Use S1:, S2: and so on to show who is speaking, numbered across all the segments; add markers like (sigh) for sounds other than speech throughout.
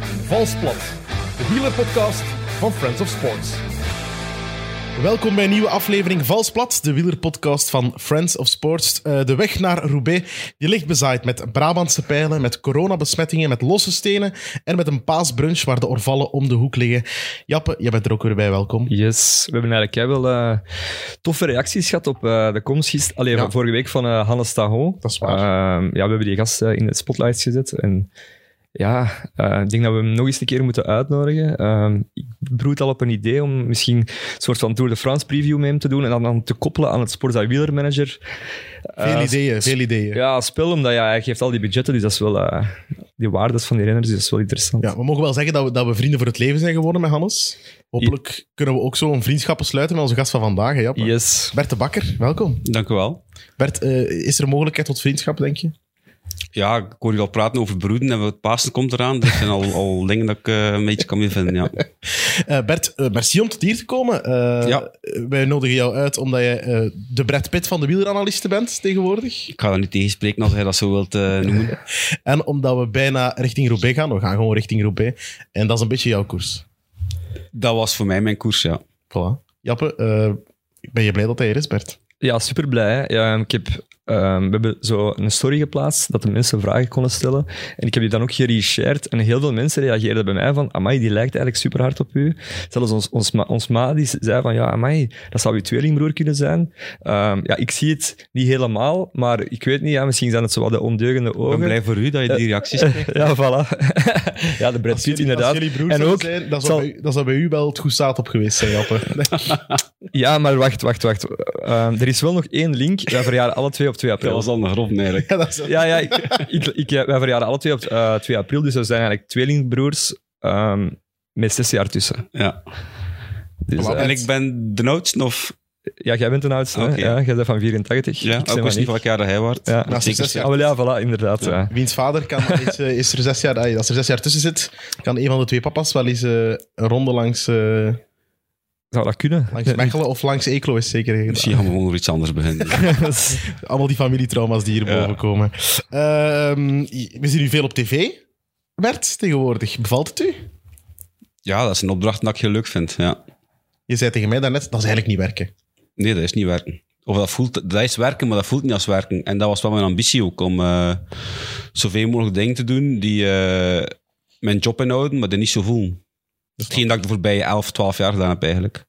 S1: Valsplat, de wielerpodcast van Friends of Sports.
S2: Welkom bij een nieuwe aflevering Valsplat, de wielerpodcast van Friends of Sports. Eh, de weg naar Roubaix die ligt bezaaid met Brabantse pijlen, met coronabesmettingen, met losse stenen en met een paasbrunch waar de orvallen om de hoek liggen. Jappe, jij bent er ook weer bij, welkom.
S3: Yes, we hebben eigenlijk jij wel eh, toffe reacties gehad op eh, de komst gisteren. Allee,
S2: Ja.
S3: van vorige week van eh, Hannes Taho. Ehm,
S2: Dat is waar.
S3: ja, we hebben die gast eh, in het spotlight gezet. En ja, eh, ik denk dat we hem nog eens een keer moeten uitnodigen. Ehm, ik broed al op een idee om misschien een soort van Tour de France preview met hem te doen. En dan, dan te koppelen aan het Sporza Wieler Manager.
S2: Veel
S3: Eh,
S2: ideeën, veel ideeën. Ja.
S3: Ja, spel omdat ja, hij geeft al die budgetten, dus dat is wel... eh, die waardes van die renners, dus dat is wel interessant.
S2: we mogen wel zeggen dat we, dat we vrienden voor het leven zijn geworden met Hannes. Hopelijk kunnen we ook zo een vriendschap sluiten met onze gast van vandaag, hè, Jappe.
S3: Yes.
S2: Bert de Bakker, welkom.
S4: Dank u wel.
S2: Bert, eh, is er mogelijkheid tot vriendschap, denk je?
S4: Ja, ik hoor je al praten over broeden en het Pasen komt eraan. Dat zijn (laughs) al, al dingen dat ik eh, een beetje kan mee vinden, ja.
S2: Eh, Bert, eh, merci om tot hier te komen. Eh,
S4: Ja.
S2: eh, Wij nodigen jou uit omdat je eh, de Brad Pitt van de wieleranalisten bent tegenwoordig.
S4: Ik ga dat niet tegenspreken als hij dat zo wilt eh, noemen.
S2: En omdat we bijna richting Roubaix gaan. We gaan gewoon richting Roubaix. En dat is een beetje jouw koers.
S4: Dat was voor mij mijn koers, ja.
S2: Voilà. Jappe, eh, ben je blij dat hij er is, Bert?
S3: Ja, super blij. Ja, ik heb, ehm, we hebben zo een story geplaatst dat de mensen vragen konden stellen. En ik heb die dan ook gereshared. En heel veel mensen reageerden bij mij van, amai, die lijkt eigenlijk super hard op u. Zelfs ons, ons, ma, ons ma die zei van, ja, amai, dat zou uw tweelingbroer kunnen zijn. Ehm, ja, ik zie het niet helemaal, maar ik weet niet, ja, misschien zijn het zo wat de ondeugende
S4: Ik ben
S3: ogen. Eh,
S4: blij voor u dat je die reacties
S3: (laughs)
S4: krijgt.
S3: Ja, voilà. ja, de Brad Pitt inderdaad.
S2: Als jullie broers
S3: en ook,
S2: zijn, dat
S3: het
S2: zou,
S3: zal-
S2: bij, u- dat zou bij u wel het goed zaad op geweest zijn,
S3: (laughs)
S2: Jappe. (laughs) Nee,
S3: Ja, maar wacht, wacht, wacht. Ehm, er is wel nog één link. Wij verjaren alle twee op 2 april.
S4: Dat was al een grof, eigenlijk.
S2: dat is-
S3: Ja, ja ik, ik, ik, eh, wij verjaren alle twee op eh, 2 april, dus we zijn eigenlijk tweelingbroers ehm, met zes jaar tussen.
S4: Ja.
S3: Dus,
S2: Voilà.
S3: eh,
S4: En ik ben de oudste, of...
S3: ja, jij bent een oudste, hè?
S4: Oké.
S3: ja, jij bent van 84.
S4: Ja,
S3: ik ben
S4: ik
S3: van
S4: wist niet
S3: niet.
S4: welk jaar dat hij waard.
S3: Ja.
S2: Naast
S4: Zeker.
S2: zes jaar.
S3: Ah, wel, ja, voilà, inderdaad. Ja.
S2: Wiens vader kan, is, eh, is er zes jaar, ah, als er zes jaar tussen zit, kan een van de twee papa's wel eens eh, een ronde langs, eh,
S3: Zou dat kunnen?
S2: langs Mechelen of langs Eeklo is zeker gedaan.
S4: Misschien gaan we gewoon over iets anders (laughs) beginnen.
S2: Allemaal die familietrauma's die hier
S4: Ja.
S2: boven komen. Ehm, we zien u veel op tv, Bert, tegenwoordig. Bevalt het u?
S4: Ja, dat is een opdracht dat ik geluk vind, ja.
S2: Je zei tegen mij daarnet, dat is eigenlijk niet werken.
S4: Nee, dat is niet werken. Of dat, voelt, dat is werken, maar dat voelt niet als werken. En dat was wel mijn ambitie ook, om eh, zoveel mogelijk dingen te doen die eh, mijn job inhouden, maar die niet zo voelen. Hetgeen dat ik de voorbije 11, 12 jaar gedaan heb eigenlijk.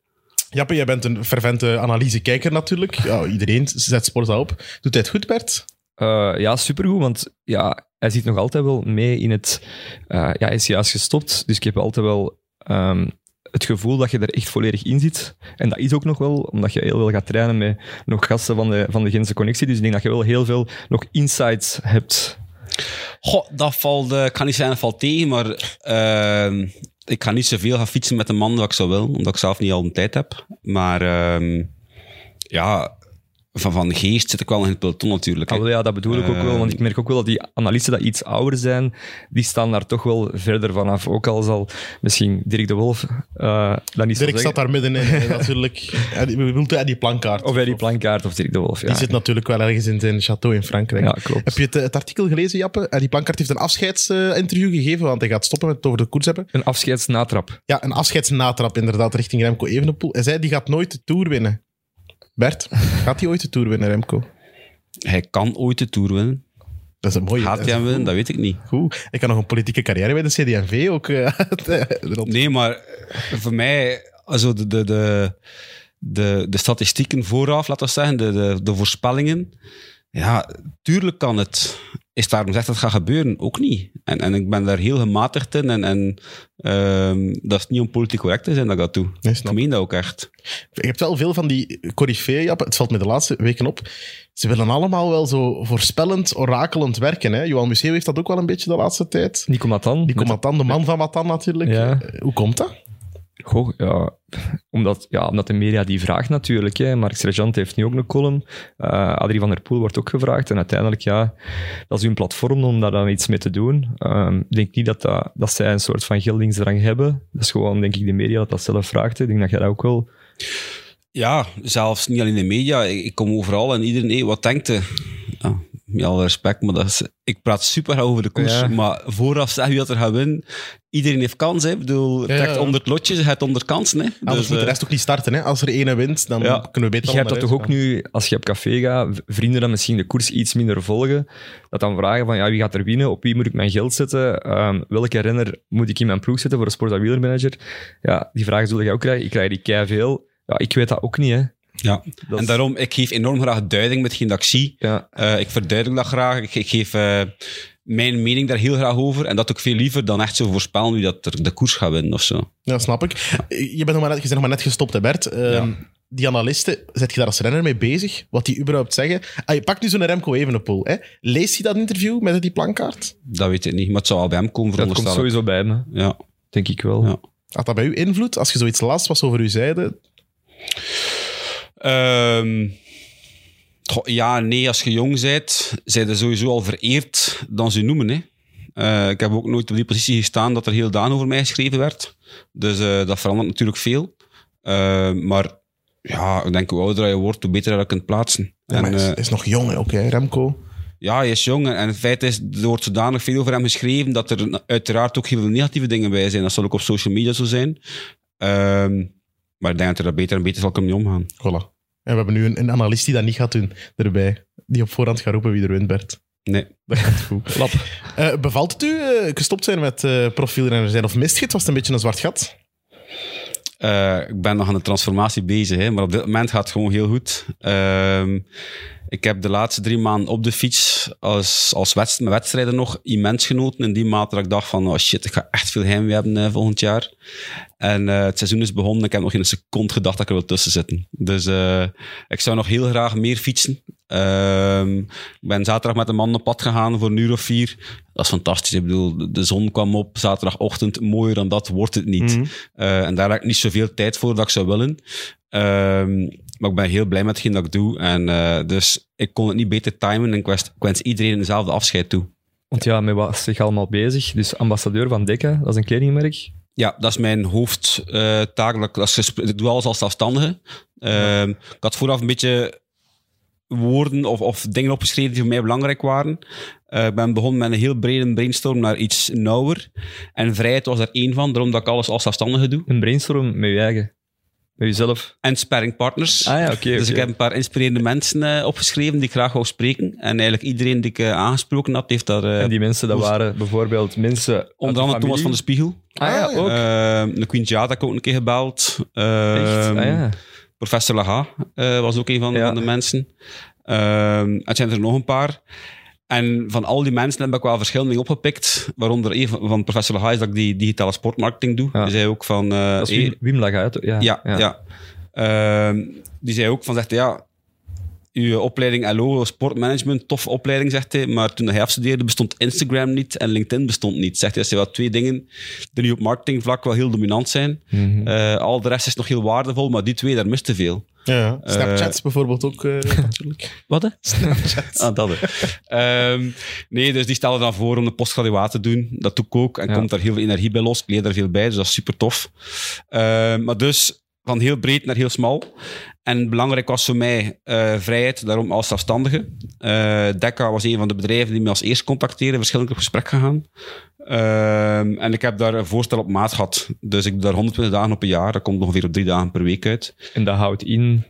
S2: Jappe, jij bent een fervente analysekijker natuurlijk. Ja, iedereen zet Sporza op. Doet hij het goed, Bert?
S3: Eh, ja, supergoed, want ja, hij zit nog altijd wel mee in het... eh, ja, hij is juist gestopt, dus ik heb altijd wel ehm, het gevoel dat je er echt volledig in zit. En dat is ook nog wel, omdat je heel veel gaat trainen met nog gasten van de, van de Gentse Connectie, dus ik denk dat je wel heel veel nog insights hebt.
S4: Goh, dat valt, eh, ik kan niet zeggen dat valt tegen, maar ehm, ik ga niet zoveel gaan fietsen met de man dat ik zou wil, omdat ik zelf niet al een tijd heb. Maar ehm, ja, van, van geest zit ik wel in het peloton natuurlijk. hè.
S3: Ah, wel, ja, dat bedoel ik ook wel,
S4: Ehm.
S3: want ik merk ook wel dat die analisten dat iets ouder zijn, die staan daar toch wel verder vanaf. Ook al zal misschien Dirk de Wolf eh dat niet zo
S2: Dirk
S3: zeggen.
S2: zat daar middenin hè, natuurlijk. (laughs) En die- bedoelt hij die plankaart?
S3: Of bij die plankaart of Dirk de Wolf, ja.
S2: Die zit natuurlijk wel ergens in zijn château in Frankrijk.
S3: Ja, klopt.
S2: Heb je het, eh, het artikel gelezen, Jappe? Eh, Die plankaart heeft een afscheidsinterview gegeven, want hij gaat stoppen met het over de koers hebben.
S3: Een afscheidsnatrap.
S2: Ja, een afscheidsnatrap inderdaad richting Remco Evenepoel. Hij zei, die gaat nooit de Tour winnen. Bert, gaat hij ooit de Tour winnen, Remco?
S4: Hij kan ooit de Tour winnen.
S2: Dat is een mooie.
S4: Gaat
S2: dat
S4: hij
S2: is
S4: hem winnen? Dat weet ik niet.
S2: Goed. Ik kan nog een politieke carrière bij de CD&V ook. eh, (laughs) erop.
S4: Nee, maar eh, voor mij, also de, de, de, de, de statistieken vooraf, laten we zeggen, de, de, de voorspellingen. Ja, tuurlijk kan het. Is daarom gezegd dat het gaat gebeuren? Ook niet. En, en ik ben daar heel gematigd in. En, en ehm, dat is niet om politiek correct te zijn dat ik dat doe.
S2: Nee, snap
S4: Ik meen dat ook echt.
S2: Je hebt wel veel van die coryfeeën, Jappe. Het valt me de laatste weken op. Ze willen allemaal wel zo voorspellend, orakelend werken. Hè? Johan Museeuw heeft dat ook wel een beetje de laatste tijd.
S3: Nico Matan.
S2: Nico Matan, de man van Matan natuurlijk.
S3: Ja.
S2: Eh, Hoe komt dat?
S3: Goh, ja, omdat, ja, omdat de media die vraagt natuurlijk. Hè. Mark Sergeant heeft nu ook een column. Eh Adrie van der Poel wordt ook gevraagd. En uiteindelijk, ja, dat is hun platform om daar dan iets mee te doen. Ehm, ik denk niet dat, dat, dat zij een soort van geldingsdrang hebben. Dat is gewoon, denk ik, de media dat dat zelf vraagt. hè. Ik denk dat jij dat ook wel...
S4: Ja, zelfs niet alleen in de media. Ik, ik kom overal en iedereen, hé, wat denkt hij? Ja, met alle respect, maar dat is, ik praat super graag over de koers.
S3: Ja.
S4: Maar vooraf zeg je dat er gaat winnen. Iedereen heeft kans, hè. Ik bedoel,
S2: Ja,
S4: trekt
S2: ja.
S4: 100 lotjes, je hebt 100 kansen, hè.
S2: Anders
S4: Dus,
S2: moet de
S4: eh,
S2: rest ook niet starten. Hè? Als er ene wint, dan
S4: Ja.
S2: kunnen we beter
S3: Je hebt dat
S2: allemaal
S3: toch ook
S2: naar
S3: nu, als je op café gaat, v- vrienden dan misschien de koers iets minder volgen, dat dan vragen van ja, wie gaat er winnen, op wie moet ik mijn geld zetten, Ehm, welke renner moet ik in mijn ploeg zetten voor een sport- en wielermanager. Ja, die vragen zul je ook krijgen. Ik krijg die keiveel. Ja, ik weet dat ook niet, hè.
S4: ja.
S3: Dat
S4: En
S3: is-
S4: daarom, ik geef enorm graag duiding met geen actie.
S3: Ja,
S4: Eh, ik verduidelijk dat graag. Ik, ik geef eh, mijn mening daar heel graag over. En dat ook veel liever dan echt zo voorspellen wie dat er de koers gaat winnen of zo.
S2: Ja, snap ik. Je bent nog maar net, je bent nog maar net gestopt, hè, Bert. Ehm, Die analisten, zet je daar als renner mee bezig? Wat die überhaupt zeggen? Ah, je pakt nu zo'n Remco Evenepoel. Hè? Lees je dat interview met die plankaart?
S4: Dat weet ik niet, maar het zou wel bij hem komen,
S3: dat komt
S4: veronderstel ik.
S3: sowieso bij me,
S4: Ja.
S3: denk ik wel.
S4: Ja.
S2: Had dat bij u invloed? Als je zoiets las was over uw zijde?
S4: Ehm, goh, ja, nee, als je jong bent, zijn ze sowieso al vereerd dan ze noemen. Hè. Eh, ik heb ook nooit op die positie gestaan dat er heel Daan over mij geschreven werd. Dus eh, dat verandert natuurlijk veel. Eh, maar ja, ik denk hoe ouder je wordt, hoe beter je dat kunt plaatsen.
S2: Ja, maar
S4: en,
S2: hij is,
S4: eh,
S2: hij is nog jong, hè, ook, hè, Remco.
S4: ja, hij is jong. En het feit is, er wordt zodanig veel over hem geschreven dat er uiteraard ook heel veel negatieve dingen bij zijn. Dat zal ook op social media zo zijn. Ehm, maar ik denk dat er dat beter en beter zal kunnen mee omgaan.
S2: Voilà. En we hebben nu een, een analist die dat niet gaat doen erbij. Die op voorhand gaat roepen wie er wint, Bert.
S4: Nee.
S2: Dat gaat
S4: (laughs)
S2: goed.
S3: Lap.
S2: Eh, bevalt het u eh, gestopt zijn met eh profielrenner zijn? Of mist je het? Was het een beetje een zwart gat?
S4: Eh, ik ben nog aan de transformatie bezig, hè, maar op dit moment gaat het gewoon heel goed. Ehm, ik heb de laatste drie maanden op de fiets als, als wedst- met wedstrijden nog immens genoten. In die mate dat ik dacht van, oh shit, ik ga echt veel heimwee hebben eh, volgend jaar. En eh, het seizoen is begonnen. Ik heb nog geen seconde gedacht dat ik er wil tussen zitten. Dus eh, ik zou nog heel graag meer fietsen. Ehm, ik ben zaterdag met een man op pad gegaan voor een uur of vier. Dat is fantastisch. Ik bedoel, de- de zon kwam op zaterdagochtend. Mooier dan dat wordt het niet. Eh, en daar heb ik niet zoveel tijd voor dat ik zou willen. Ehm, maar ik ben heel blij met hetgeen dat ik doe. En, eh, dus ik kon het niet beter timen. En ik wens, ik wens iedereen dezelfde afscheid toe.
S3: Want ja, met wat is zich allemaal bezig? Dus ambassadeur van Dekka, dat is een kledingmerk.
S4: Ja, dat is mijn hoofdtaak. dat ik- dat is gesp- ik doe alles als zelfstandige. Ehm, Ik had vooraf een beetje woorden of, of dingen opgeschreven die voor mij belangrijk waren. Eh, ik ben begonnen met een heel brede brainstorm naar iets nauwer. En vrijheid was er één van, daarom dat ik alles als zelfstandige doe.
S3: Een brainstorm met je eigen, met jezelf.
S4: En sparringpartners.
S3: Ah ja, oké.
S4: dus
S3: oké.
S4: ik heb een paar inspirerende mensen eh, opgeschreven die ik graag wou spreken. En eigenlijk iedereen die ik eh, aangesproken had, heeft daar... eh,
S3: En die mensen, dat waren bijvoorbeeld mensen uit de
S4: onder andere Thomas van de
S3: familie.
S4: Spiegel.
S3: Ah ja, ook.
S4: Eh, de Queen Jada heb ik ook een keer gebeld.
S3: Echt?
S4: Ehm,
S3: Ah ja.
S4: Professor Laga eh, was ook een van,
S3: Ja.
S4: van de mensen. Ehm het zijn er nog een paar. En van al die mensen heb ik wel verschillende dingen opgepikt. Waaronder een van van professor Laga is dat ik die digitale sportmarketing doe.
S3: Ja.
S4: Die zei ook van... eh,
S3: Dat is Wim,
S4: hey,
S3: Wim Laga, hè? Ja.
S4: ja, ja. Ehm, die zei ook van, zegt hij, ja... Uw opleiding LO, sportmanagement, tof opleiding, zegt hij. Maar toen hij afstudeerde bestond Instagram niet en LinkedIn bestond niet. Zegt hij, dat zijn wel twee dingen die nu op marketingvlak wel heel dominant zijn.
S3: Mhm.
S4: Eh, al de rest is nog heel waardevol, maar die twee, daar mist te veel.
S2: Ja, Snapchats bijvoorbeeld ook
S4: (laughs)
S2: eh, natuurlijk.
S4: Wat hè? Ah, dat hè. Ehm, nee, dus die stelde dan voor om de postgraduaat te doen. Dat doe ik ook. En
S3: Ja.
S4: komt daar heel veel energie bij los. Ik leer daar veel bij, dus dat is super tof. Ehm, maar dus van heel breed naar heel smal. En belangrijk was voor mij eh, vrijheid, daarom als zelfstandige. Eh Dekka was een van de bedrijven die me als eerst contacteerden, verschillend op gesprek gegaan. Ehm, en ik heb daar een voorstel op maat gehad. Dus ik doe daar 120 dagen op een jaar. Dat komt ongeveer op drie dagen per week uit.
S3: En dat houdt in.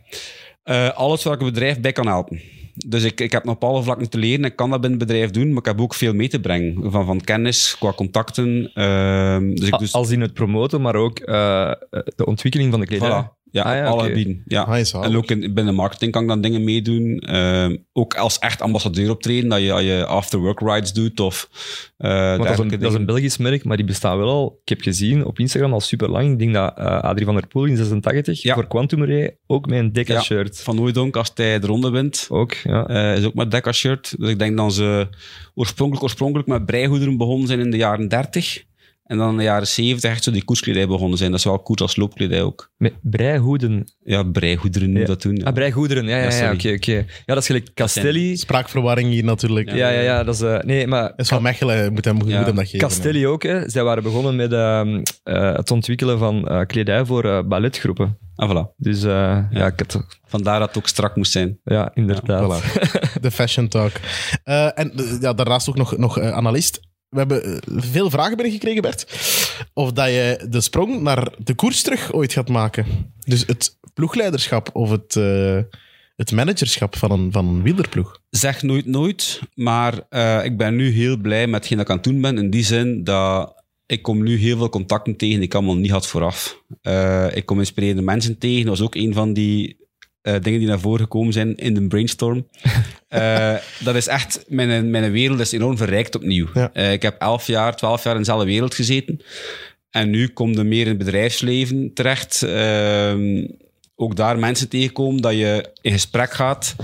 S4: Eh, alles waar ik een bedrijf bij kan helpen. Dus ik, ik heb nog op alle vlakken te leren. Ik kan dat binnen het bedrijf doen, maar ik heb ook veel mee te brengen. Van, van kennis, qua contacten. ehm, dus ik
S3: a-
S4: dus,
S3: Als in het promoten, maar ook eh, de ontwikkeling van de
S4: voilà,
S3: kleding.
S4: ja,
S3: Ah, ja,
S4: op alle
S3: oké.
S4: gebieden. Ja.
S2: Ah, is wel.
S4: En ook in, binnen marketing kan ik dan dingen meedoen. Ehm, ook als echt ambassadeur optreden, dat je, dat je after-work rides doet of eh,
S3: Want dat, is
S4: dergelijke
S3: een, dat is een
S4: dingen.
S3: Belgisch merk, maar die bestaan wel al. Ik heb gezien op Instagram al super lang. Ik denk dat eh, Adrie van der Poel in 86
S4: Ja.
S3: voor Quantum Ray ook met een
S4: Ja.
S3: Dekka-shirt.
S4: Van Hooijdonk, als hij de ronde wint,
S3: Ook, ja.
S4: Eh, is ook met Decca shirt. Dus ik denk dat ze oorspronkelijk, oorspronkelijk met breigoederen begonnen zijn in de jaren 30. En dan in de jaren 70 echt zo die koerskledij begonnen zijn. Dat is wel koers als loopkledij ook.
S3: Met breihoeden.
S4: Ja, breigoederen noemen
S3: Ja.
S4: dat toen. Ja.
S3: Ah, breigoederen. Ja, ja,
S4: Ja,
S3: ja.
S4: sorry.
S3: Oké, oké. Ja, dat is gelijk Castelli.
S2: Spraakverwarring hier natuurlijk.
S3: Ja, ja, ja. Dat is... eh, nee, maar...
S2: Dat is van Mechelen, je moet hem, je
S4: Ja.
S2: moet hem dat geven. hè.
S3: Castelli ook, hè. Zij waren begonnen met ehm, eh, het ontwikkelen van eh, kledij voor eh, balletgroepen.
S4: Ah, voilà.
S3: Dus eh, ja, ik had-
S4: Vandaar dat het ook strak moest zijn.
S3: ja, inderdaad.
S2: Voilà. De fashion talk. Eh, en eh, ja, daarnaast ook nog, nog eh, analist. We hebben eh, veel vragen binnengekregen, Bert. Of dat je de sprong naar de koers terug ooit gaat maken. Dus het ploegleiderschap of het, eh, het managerschap van een, van een wielerploeg.
S4: Zeg nooit nooit, maar eh, ik ben nu heel blij met hetgeen dat ik aan het doen ben. In die zin dat ik kom nu heel veel contacten tegen die ik allemaal niet had vooraf. Eh, ik kom inspirerende mensen tegen. Dat was ook een van die eh, dingen die naar voren gekomen zijn in de brainstorm. Eh, dat is echt, mijn, mijn wereld is enorm verrijkt opnieuw.
S2: Ja.
S4: Eh, ik heb elf jaar, twaalf jaar in dezelfde wereld gezeten. En nu kom je meer in het bedrijfsleven terecht. Ehm, ook daar mensen tegenkomen dat je in gesprek gaat.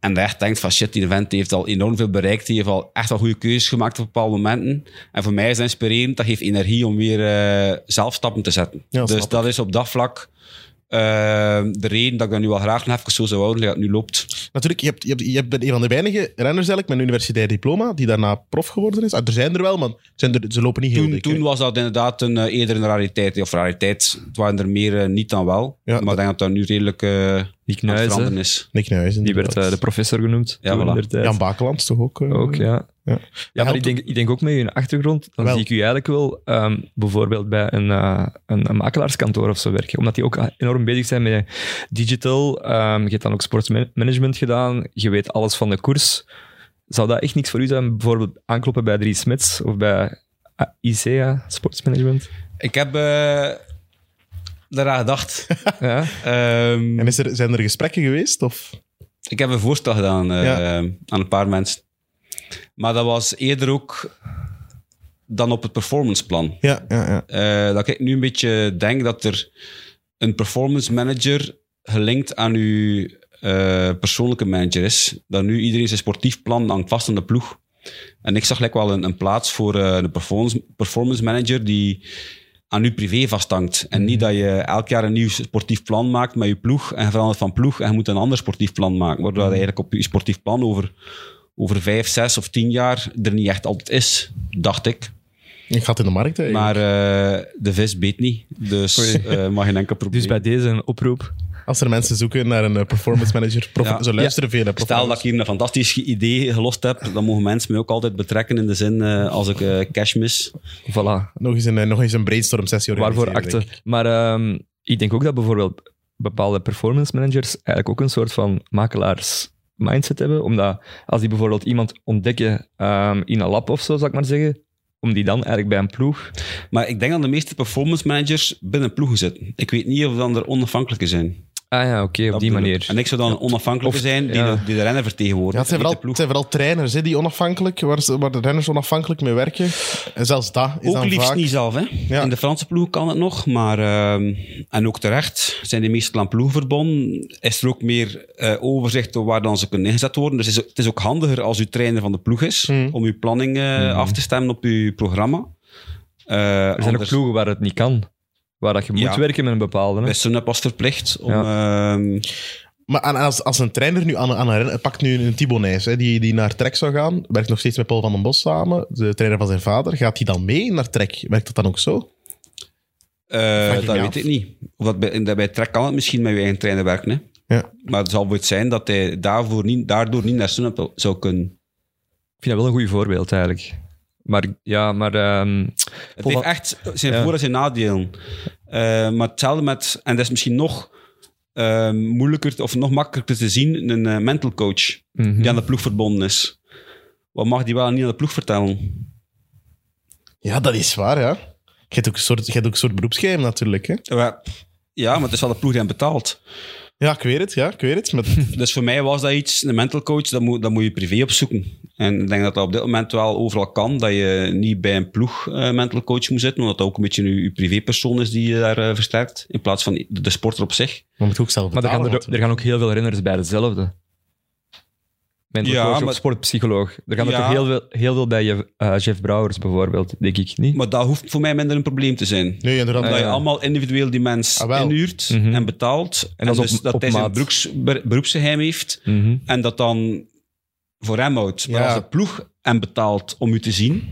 S4: En dat je echt denkt van shit, die event heeft al enorm veel bereikt. Die heeft al echt wel goede keuzes gemaakt op bepaalde momenten. En voor mij is dat inspirerend. Dat geeft energie om weer eh, zelf stappen te zetten.
S2: Ja, snap
S4: dus dat is op dat vlak eh, de reden dat ik dat nu wel graag nog even zo zou houden. Dat het nu loopt.
S2: Natuurlijk, je, hebt, je, hebt, je bent een van de weinige renners eigenlijk met een universitair diploma die daarna prof geworden is. Ah, er zijn er wel, maar zijn er, ze lopen niet heel
S4: Toen,
S2: dik,
S4: toen
S2: hè.
S4: was dat inderdaad een, eh, eerder een rariteit. Of rariteit. Het waren er meer eh, niet dan wel.
S2: Ja,
S4: maar ik denk dat dat nu redelijk eh, aan
S3: Die
S4: het veranderen
S3: knuizen.
S4: is.
S2: Nick Nuyhuizen,
S3: Die werd eh, de
S2: inderdaad.
S3: professor genoemd.
S4: Ja,
S3: toen
S4: voilà.
S3: inderdaad.
S2: Jan Bakelands toch ook? eh,
S3: Ook, ja.
S2: Ja.
S3: Ja, maar
S2: helpt
S3: ik denk, ik denk ook met je achtergrond, dan
S2: Wel.
S3: zie ik u eigenlijk wel ehm, bijvoorbeeld bij een, eh, een, een makelaarskantoor of zo werken. Omdat die ook enorm bezig zijn met digital. Ehm, je hebt dan ook sportsmanagement gedaan. Je weet alles van de koers. Zou dat echt niks voor u zijn? Bijvoorbeeld aankloppen bij Dries Smits of bij ah, ICEA, sportsmanagement?
S2: (laughs)
S4: Ik heb eh daaraan
S2: (laughs)
S4: gedacht.
S3: Ja.
S4: Ehm,
S2: En is er, zijn er gesprekken geweest? Of?
S4: Ik heb een voorstel gedaan eh,
S2: Ja.
S4: aan een paar mensen. Maar dat was eerder ook dan op het performanceplan.
S2: Ja, ja, ja.
S4: Eh, dat ik nu een beetje denk dat er een performance manager gelinkt aan uw eh, persoonlijke manager is. Dat nu iedereen zijn sportief plan hangt vast aan de ploeg. En ik zag gelijk wel een, een plaats voor eh, een performance, performance manager die aan uw privé vasthangt. En niet dat je elk jaar een nieuw sportief plan maakt met je ploeg en je verandert van ploeg en je moet een ander sportief plan maken. Waardoor dat eigenlijk op je sportief plan over, over vijf, zes of tien jaar er niet echt altijd is, dacht ik.
S2: Je gaat in de markt, hè.
S4: Maar eh, de vis beet niet, dus eh mag geen enkel probleem.
S3: Dus bij deze een oproep.
S2: Als er mensen zoeken naar een eh, performance manager, prof-
S4: Ja.
S2: zo luisteren veel. hè,
S4: Stel dat ik hier een fantastisch idee gelost heb, dan mogen mensen mij ook altijd betrekken in de zin eh, als ik eh, cash mis.
S3: Voilà.
S2: Nog eens een, eh, nog eens een brainstorm sessie
S3: Waarvoor
S2: organiseren,
S3: akte.
S2: denk ik.
S3: Maar ehm, ik denk ook dat bijvoorbeeld bepaalde performance managers eigenlijk ook een soort van makelaars mindset hebben. Omdat als die bijvoorbeeld iemand ontdekken ehm, in een lab of zo, zou ik maar zeggen, om die dan eigenlijk bij een ploeg...
S4: Maar ik denk dat de meeste performance managers binnen ploegen zitten. Ik weet niet of dan er onafhankelijke zijn.
S3: Ah ja, oké, op
S4: Dat
S3: die
S4: bedoel ik.
S3: manier.
S4: En ik zou dan een onafhankelijke
S3: Of-
S4: zijn die,
S3: ja.
S4: de, die de renner vertegenwoordigt.
S2: Ja, het zijn
S4: en niet
S2: vooral, het zijn vooral trainers hè, die onafhankelijk, waar, ze- waar de renners onafhankelijk mee werken. En zelfs dat
S4: de
S2: is
S4: ploeg.
S2: dan
S4: Ook liefst
S2: vaak...
S4: niet zelf. Hè?
S2: Ja.
S4: In de Franse ploeg kan het nog, maar ehm, en ook terecht zijn de meeste aan ploegverbonden. Is er ook meer eh, overzicht over waar dan ze kunnen ingezet worden. Dus het is, het is ook handiger als uw trainer van de ploeg is
S2: Hmm.
S4: om uw planning eh, af te stemmen op uw programma. Eh,
S3: er zijn ook ploegen waar het niet kan. Waar dat je moet
S4: Ja.
S3: werken met een bepaalde. hè.
S4: Bij Sunweb was verplicht om... ehm,
S2: Maar aan- als, als een trainer nu aan, aan een renner... Pakt nu een Thibaut Nys, hè, die, die naar Trek zou gaan. Werkt nog steeds met Paul van den Bos samen, de trainer van zijn vader. Gaat hij dan mee naar Trek? Werkt dat dan ook zo?
S4: Eh,
S2: Vraag ik
S4: dat
S2: me
S4: weet
S2: af.
S4: ik niet. Of dat bij, dat bij Trek kan het misschien met je eigen trainer werken. Hè?
S2: Ja.
S4: Maar het zal wel zijn dat hij daarvoor niet, daardoor niet naar Sunweb zou kunnen.
S3: Ik vind dat wel een goed voorbeeld eigenlijk. Maar ja, maar... ehm,
S4: Het
S3: Volva-
S4: heeft echt zijn
S3: Ja.
S4: voor- en zijn nadelen. Eh, maar hetzelfde met, en dat is misschien nog eh, moeilijker te- of nog makkelijker te zien, een eh, mental coach
S3: mhm.
S4: die aan de ploeg verbonden is. Wat mag die wel en niet aan de ploeg vertellen?
S2: Ja, dat is waar, ja. Je hebt ook een soort, je hebt ook een soort beroepsgeheim natuurlijk. Hè?
S4: Eh, wel, Ja, maar het is wel de ploeg die hem betaalt.
S2: Ja, ik weet het. Ja, ik weet het.
S4: (laughs)
S2: Maar
S4: Dus voor mij was dat iets, een mental coach, dat moet, dat moet je privé opzoeken. En ik denk dat dat op dit moment wel overal kan, dat je niet bij een ploeg eh, mental coach moet zitten, omdat dat ook een beetje je, je privépersoon is die je daar eh, versterkt, in plaats van de, de sporter op zich.
S2: maar moet je ook zelf
S3: maar er
S2: betalen.
S3: gaan, er,
S2: natuurlijk.
S3: er gaan ook heel veel renners bij dezelfde. mental
S4: Ja,
S3: coach
S4: maar-
S3: of sportpsycholoog. Er gaan er
S4: Ja.
S3: toch heel veel, heel veel bij je, eh, Jeff Brouwers bijvoorbeeld, denk ik, niet?
S4: Maar dat hoeft voor mij minder een probleem te zijn.
S2: Nee, inderdaad.
S4: Dat je
S3: ja.
S4: allemaal individueel die mens
S2: Ah, wel.
S4: inhuurt
S3: Mhm.
S4: en betaalt. En,
S3: dat is
S4: dus
S3: op-
S4: dat
S3: op
S4: hij zijn
S3: maat.
S4: beroeps, ber- beroepsgeheim heeft.
S3: Mhm.
S4: En dat dan voor hem houdt. Maar
S2: Ja.
S4: als de ploeg hem betaalt om u te zien...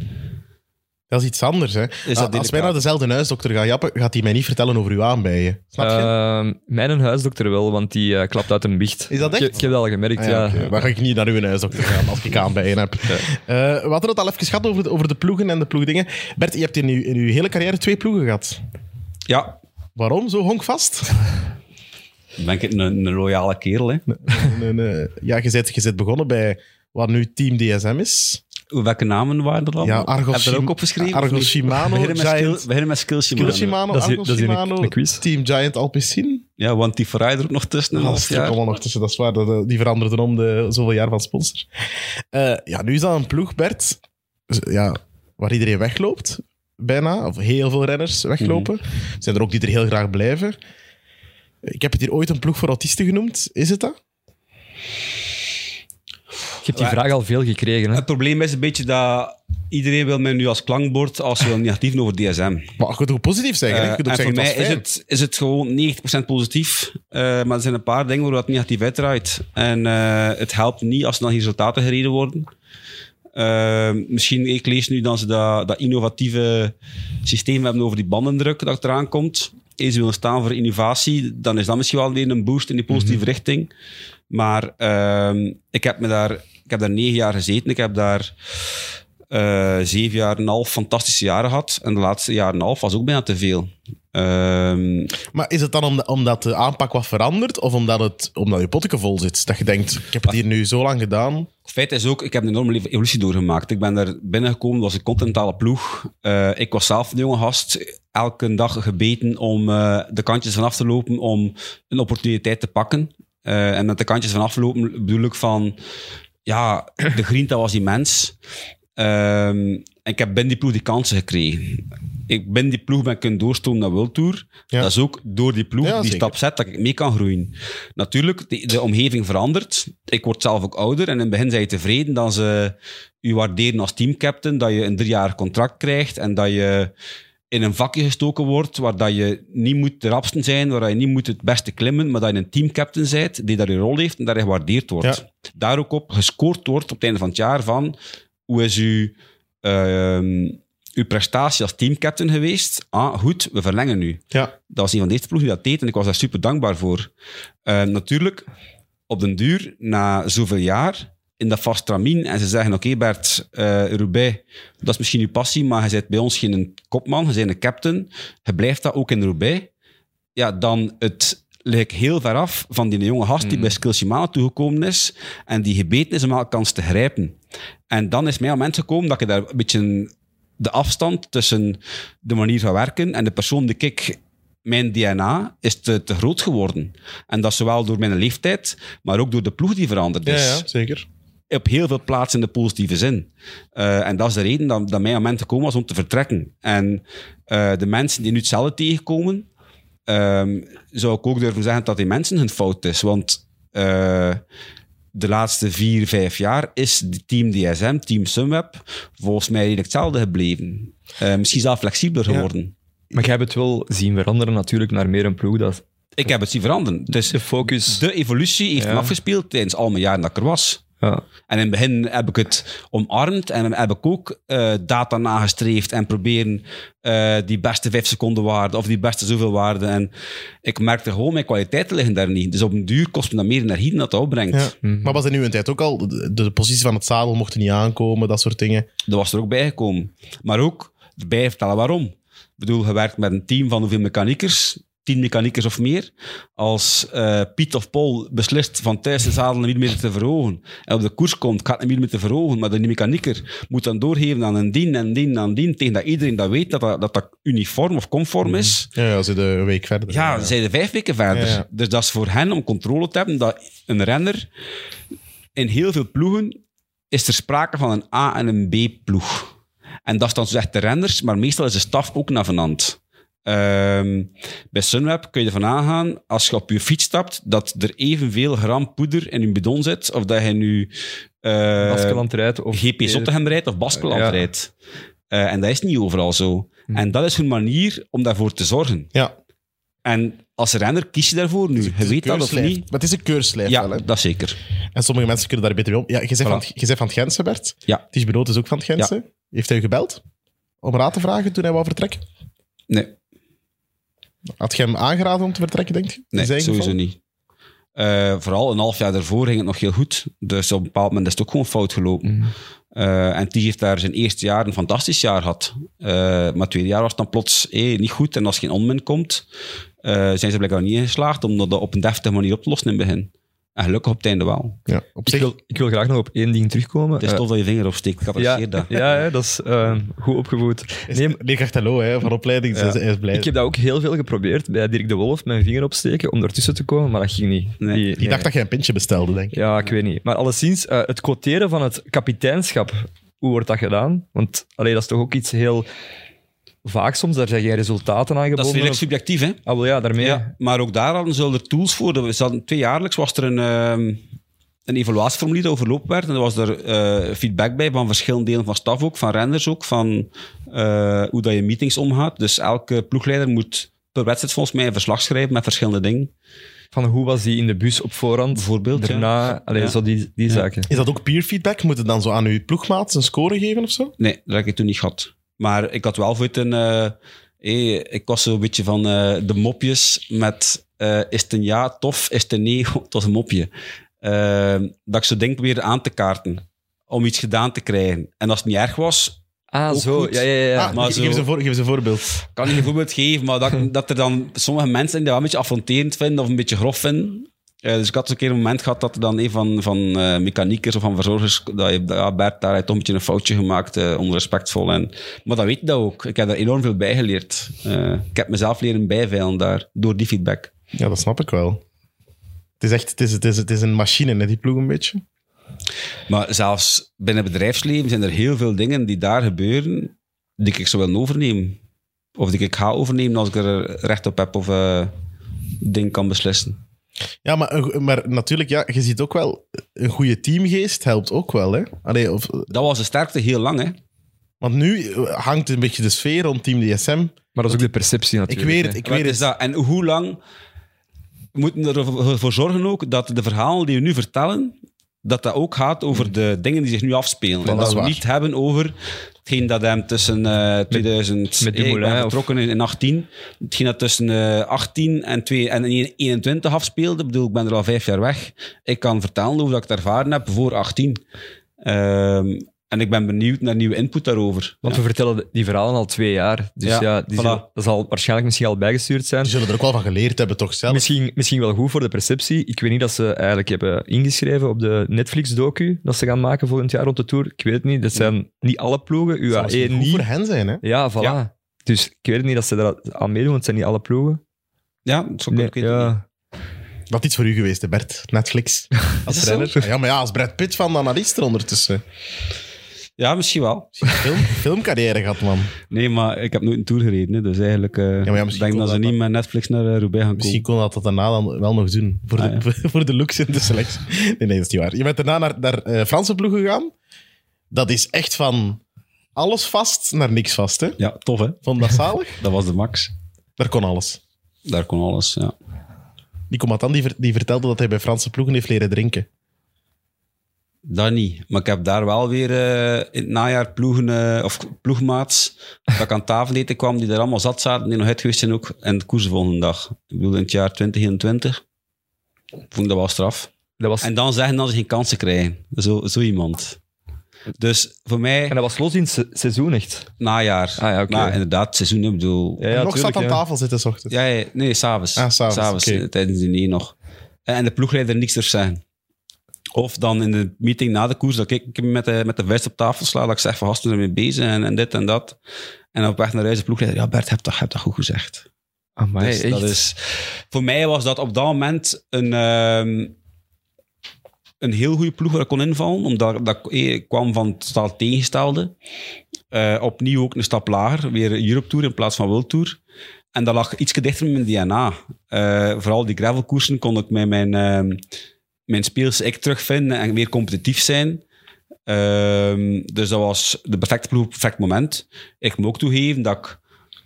S2: Dat is iets anders, hè.
S4: dat
S2: Ah, Als wij
S4: inderdaad-
S2: naar dezelfde huisdokter gaan jappen, gaat hij mij niet vertellen over uw aanbijen. Snap je?
S4: Eh,
S3: Ehm, mijn huisdokter wel, want die eh, klapt uit een biecht.
S2: Is dat echt?
S3: Ik, ik heb dat al gemerkt,
S2: Ah,
S3: ja.
S2: ja, oké. Dan ga ik niet naar uw huisdokter gaan
S4: (laughs)
S2: als ik aanbijen heb. Eh, we hadden het al even gehad over de, over de ploegen en de ploegdingen. Bert, je hebt in uw, in uw hele carrière twee ploegen gehad.
S4: Ja,
S2: Waarom zo
S4: (laughs)
S2: honkvast?
S4: dan ben ik een, een loyale kerel. Hè.
S2: Nee, nee. Ja, je bent, je bent begonnen bij wat nu Team DSM is.
S4: Welke namen waren er dan?
S2: Ja, Argos
S4: Oh, Heb je er
S2: Shim-
S4: ook opgeschreven?
S2: Argos
S4: of niet?
S2: Shimano,
S4: Beginnen met,
S2: Giant-
S4: skill, beginnen met Skill Shimano.
S2: Kilo Shimano,
S3: dat is hier-
S2: Argos
S3: dat is hier een-
S2: Shimano,
S3: een quiz.
S2: Team Giant Alpecin.
S4: Ja, want die Rider ook nog tussen.
S2: Dat
S4: Dat
S2: is er allemaal nog tussen, dat is waar. Dat, eh, Die veranderden om de zoveel jaar van sponsor. Eh, ja, nu is dat een ploeg, Bert, z- ja, waar iedereen wegloopt, bijna. Of heel veel renners weglopen.
S4: Mhm.
S2: Zijn er ook die er heel graag blijven. Ik heb het hier ooit een ploeg voor autisten genoemd. Is het dat?
S3: Ik heb die vraag al veel gekregen. Hè.
S4: Het probleem is een beetje dat iedereen wil mij nu als klankbord als we negatief over DSM.
S2: Maar je kunt ook positief zeggen. hè.
S4: Eh,
S2: je kunt ook
S4: en voor
S2: zeggen,
S4: mij
S2: het was
S4: is
S2: fijn.
S4: het, is het gewoon 90% positief. Eh, maar er zijn een paar dingen waar dat negatief uitdraait. En eh, het helpt niet als er dan resultaten gereden worden. Eh, misschien, ik lees nu dat ze dat, dat innovatieve systeem hebben over die bandendruk dat eraan komt. Eens willen staan voor innovatie, dan is dat misschien wel weer een boost in die positieve richting. Maar ehm, ik, heb me daar, ik heb daar negen jaar gezeten. Ik heb daar eh, zeven jaar en een half fantastische jaren gehad. En de laatste jaar en een half was ook bijna te veel. Ehm,
S2: Maar is het dan om- omdat de aanpak wat verandert of omdat, het, omdat je potteken vol zit? Dat je denkt, ik heb het hier nu zo lang gedaan.
S4: Het feit is ook, ik heb een enorme le- evolutie doorgemaakt. Ik ben daar binnengekomen, het was een continentale ploeg. Eh, ik was zelf een jonge gast, elke dag gebeten om eh, de kantjes vanaf te lopen, om een opportuniteit te pakken. Eh, en met de kantjes vanaf lopen bedoel ik van, ja, de grinta was immens. Ehm, en ik heb binnen die ploeg die kansen gekregen. Ik ben die ploeg ben kunnen doorstomen naar World Tour.
S2: Ja.
S4: Dat is ook door die ploeg
S2: Ja,
S4: die
S2: zeker.
S4: stap zet dat ik mee kan groeien. Natuurlijk, de, de omgeving verandert. Ik word zelf ook ouder en in het begin zijn je tevreden dat ze u waarderen als teamcaptain, dat je een driejarig contract krijgt en dat je in een vakje gestoken wordt waar dat je niet moet de rapsten zijn, waar dat je niet moet het beste klimmen, maar dat je een teamcaptain bent die daar een rol heeft en dat je gewaardeerd wordt. Daar ook op gescoord wordt op het einde van het jaar van hoe is uw, ehm, uw prestatie als teamcaptain geweest? Ah, goed, we verlengen nu.
S2: Ja.
S4: Dat was een van de eerste ploegen die dat deed en ik was daar super dankbaar voor. Eh, natuurlijk, op den duur, na zoveel jaar, in dat vast tramien en ze zeggen, oké Bert, eh Roubaix, dat is misschien uw passie, maar je bent bij ons geen kopman, je bent een captain, je blijft dat ook in Roubaix. Ja, dan het lijkt heel ver af van die jonge gast die bij Skill Shimano toegekomen is en die gebeten is om elke kans te grijpen. En dan is mij al mensen gekomen dat ik daar een beetje de afstand tussen de manier van werken en de persoon die ik mijn DNA is te, te groot geworden. En dat zowel door mijn leeftijd, maar ook door de ploeg die veranderd is.
S2: zeker.
S4: Op heel veel plaatsen in de positieve zin. Eh, en dat is de reden dat, dat mij aan mensen gekomen was om te vertrekken. En eh, de mensen die nu hetzelfde tegenkomen, ehm, zou ik ook durven zeggen dat die mensen hun fout is. Want eh, de laatste vier, vijf jaar is de team DSM, team Sunweb, volgens mij redelijk hetzelfde gebleven. Eh, misschien zelf flexibeler geworden.
S3: Maar jij hebt het wel zien veranderen natuurlijk naar meer een ploeg. Dat
S4: Ik heb het zien veranderen. Dus
S3: de focus...
S4: de evolutie heeft
S3: Ja.
S4: me afgespeeld tijdens al mijn jaren dat ik er was.
S3: Ja.
S4: En in het begin heb ik het omarmd en heb ik ook eh, data nagestreefd en proberen eh, die beste vijf seconden waarde of die beste zoveel waarde. En ik merkte gewoon, mijn kwaliteiten liggen daar niet. Dus op een duur kost me dat meer energie dan dat dat opbrengt.
S2: Ja. Maar was in uw tijd ook al, de, de positie van het zadel mocht niet aankomen, dat soort dingen.
S4: Dat was er ook bijgekomen. Maar ook erbij vertellen waarom. Ik bedoel, je werkt met een team van hoeveel mechaniekers? Tien mechaniekers of meer. Als eh, Piet of Paul beslist van thuis de zadel een millimeter te verhogen en op de koers komt, gaat een millimeter verhogen, maar de mechanieker moet dan doorgeven aan een dien en dien en dien, tegen dat iedereen dat weet dat dat, dat, dat uniform of conform is.
S2: Ja, ja ze de een week verder.
S4: Ja, ze zijn er vijf weken verder.
S2: Ja, ja.
S4: Dus dat is voor hen om controle te hebben dat een renner... In heel veel ploegen is er sprake van een A- en een B-ploeg. En dat is dan zo echt de renners, maar meestal is de staf ook navenant. Ehm, bij Sunweb kun je ervan aangaan, als je op je fiets stapt, dat er evenveel gram poeder in je bidon zit, of dat je nu eh,
S3: Baskeland rijdt of... Eh,
S4: GP Sottegem rijdt of Baskeland
S3: Ja.
S4: rijdt. Eh, en dat is niet overal zo. En dat is hun manier om daarvoor te zorgen.
S2: Ja, en
S4: En als renner kies je daarvoor
S2: Dus
S4: nu. Je weet dat of niet.
S2: Maar het is een keurslijf
S4: Ja,
S2: wel, hè.
S4: dat zeker.
S2: En sommige mensen kunnen daar beter mee om. Ja, je bent, van,
S4: Voilà.
S2: het- je bent van het Gentse, Bert.
S4: Ja.
S2: Het is Benoot is ook van het Gentse. Heeft hij u gebeld om raad te vragen toen hij wou vertrekken?
S4: Nee,
S2: Had je hem aangeraden om te vertrekken, denk je?
S4: nee sowieso niet. Eh, vooral een half jaar daarvoor ging het nog heel goed. Dus op een bepaald moment is het ook gewoon fout gelopen.
S3: Mhm.
S4: Eh, en die heeft daar zijn eerste jaar een fantastisch jaar gehad. Eh, maar het tweede jaar was het dan plots hé, niet goed. En als geen onmin komt, eh, zijn ze blijkbaar niet geslaagd om dat op een deftige manier op te lossen in het begin. En gelukkig op het einde wel.
S2: Ja, op
S3: Ik
S2: zich.
S3: wil, ik wil graag nog op één ding terugkomen.
S4: Het is
S3: Eh,
S4: tof dat je vinger opsteekt. Ik apprecieer
S3: ja,
S4: dat.
S3: ja, hè, dat is eh, goed opgevoed.
S2: Is,
S3: Nee,
S2: Leerkracht Hallo, hè, van opleiding.
S3: Ja.
S2: Hij is blij.
S3: Ik heb dat ook heel veel geprobeerd bij Dirk de Wolf, mijn vinger opsteken om ertussen te komen, maar dat ging niet.
S4: Nee,
S2: Die dacht dat je een pintje bestelde, denk ik.
S3: Ja, ik weet niet. Maar alleszins, eh, het quoteren van het kapiteinschap, hoe wordt dat gedaan? Want allee, dat is toch ook iets heel vaak soms, daar zijn geen resultaten aan
S4: Dat is
S3: gebonden.
S4: redelijk subjectief, hè?
S3: Ah, wel ja, daarmee.
S4: Ja, maar ook daar hadden ze al er tools voor. We zaten, twee jaarlijks was er een, ehm, een evaluatieformulier dat overlopen werd. En er was er eh, feedback bij van verschillende delen van staf ook, van renders ook, van eh, hoe dat je meetings omgaat. Dus elke ploegleider moet per wedstrijd volgens mij een verslag schrijven met verschillende dingen.
S3: Van hoe was die in de bus op voorhand?
S4: Bijvoorbeeld,
S3: Daarna,
S4: ja.
S3: allee,
S4: Ja.
S3: zo die, die zaken.
S2: Is dat ook peer feedback? Moet het dan zo aan uw ploegmaat een score geven of zo?
S4: Nee, dat heb ik toen niet gehad. Maar ik had wel voor het een... eh, hé, ik was zo'n beetje van eh, de mopjes met... eh, is het een ja, tof? Is het een nee? (laughs) Het was een mopje. Eh, dat ik zo denk probeerde aan te kaarten. Om iets gedaan te krijgen. En als het niet erg was...
S3: Ah,
S4: Ook
S3: zo.
S4: goed.
S3: Ja, ja, ja.
S2: ah,
S4: maar
S2: ge-
S4: zo-
S2: geef, eens een voor, geef eens een voorbeeld.
S4: Ik kan niet een voorbeeld geven, maar dat, dat er dan sommige mensen die dat wel een beetje affronterend vinden of een beetje grof vinden. Eh, dus ik had zo'n keer een moment gehad dat er dan een van, van eh, mechaniekers of van verzorgers, dat je, ja, Bert, daar heeft toch een beetje een foutje gemaakt, eh, onrespectvol. En, maar dat weet je dat ook. Ik heb daar enorm veel bij geleerd. Eh, ik heb mezelf leren bijveilen daar, door die feedback.
S2: Ja, dat snap ik wel. Het is echt het is, het is, het is een machine, net die ploeg een beetje.
S4: Maar zelfs binnen het bedrijfsleven zijn er heel veel dingen die daar gebeuren, die ik zou willen overnemen. Of die ik ga overnemen als ik er recht op heb of eh ding kan beslissen.
S2: Ja, maar, een go- maar natuurlijk, ja, je ziet ook wel, een goede teamgeest helpt ook wel. Hè? Allee, of,
S4: Dat was de sterkte heel lang, hè.
S2: want nu eh, hangt een beetje de sfeer rond Team DSM.
S3: Maar dat is ook de perceptie
S2: Ik
S3: natuurlijk.
S2: weet het,
S3: hè.
S2: ik
S4: Wat
S2: weet
S4: is
S2: het.
S4: dat? En hoe lang we moeten ervoor eh, zorgen ook dat de verhalen die we nu vertellen, dat dat ook gaat over de dingen die zich nu afspelen. en
S2: dat
S4: dat
S2: is
S4: we
S2: waar.
S4: niet hebben over hetgeen dat hem tussen eh 2000...
S3: met
S4: eh, ik ben
S3: Dumoulin of-
S4: vertrokken in, in 18. Hetgeen dat tussen eh, 18 en, 2, en 21 afspeelde. Ik bedoel, ik ben er al vijf jaar weg. Ik kan vertellen over dat ik het ervaren heb voor 18. Ehm, en ik ben benieuwd naar nieuwe input daarover.
S3: Want we vertellen die verhalen al twee jaar. Dus ja,
S4: Ja,
S3: die
S4: voilà.
S3: zullen- dat zal waarschijnlijk misschien al bijgestuurd zijn.
S2: Die zullen er ook wel van geleerd hebben, toch zelf?
S3: Misschien, misschien wel goed voor de perceptie. Ik weet niet dat ze eigenlijk hebben ingeschreven op de Netflix-docu dat ze gaan maken volgend jaar rond de Tour. Ik weet het niet. Dat zijn niet alle ploegen.
S2: Zou misschien
S3: UAE
S2: goed
S3: niet.
S2: voor hen zijn, hè?
S3: Ja, voilà.
S4: Ja.
S3: Dus ik weet het niet dat ze daar aan meedoen, want het zijn niet alle ploegen.
S4: Ja, zo
S3: Nee, ja.
S2: Dat is iets voor u geweest, hè, Bert. Netflix. Als
S4: dat
S2: trainer.
S4: zo?
S2: Ah, Ja, maar ja, als Brad Pitt van de analist er ondertussen.
S4: ja, misschien wel.
S2: Misschien een film, (laughs) filmcarrière gehad, man.
S4: Nee, maar ik heb nooit een tour gereden. Hè. Dus eigenlijk eh,
S2: maar ja, misschien
S4: denk
S2: kon
S4: dat ze
S2: dat
S4: niet met Netflix naar eh, Roubaix gaan
S2: Misschien
S4: komen.
S2: kon dat dat daarna dan wel nog doen. Voor de,
S4: Ah,
S2: (laughs) voor de
S3: (laughs)
S2: looks en de selectie. Nee, nee, dat is niet waar. Je bent daarna naar, naar eh, Franse ploeg gegaan. Dat is echt van alles vast naar niks vast, hè?
S4: Ja, tof hè.
S2: Vond dat zalig?
S3: (laughs)
S4: Dat was de max.
S2: Daar kon alles.
S4: Daar kon alles, ja.
S2: Die combatant die, ver- die vertelde dat hij bij Franse ploegen heeft leren drinken.
S4: Dat niet. Maar ik heb daar wel weer eh, in het najaar ploegen, eh, of ploegmaats, dat ik aan tafel eten kwam, die er allemaal zat zaten, die nog uit geweest zijn ook, en de koers de volgende dag. Ik bedoel, in het jaar 2021 vond ik dat wel straf.
S3: Dat was, en,
S4: En dan zeggen dat ze geen kansen krijgen. Zo, zo iemand. Dus voor mij,
S3: dat was los in het se- seizoen echt.
S4: najaar.
S3: Ah ja, oké.
S4: Nou, inderdaad, het seizoen, ik bedoel...
S3: Ja, ja,
S2: nog
S3: tuurlijk,
S2: zat aan
S3: ja.
S2: tafel zitten, s ochtends.
S4: Ja, ja, nee, s'avonds.
S2: Ah, s'avonds, oké.
S4: eh, tijdens de diner nog. Eh, En en de ploegleider niks er zeggen. Of dan in de meeting na de koers, dat ik met de, met de vuist op tafel sla, dat ik zeg van gasten ermee bezig en, en dit en dat. En op weg naar huis de ploegleider, ja Bert, heb dat, heb dat goed gezegd.
S3: Amai,
S4: Dus dat is, voor mij was dat op dat moment een, ehm, een heel goede ploeg waar ik kon invallen, omdat dat, ik- eh, ik kwam van het totaal tegengestelde. Eh, opnieuw ook een stap lager, weer Europe Tour in plaats van World Tour. En dat lag iets dichter in mijn DNA. Eh, vooral die gravelkoersen kon ik met mijn, ehm mijn speels ik terugvinden en weer competitief zijn. Ehm, dus dat was de perfecte ploeg, perfect moment. Ik moet ook toegeven dat ik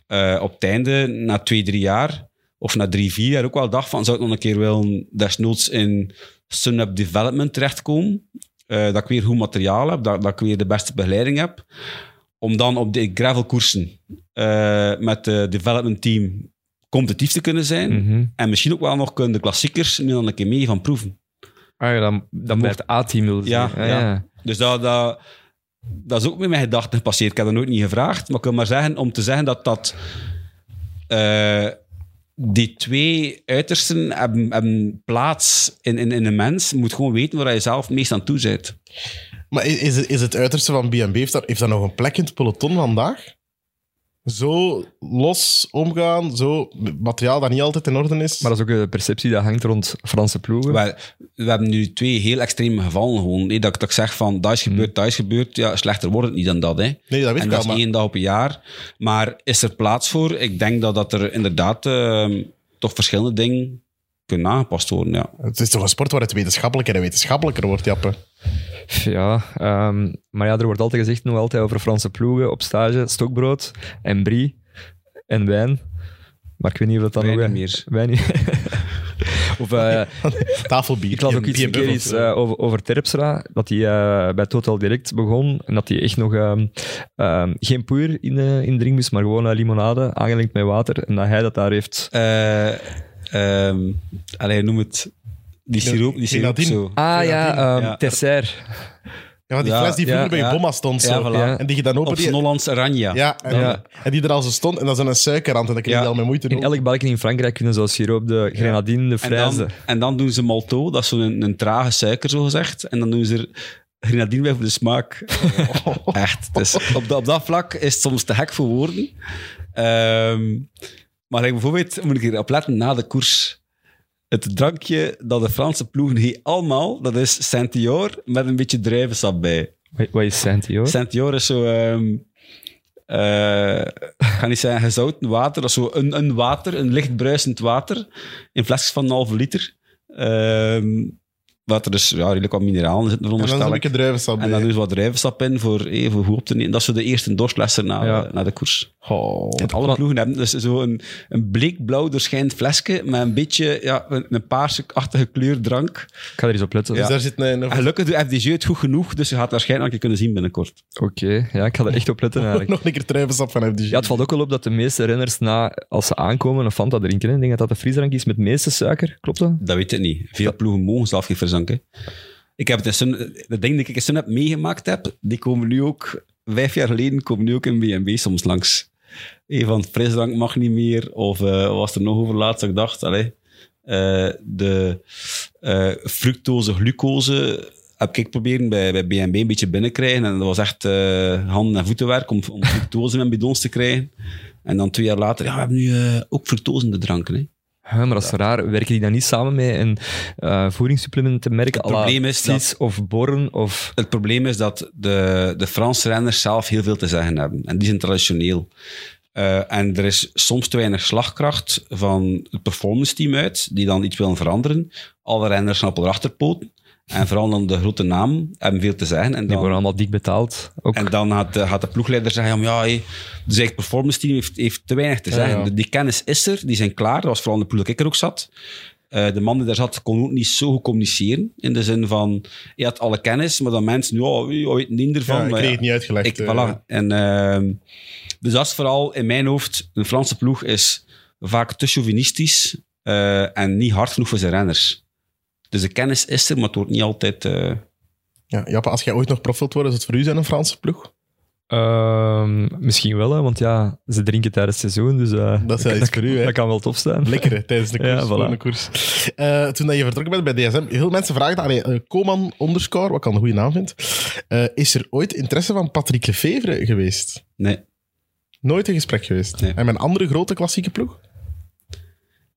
S4: eh, op het einde, na twee, drie jaar, of na drie, vier jaar, ook wel dacht van, zou ik nog een keer wel desnoods in Sunup Development terechtkomen? Eh, dat ik weer goed materiaal heb, dat, dat ik weer de beste begeleiding heb. Om dan op de gravelkoersen eh met het development team competitief te kunnen zijn.
S3: Mhm.
S4: En misschien ook wel nog kunnen de klassiekers nu dan een keer mee van proeven.
S3: Ah ja, dan, dan bij het A-team wil
S4: Ja,
S3: zeggen. Ah,
S4: ja. Dus dat, dat, dat is ook met mijn gedachten gepasseerd. Ik heb dat nooit niet gevraagd. Maar ik wil maar zeggen, om te zeggen dat dat... eh, die twee uitersten hebben, hebben plaats in, in, in een mens. Je moet gewoon weten waar je zelf meest aan toe zit.
S2: Maar i- is het, is het uiterste van B&B, heeft dat, heeft dat nog een plek in het peloton vandaag? Zo los omgaan, zo materiaal dat niet altijd in orde is.
S3: Maar dat is ook de perceptie die hangt rond Franse ploegen.
S4: We, we hebben nu twee heel extreme gevallen gewoon. hè. dat, ik- dat ik zeg van, dat is gebeurd, dat is gebeurd. Ja, slechter wordt het niet dan dat. Hè.
S2: Hmm. nee, dat weet
S4: en
S2: ik
S4: dat
S2: wel,
S4: is
S2: maar
S4: één dag op een jaar. Maar is er plaats voor? Ik denk dat, dat er inderdaad ehm, toch verschillende dingen kunnen aangepast worden. Ja.
S2: het is toch een sport waar het wetenschappelijker en wetenschappelijker wordt, Jappe.
S3: Ja, ehm, maar ja, er wordt altijd gezegd, nog altijd over Franse ploegen op stage, stokbrood en brie en wijn. Maar ik weet niet of dat dan
S4: Wijn
S3: nog...
S4: niet meer.
S3: (laughs) Wijn niet.
S4: (laughs)
S3: of... (laughs) eh,
S2: (laughs) Tafelbier.
S3: Ik las ook
S2: en-
S3: iets,
S2: en
S3: een keer
S2: bubbels.
S3: iets eh, over, over Terpstra, dat hij eh, bij Total Direct begon en dat hij echt nog ehm, ehm, geen poeier in, eh, in drinkbus, maar gewoon eh, limonade, aangelengd met water. En dat hij dat daar heeft...
S4: Eh ehm, allee, noem het. Die siroop, die siroop
S2: Grenadine.
S4: zo.
S3: Ah ja,
S4: ja.
S3: dessert.
S2: Ja, maar die
S4: Ja,
S2: fles die
S3: ja,
S2: vroeger bij je
S4: ja.
S2: bomma stond.
S4: Ja,
S2: zo.
S4: voilà.
S2: En die je dan
S4: Op
S2: opent. die-
S4: z'n Hollands Oranje.
S2: ja, en,
S3: Ja.
S2: en die er al zo stond. En dat is dan een suikerrand. En dan kreeg je
S4: Ja.
S2: al met moeite
S3: In
S2: doen.
S3: elk balkje in Frankrijk kunnen zoals siroop de grenadine, de
S4: En
S3: fraise.
S4: dan, en dan doen ze malto, dat is zo'n een, een trage suiker, zo gezegd. En dan doen ze er grenadine bij voor de
S2: (laughs)
S4: smaak. Echt. Dus op, dat, op dat vlak is het soms te gek voor woorden. Ehm, maar like bijvoorbeeld, moet ik erop letten, na de koers. Het drankje dat de Franse ploegen hier allemaal, dat is Saint-Ior met een beetje druivensap bij.
S3: Wat- Wat is Santi, hoor?
S4: Saint-Jor is zo... ehm, eh, ik ga niet zeggen gezouten water, dat is zo een, een water, een licht bruisend water, in flesjes van een halve liter. Ehm wat er dus ja, redelijk wat mineralen zitten,
S2: En dan is er een
S4: veronderstel ik.
S2: beetje druivensap
S4: En dan
S2: bij.
S4: doen ze wat drijfsap in voor even goed op te nemen. Dat is zo de eerste doorslesser na,
S3: Ja.
S4: na de koers.
S3: Oh,
S4: En alle ploegen hebben dus zo'n een bleekblauw doorschijnd flesje met een beetje ja, een, een paarsachtige kleur drank.
S3: Ik ga er eens op letten.
S2: Dus
S3: Oké,
S2: daar zit (laughs) een...
S4: En gelukkig doet FDG het goed genoeg, dus je gaat het waarschijnlijk nog een keer kunnen zien binnenkort.
S3: ja, ik ga er echt op letten eigenlijk.
S2: (laughs) Nog een keer druivensap van FDG.
S3: Ja, het valt ook wel op dat de meeste renners, na, als ze aankomen, een Fanta drinken. hè. Ik denk dat dat de frisdrank is met het meeste suiker, klopt dat?
S4: Dat weet ik niet. Veel ploegen mogen zelf geen verzanken. Ik heb het in Sun, de ding dat ik in Sun heb meegemaakt heb, die komen nu ook, vijf jaar geleden, komen nu ook in B&B soms langs. Hey, van frisdrank mag niet meer, of eh, wat was er nog over laatst dat ik dacht, allee, eh, de eh, fructose, glucose heb ik proberen bij, bij B&B een beetje binnenkrijgen. En dat was echt eh, handen- en voetenwerk om, om fructose in mijn bidons te krijgen. En dan twee jaar later, ja, we hebben nu eh, ook fructose in de dranken. Hè.
S3: Ja, maar dat is raar. Werken die dan niet samen met een eh voedingssupplementenmerk
S4: Het
S3: à la
S4: probleem is dat-
S3: Cis of Born of...
S4: Het probleem is dat de, de Franse renners zelf heel veel te zeggen hebben. En die zijn traditioneel. Eh, en er is soms te weinig slagkracht van het performance team uit, die dan iets willen veranderen. Alle renners snappen erachter poten. En vooral dan de grote naam hebben veel te zeggen. En
S3: Die worden
S4: dan,
S3: allemaal dik betaald. Ook.
S4: en dan gaat, de, gaat de ploegleider zeggen, ja, hé, dus het performance team heeft, heeft te weinig te zeggen.
S2: ja.
S4: De- Die kennis is er, die zijn klaar. Dat was vooral in de ploeg dat ik er ook zat. Eh, de man die daar zat, kon ook niet zo goed communiceren. In de zin van, je had alle kennis, maar dan mensen, ja, je weet niet ervan.
S2: Ja, ik
S4: maar
S2: kreeg
S4: ja,
S2: het niet uitgelegd.
S4: ik,
S2: eh.
S4: voilà. En, ehm, dus dat is vooral in mijn hoofd. Een Franse ploeg is vaak te chauvinistisch eh, en niet hard genoeg voor zijn renners. Dus de kennis is er, maar het wordt niet altijd. eh,
S2: Ja, Jappe, als jij ooit nog prof wilt worden, is het voor u zijn een Franse ploeg?
S3: Ehm, misschien wel, hè, want ja, ze drinken tijdens het seizoen, dus eh,
S4: (laughs)
S2: Dat is wel iets voor u, hè.
S3: dat kan wel tof zijn.
S2: Lekker, hè, tijdens de koers.
S3: Ja, voilà.
S2: voor een koers. Eh, toen dat je vertrokken bent bij DSM, heel veel mensen vragen dat. Allee, eh, Coman underscore, wat ik al een goede naam vind. Eh, is er ooit interesse van Patrick Lefevre geweest?
S4: nee.
S2: Nooit een gesprek geweest.
S4: Nee.
S2: En mijn andere grote klassieke ploeg?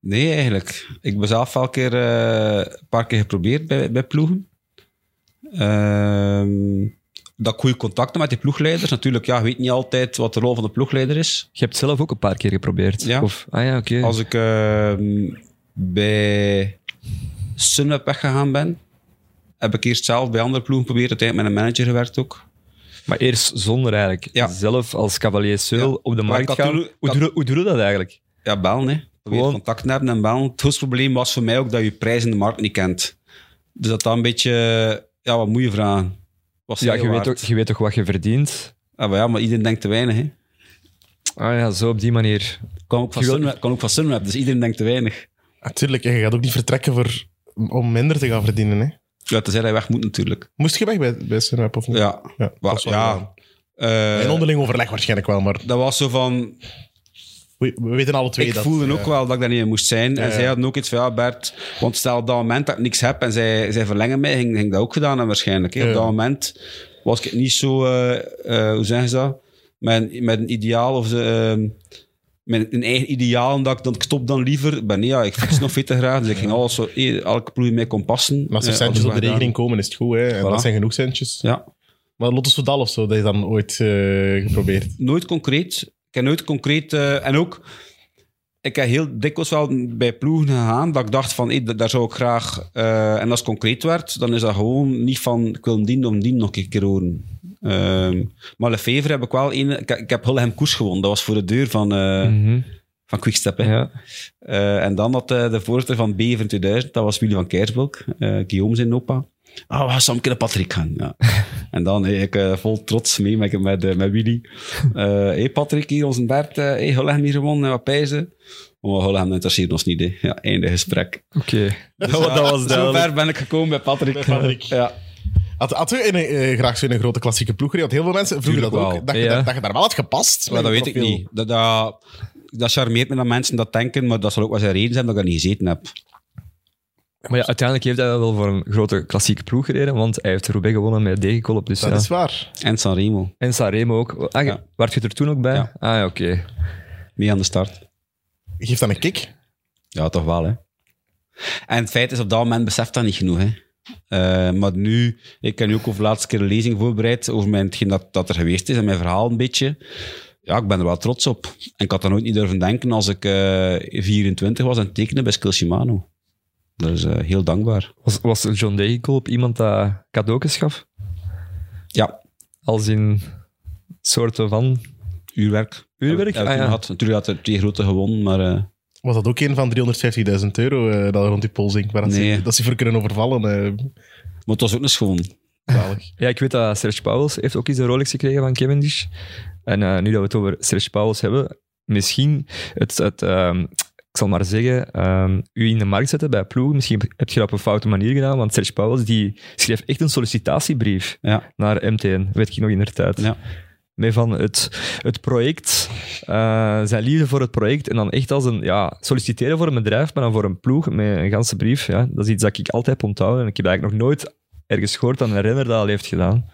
S4: Nee, eigenlijk. Ik ben zelf wel een keer, eh, een paar keer geprobeerd bij, bij ploegen. Ehm, dat ik goede contacten met die ploegleiders. Natuurlijk, ja, je weet niet altijd wat de rol van de ploegleider is.
S3: Je hebt het zelf ook een paar keer geprobeerd.
S4: Ja.
S3: Of, ah ja, oké.
S4: Als ik ehm, bij Sunweb weggegaan ben, heb ik eerst zelf bij andere ploegen geprobeerd. Uiteindelijk met een manager gewerkt ook.
S3: Maar eerst zonder eigenlijk.
S4: Ja.
S3: Zelf als cavalier Seul
S4: Ja.
S3: op de
S4: Maar
S3: markt
S4: ik had
S3: gaan.
S4: toen-
S3: hoe,
S4: ik
S3: doe, hoe doe je dat eigenlijk?
S4: Ja, bellen, hè. Probeer
S3: Gewoon-
S4: contact te hebben en bellen. Het grootste probleem was voor mij ook dat je prijs in de markt niet kent. Dus dat dat een beetje... Ja, wat moet je vragen? Wat
S3: Ja,
S4: zijn
S3: je weet,
S4: waard?
S3: toch, je weet toch wat je verdient?
S4: Ah, maar ja, maar iedereen denkt te weinig, hè.
S3: Ah ja, zo op die manier.
S4: Kan ook van
S3: Je wil-
S4: Sunweb, kan ook van Sunweb, dus iedereen denkt te weinig.
S2: Natuurlijk, je gaat ook niet vertrekken voor, om minder te gaan verdienen. Hè.
S4: Ja, tenzij hij weg moet natuurlijk.
S2: Moest je weg bij, bij Sunweb of niet?
S4: Ja.
S2: Ja,
S4: Wa-
S2: dat is wel gedaan.
S4: ja. Eh,
S2: In onderling overleg waarschijnlijk wel, maar
S4: dat was zo van...
S2: we, we weten alle twee
S4: Ik
S2: dat... eh,
S4: voelde ook
S2: ja.
S4: wel dat ik daar niet in moest zijn. En zij hadden ook iets van, ja Bert, want stel op dat moment dat ik niks heb en zij, zij verlengen mij, ging, ging dat ook gedaan hebben waarschijnlijk. hè.
S2: Ja.
S4: Op dat moment was ik niet zo, eh, eh, hoe zeggen ze dat? Met, met een ideaal of ze... ehm, met een eigen ideaal, en dat ik dan ik stop dan liever. Ik Ben, nee, ja, ik fiets nog veel te graag, dus ik ging alles zo, eh, elke ploeg mee kon passen.
S2: Maar als er
S4: Eh,
S2: centjes
S4: hadden
S2: op
S4: we
S2: de
S4: gedaan.
S2: rekening komen, is het goed. Hè? En
S4: Voilà.
S2: dat zijn genoeg centjes.
S4: Ja.
S2: Maar Lotto Soudal of zo, dat je dan ooit eh, geprobeerd.
S4: nooit concreet. Ik heb nooit concreet... eh, en ook, ik heb heel dikwijls wel bij ploegen gegaan dat ik dacht van, hé, da- daar zou ik graag... eh, en als het concreet werd, dan is dat gewoon niet van, ik wil dien om dien nog een keer horen. Ehm, maar Lefevre heb ik wel... Een, ik, ik heb Hulhem Koers gewonnen. Dat was voor de deur van, eh
S3: Mhm.
S4: van Quickstep. Hè.
S3: ja.
S4: Eh, en dan had eh, de voorzitter van Bever 2000, dat was Willy van Kersbulk, eh, Guillaume zijn opa. Ah, we gaan samen naar Patrick gaan.
S3: (laughs)
S4: Ja. en dan hey, ik eh, vol trots mee met, met, eh, met Willy. Eh hey Patrick, hier onze Bert, eh hey, Hulhem hier gewonnen, wat pijzen. Oh, Maar Hulhem interesseert ons niet, hè. Ja, einde
S3: (laughs)
S4: gesprek.
S3: Oké.
S4: Dus,
S3: Oh, dat
S4: ja,
S3: was duidelijk.
S4: Zo ver ben ik gekomen bij Patrick.
S2: Patrick.
S4: (laughs) ja.
S2: Had, had u in een, eh, graag zo'n grote klassieke ploeg gereden? Want heel veel mensen vroegen
S4: Tuurlijk
S2: dat ook.
S4: wel,
S2: Dat, je
S3: ja.
S2: daar- dat je daar wel had gepast.
S4: Maar
S2: met
S4: dat
S2: je
S4: weet ik
S2: profiel.
S4: niet. Dat, dat, dat charmeert me dat mensen dat denken, maar dat zal ook wel zijn reden zijn dat ik dat niet gezeten heb.
S3: Maar ja, uiteindelijk heeft hij wel voor een grote klassieke ploeg gereden, want hij heeft Roubaix gewonnen met degenkolop. Dus
S2: Dat
S3: ja.
S2: is waar.
S4: En Sanremo,
S3: En Sanremo ook. Ah, je-
S4: Ja.
S3: Waart je er toen ook bij?
S4: Ja.
S3: Ah ja, oké.
S4: mee aan de start.
S2: Geeft dan een kick.
S4: Ja, toch wel, hè. En het feit is, op dat moment beseft dat niet genoeg, hè. Eh, maar nu, ik heb nu ook over de laatste keer een lezing voorbereid over mijn, hetgeen dat, dat er geweest is en mijn verhaal een beetje. Ja, ik ben er wel trots op. En ik had dat nooit niet durven denken als ik eh 24 was en tekenen bij Skill Shimano. Dat is eh, heel dankbaar.
S3: Was, was John Degenkolop iemand dat cadeautjes gaf?
S4: Ja,
S3: Als in soorten van...
S4: uurwerk.
S3: Uurwerk?
S4: Heb ik
S3: Ah,
S4: toen
S3: ja.
S4: gehad. Natuurlijk had er twee grote gewonnen, maar... eh,
S2: Was dat ook een van 350.000 euro eh, dat er rond die pols zinkt? Waar dat ze-
S4: Nee.
S2: dat ze voor kunnen overvallen. eh,
S4: maar het was ook een schoon.
S2: zalig.
S3: Ja, ik weet dat Serge Pauwels heeft ook eens een Rolex gekregen van Cavendish. En eh, nu dat we het over Serge Pauwels hebben, misschien het, het ehm, ik zal maar zeggen, ehm, u in de markt zetten bij ploegen. Misschien heb je dat op een foute manier gedaan, want Serge Pauwels die schreef echt een sollicitatiebrief
S4: Ja.
S3: naar MTN, weet ik nog in de tijd.
S4: Ja.
S3: Met van het, het project, eh, zijn liefde voor het project en dan echt als een ja, solliciteren voor een bedrijf, maar dan voor een ploeg met een ganse brief. Ja. Dat is iets dat ik altijd heb onthouden en ik heb eigenlijk nog nooit ergens gehoord dat een renner dat al heeft gedaan.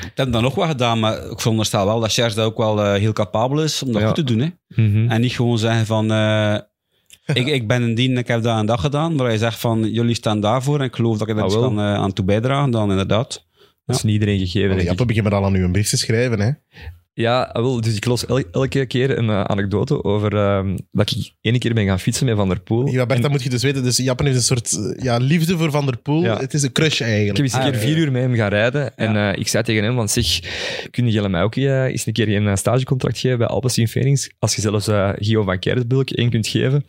S4: Ik heb dat nog wel gedaan, maar ik veronderstel wel dat Serge dat ook wel eh, heel capabel is om dat
S3: Ja.
S4: goed te doen, hè.
S3: Mhm.
S4: En niet gewoon zeggen van... eh, ik, ik ben een dien, ik heb dat en dat gedaan. Maar hij zegt van, jullie staan daarvoor en ik geloof dat ik er
S3: Ah,
S4: iets
S3: wel.
S4: kan eh, aan toe bijdragen. Dan inderdaad.
S3: Dat is niet iedereen gegeven.
S2: Want
S3: denk
S2: die
S3: ik.
S2: appen beginnen al aan u een brief te schrijven. Hè.
S3: Ja, ah, wel, dus ik los el- elke keer een eh, anekdote over ehm, dat ik ene keer ben gaan fietsen met Van der Poel.
S2: Ja, Bert, dat moet je dus weten. Dus Japan heeft een soort eh, ja, liefde voor Van der Poel.
S3: Ja.
S2: Het is een crush
S3: Ik
S2: eigenlijk.
S3: heb eens een
S4: Ah,
S3: keer
S4: ja.
S3: vier uur met hem gaan rijden. En eh, ik zei tegen hem, van, zeg, kun je mij ook eh, eens een keer een eh, stagecontract geven bij Alpecin Phoenix? Als je zelfs eh Gio van Kersbulk één kunt (laughs) geven.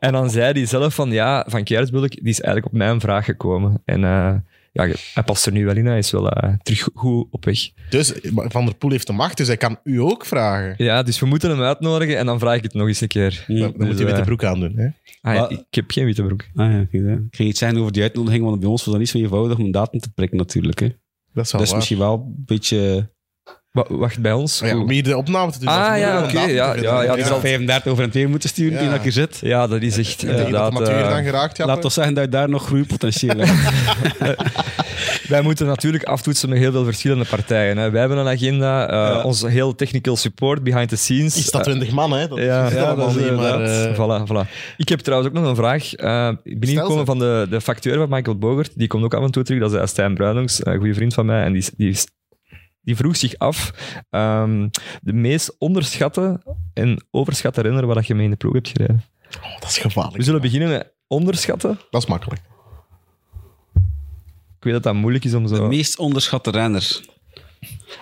S3: en dan zei hij zelf van, ja, van Kersbulk, die is eigenlijk op mijn vraag gekomen. En eh, ja, hij past er nu wel in, hij is wel eh, terug goed op weg.
S2: (laughs) Dus eh, maar Van der Poel heeft de macht, dus hij kan u ook vragen.
S3: Ja, dus we moeten hem uitnodigen en dan vraag ik het nog eens een keer.
S4: Ja.
S2: Dan, dan moet
S3: Dus,
S2: je witte
S3: eh,
S2: broek aandoen. Hè.
S3: Ah, ja,
S4: Maar-
S3: ik heb geen witte broek.
S4: Ah, ja, ik, eh, ik ging iets zeggen over die uitnodiging, want bij ons was dat niet zo eenvoudig om een datum te prikken natuurlijk. Hè.
S2: Dat is wel
S4: dat is
S2: Ah, waar.
S4: misschien wel een beetje... eh,
S3: Wa- wacht, bij ons?
S2: Maar Oh ja,
S3: Hoe-
S2: om hier de opname te doen.
S3: Ah,
S2: dat is moeilijk
S3: ja,
S2: om
S3: oké,
S2: dat te
S3: ja,
S2: vinden.
S3: ja, ja,
S4: Ik
S3: die
S4: zal
S3: zal-
S4: 35 over en twee moeten sturen, die
S2: Ja.
S4: dat ik hier zit.
S3: Ja, dat is echt
S2: Tegen dat
S3: inderdaad...
S2: amateur
S3: eh,
S2: dan geraakt, ja.
S4: Laat ons zeggen dat je daar nog groeipotentieel hebt.
S3: Wij moeten natuurlijk aftoetsen met heel veel verschillende partijen. Hè. Wij hebben een agenda, eh, onze heel technical support, behind the scenes.
S2: Is dat 20 man, hè? Dat
S3: Eh, ja,
S2: is
S3: ja,
S2: allemaal
S3: dat is
S2: niet, maar...
S3: inderdaad.
S2: eh,
S3: voilà, voilà. Ik heb trouwens ook nog een vraag. eh binnengekomen van de, de facteur van Michael Bogert. Die komt ook af en toe terug. Dat is eh, Stijn Bruinungs, een goede vriend van mij. En die, is- die is die vroeg zich af ehm, de meest onderschatte en overschatte renner waar dat je mee in de ploeg hebt gereden.
S2: Oh, dat is gevaarlijk.
S3: We zullen beginnen met onderschatten.
S2: Dat is makkelijk.
S3: Ik weet dat dat moeilijk is om
S4: De
S3: zo...
S4: (laughs) meest onderschatte renner.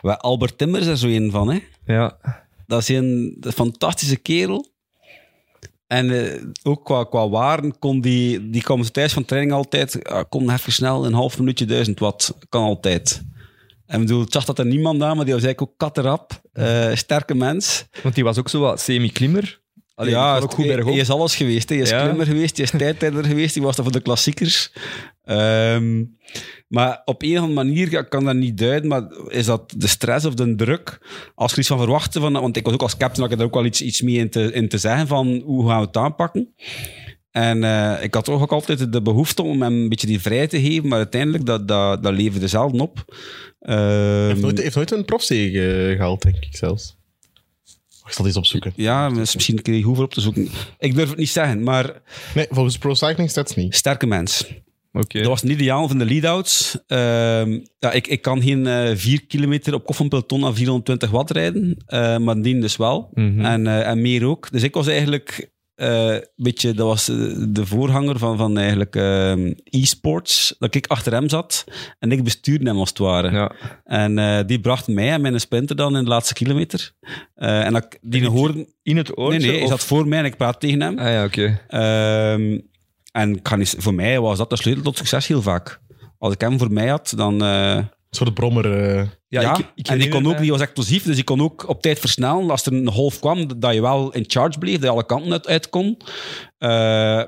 S4: Wel, Albert Timmer is er zo een van, hè?
S3: Ja,
S4: Dat is een fantastische kerel. En eh, ook qua, qua waren kon die, die kwam tijdens van training altijd. ah, kom even snel, een half minuutje duizend watt. Kan altijd. En ik bedoel, ik zag dat er niemand aan, maar die was eigenlijk ook katterap. eh, sterke mens.
S3: want die was ook zo wat semi-klimmer. Allee, die kon ook goed
S4: hij-
S3: bergop.
S4: Hij is alles geweest. hè. Hij is
S3: Ja.
S4: klimmer geweest, hij is tijdrijder geweest, hij was dat voor de klassiekers. Ehm, maar op een of andere manier, ik kan dat niet duiden, maar is dat de stress of de druk? Als je er iets van verwachtte, van, want ik was ook als captain, had ik er ook wel iets, iets mee in te, in te zeggen van hoe gaan we het aanpakken? En eh, ik had toch ook altijd de behoefte om hem een beetje die vrijheid te geven, maar uiteindelijk, dat, dat, dat leverde zelden op.
S2: Hij
S4: Ehm,
S2: heeft nooit, heeft nooit een profzege gehaald, denk ik zelfs. Ik zal die eens opzoeken.
S4: ja, dus misschien kreeg je hoeven op te zoeken. Ik durf het niet zeggen, maar
S2: Nee, volgens Pro Cycling Stats niet.
S4: sterke mens.
S3: Oké.
S4: Dat was niet ideaal van de lead-outs. Ehm, ja, ik, ik kan geen eh 4 kilometer op koffienpeloton aan 420 watt rijden, eh, maar dien dus wel.
S3: Mhm.
S4: En, eh, en meer ook. Dus ik was eigenlijk eh, een beetje, dat was eh, de voorganger van, van eigenlijk ehm, e-sports, dat ik achter hem zat en ik bestuurde hem als het ware.
S3: Ja.
S4: En eh, die bracht mij en mijn sprinter dan in de laatste kilometer. Eh, en dat, die hoorde...
S3: In het
S4: Nee,
S3: oortje?
S4: nee, hij
S3: of-
S4: zat voor mij en ik praat tegen hem.
S3: Ah ja, oké.
S4: Ehm, en ik ga niet- voor mij was dat de sleutel tot succes heel vaak. Als ik hem voor mij had, dan... eh,
S2: Een soort brommer. eh,
S4: ja, en die,
S3: herinner
S4: kon ook,
S3: mij-
S4: die was explosief, dus die kon ook op tijd versnellen. Als er een golf kwam, dat je wel in charge bleef, dat je alle kanten uit, uit kon. Eh,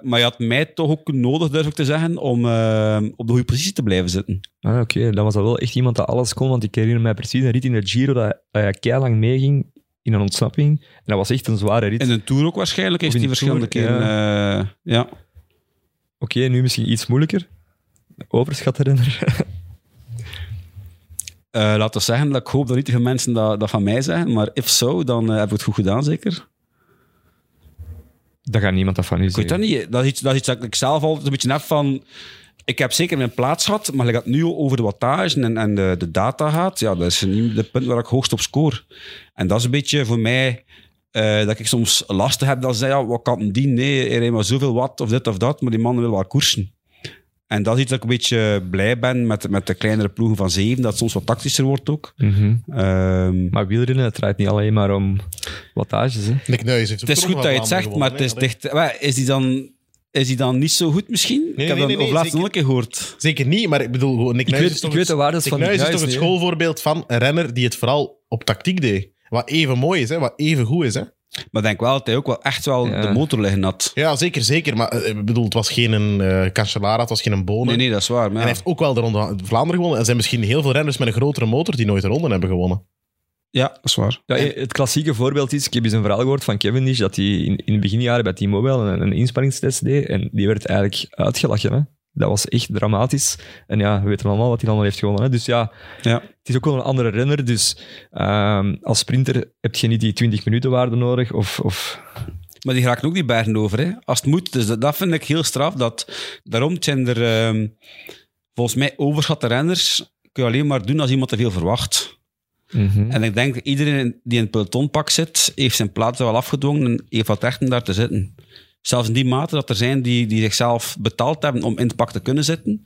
S4: maar je had mij toch ook nodig, durf ik te zeggen, om eh, op de goede positie te blijven zitten.
S3: Ah, oké. Dan was dat wel echt iemand dat alles kon, want ik herinner mij precies een rit in de Giro dat, dat hij keilang meeging in een ontsnapping. En dat was echt een zware rit.
S4: In een tour ook waarschijnlijk, heeft
S3: Of
S4: hij
S3: in de
S4: verschillende
S3: Tour,
S4: keren... eh, ja.
S3: Oké, nu misschien iets moeilijker. Overschatrenner.
S4: Eh, laat dat zeggen, dat ik hoop dat niet te veel mensen dat, dat van mij zeggen, maar if zo, dan eh, heb ik het goed gedaan, zeker.
S3: Daar gaat niemand (laughs) dat van u
S4: Ik weet dat
S3: zeggen.
S4: niet. Dat is iets, dat is iets dat ik zelf altijd een beetje heb van... Ik heb zeker mijn plaats gehad, maar ik het nu over de wattage en, en de, de data gaat. Ja, dat is niet het punt waar ik hoogst op scoor. En dat is een beetje voor mij eh, dat ik soms lastig heb. Dat ze zeggen, ja, wat kan hem die? Nee, er rijdt maar zoveel wat of dit of dat, maar die man wil wel koersen. En dat is iets dat ik een beetje blij ben met, met de kleinere ploegen van zeven, dat het soms wat tactischer wordt ook.
S3: Mhm.
S4: Ehm,
S3: Maar wielrennen, het draait niet alleen maar om wattages. Hè.
S2: Nick Nuis heeft ook
S4: het is
S2: toch wel
S4: goed dat je het
S2: aan
S4: zegt,
S2: gewonnen,
S4: maar het
S2: hè?
S4: is dicht... Wel, Is die dan... Is die dan niet zo goed misschien? ik heb
S2: nee,
S4: dat
S2: nee, nee,
S4: over laatst
S2: zeker.
S4: nog een keer gehoord.
S2: Zeker niet, maar ik bedoel, gewoon, Nick
S3: Ik
S2: Nuis
S3: weet-
S2: is toch
S3: dus ik weet
S2: het-
S3: de waardes
S2: Nick
S3: van Nick
S2: Nuis is
S3: Nuis
S2: toch het
S3: niet, hè?
S2: schoolvoorbeeld van een renner die het vooral op tactiek deed. Wat even mooi is, hè? wat even goed is. Hè?
S4: Maar ik denk wel dat hij ook wel echt wel
S3: Ja.
S4: de motor liggen had.
S2: Ja, zeker, zeker. Maar eh, ik bedoel, het was geen eh Cancellara, het was geen Bonen.
S4: Nee, nee, dat is waar.
S2: En
S4: Maar
S2: hij
S4: ja.
S2: heeft ook wel de Ronde van Vlaanderen gewonnen. Er zijn misschien heel veel renners met een grotere motor die nooit de ronde hebben gewonnen.
S4: ja, dat is waar.
S3: Ja,
S2: En-
S3: het klassieke voorbeeld is, ik heb eens een verhaal gehoord van Cavendish, dat hij in, in de beginjaren bij T-Mobile een, een inspanningstest deed en die werd eigenlijk uitgelachen. Hè? Dat was echt dramatisch. En ja, we weten allemaal wat hij allemaal heeft gewonnen. Hè? Dus ja,
S4: Ja.
S3: het is ook wel een andere renner. Dus ehm, als sprinter heb je niet die 20 minuten waarde nodig. Of, of...
S4: Maar die raken ook die bergen over, hè. als het moet. Dus dat, dat vind ik heel straf. Dat, daarom zijn er ehm, volgens mij overschatte renners. Kun je alleen maar doen als iemand te veel verwacht.
S3: Mhm.
S4: En ik denk dat iedereen die in het pelotonpak zit, heeft zijn plaats wel afgedwongen en heeft wat recht om daar te zitten. Zelfs in die mate dat er zijn die, die zichzelf betaald hebben om in het pak te kunnen zitten,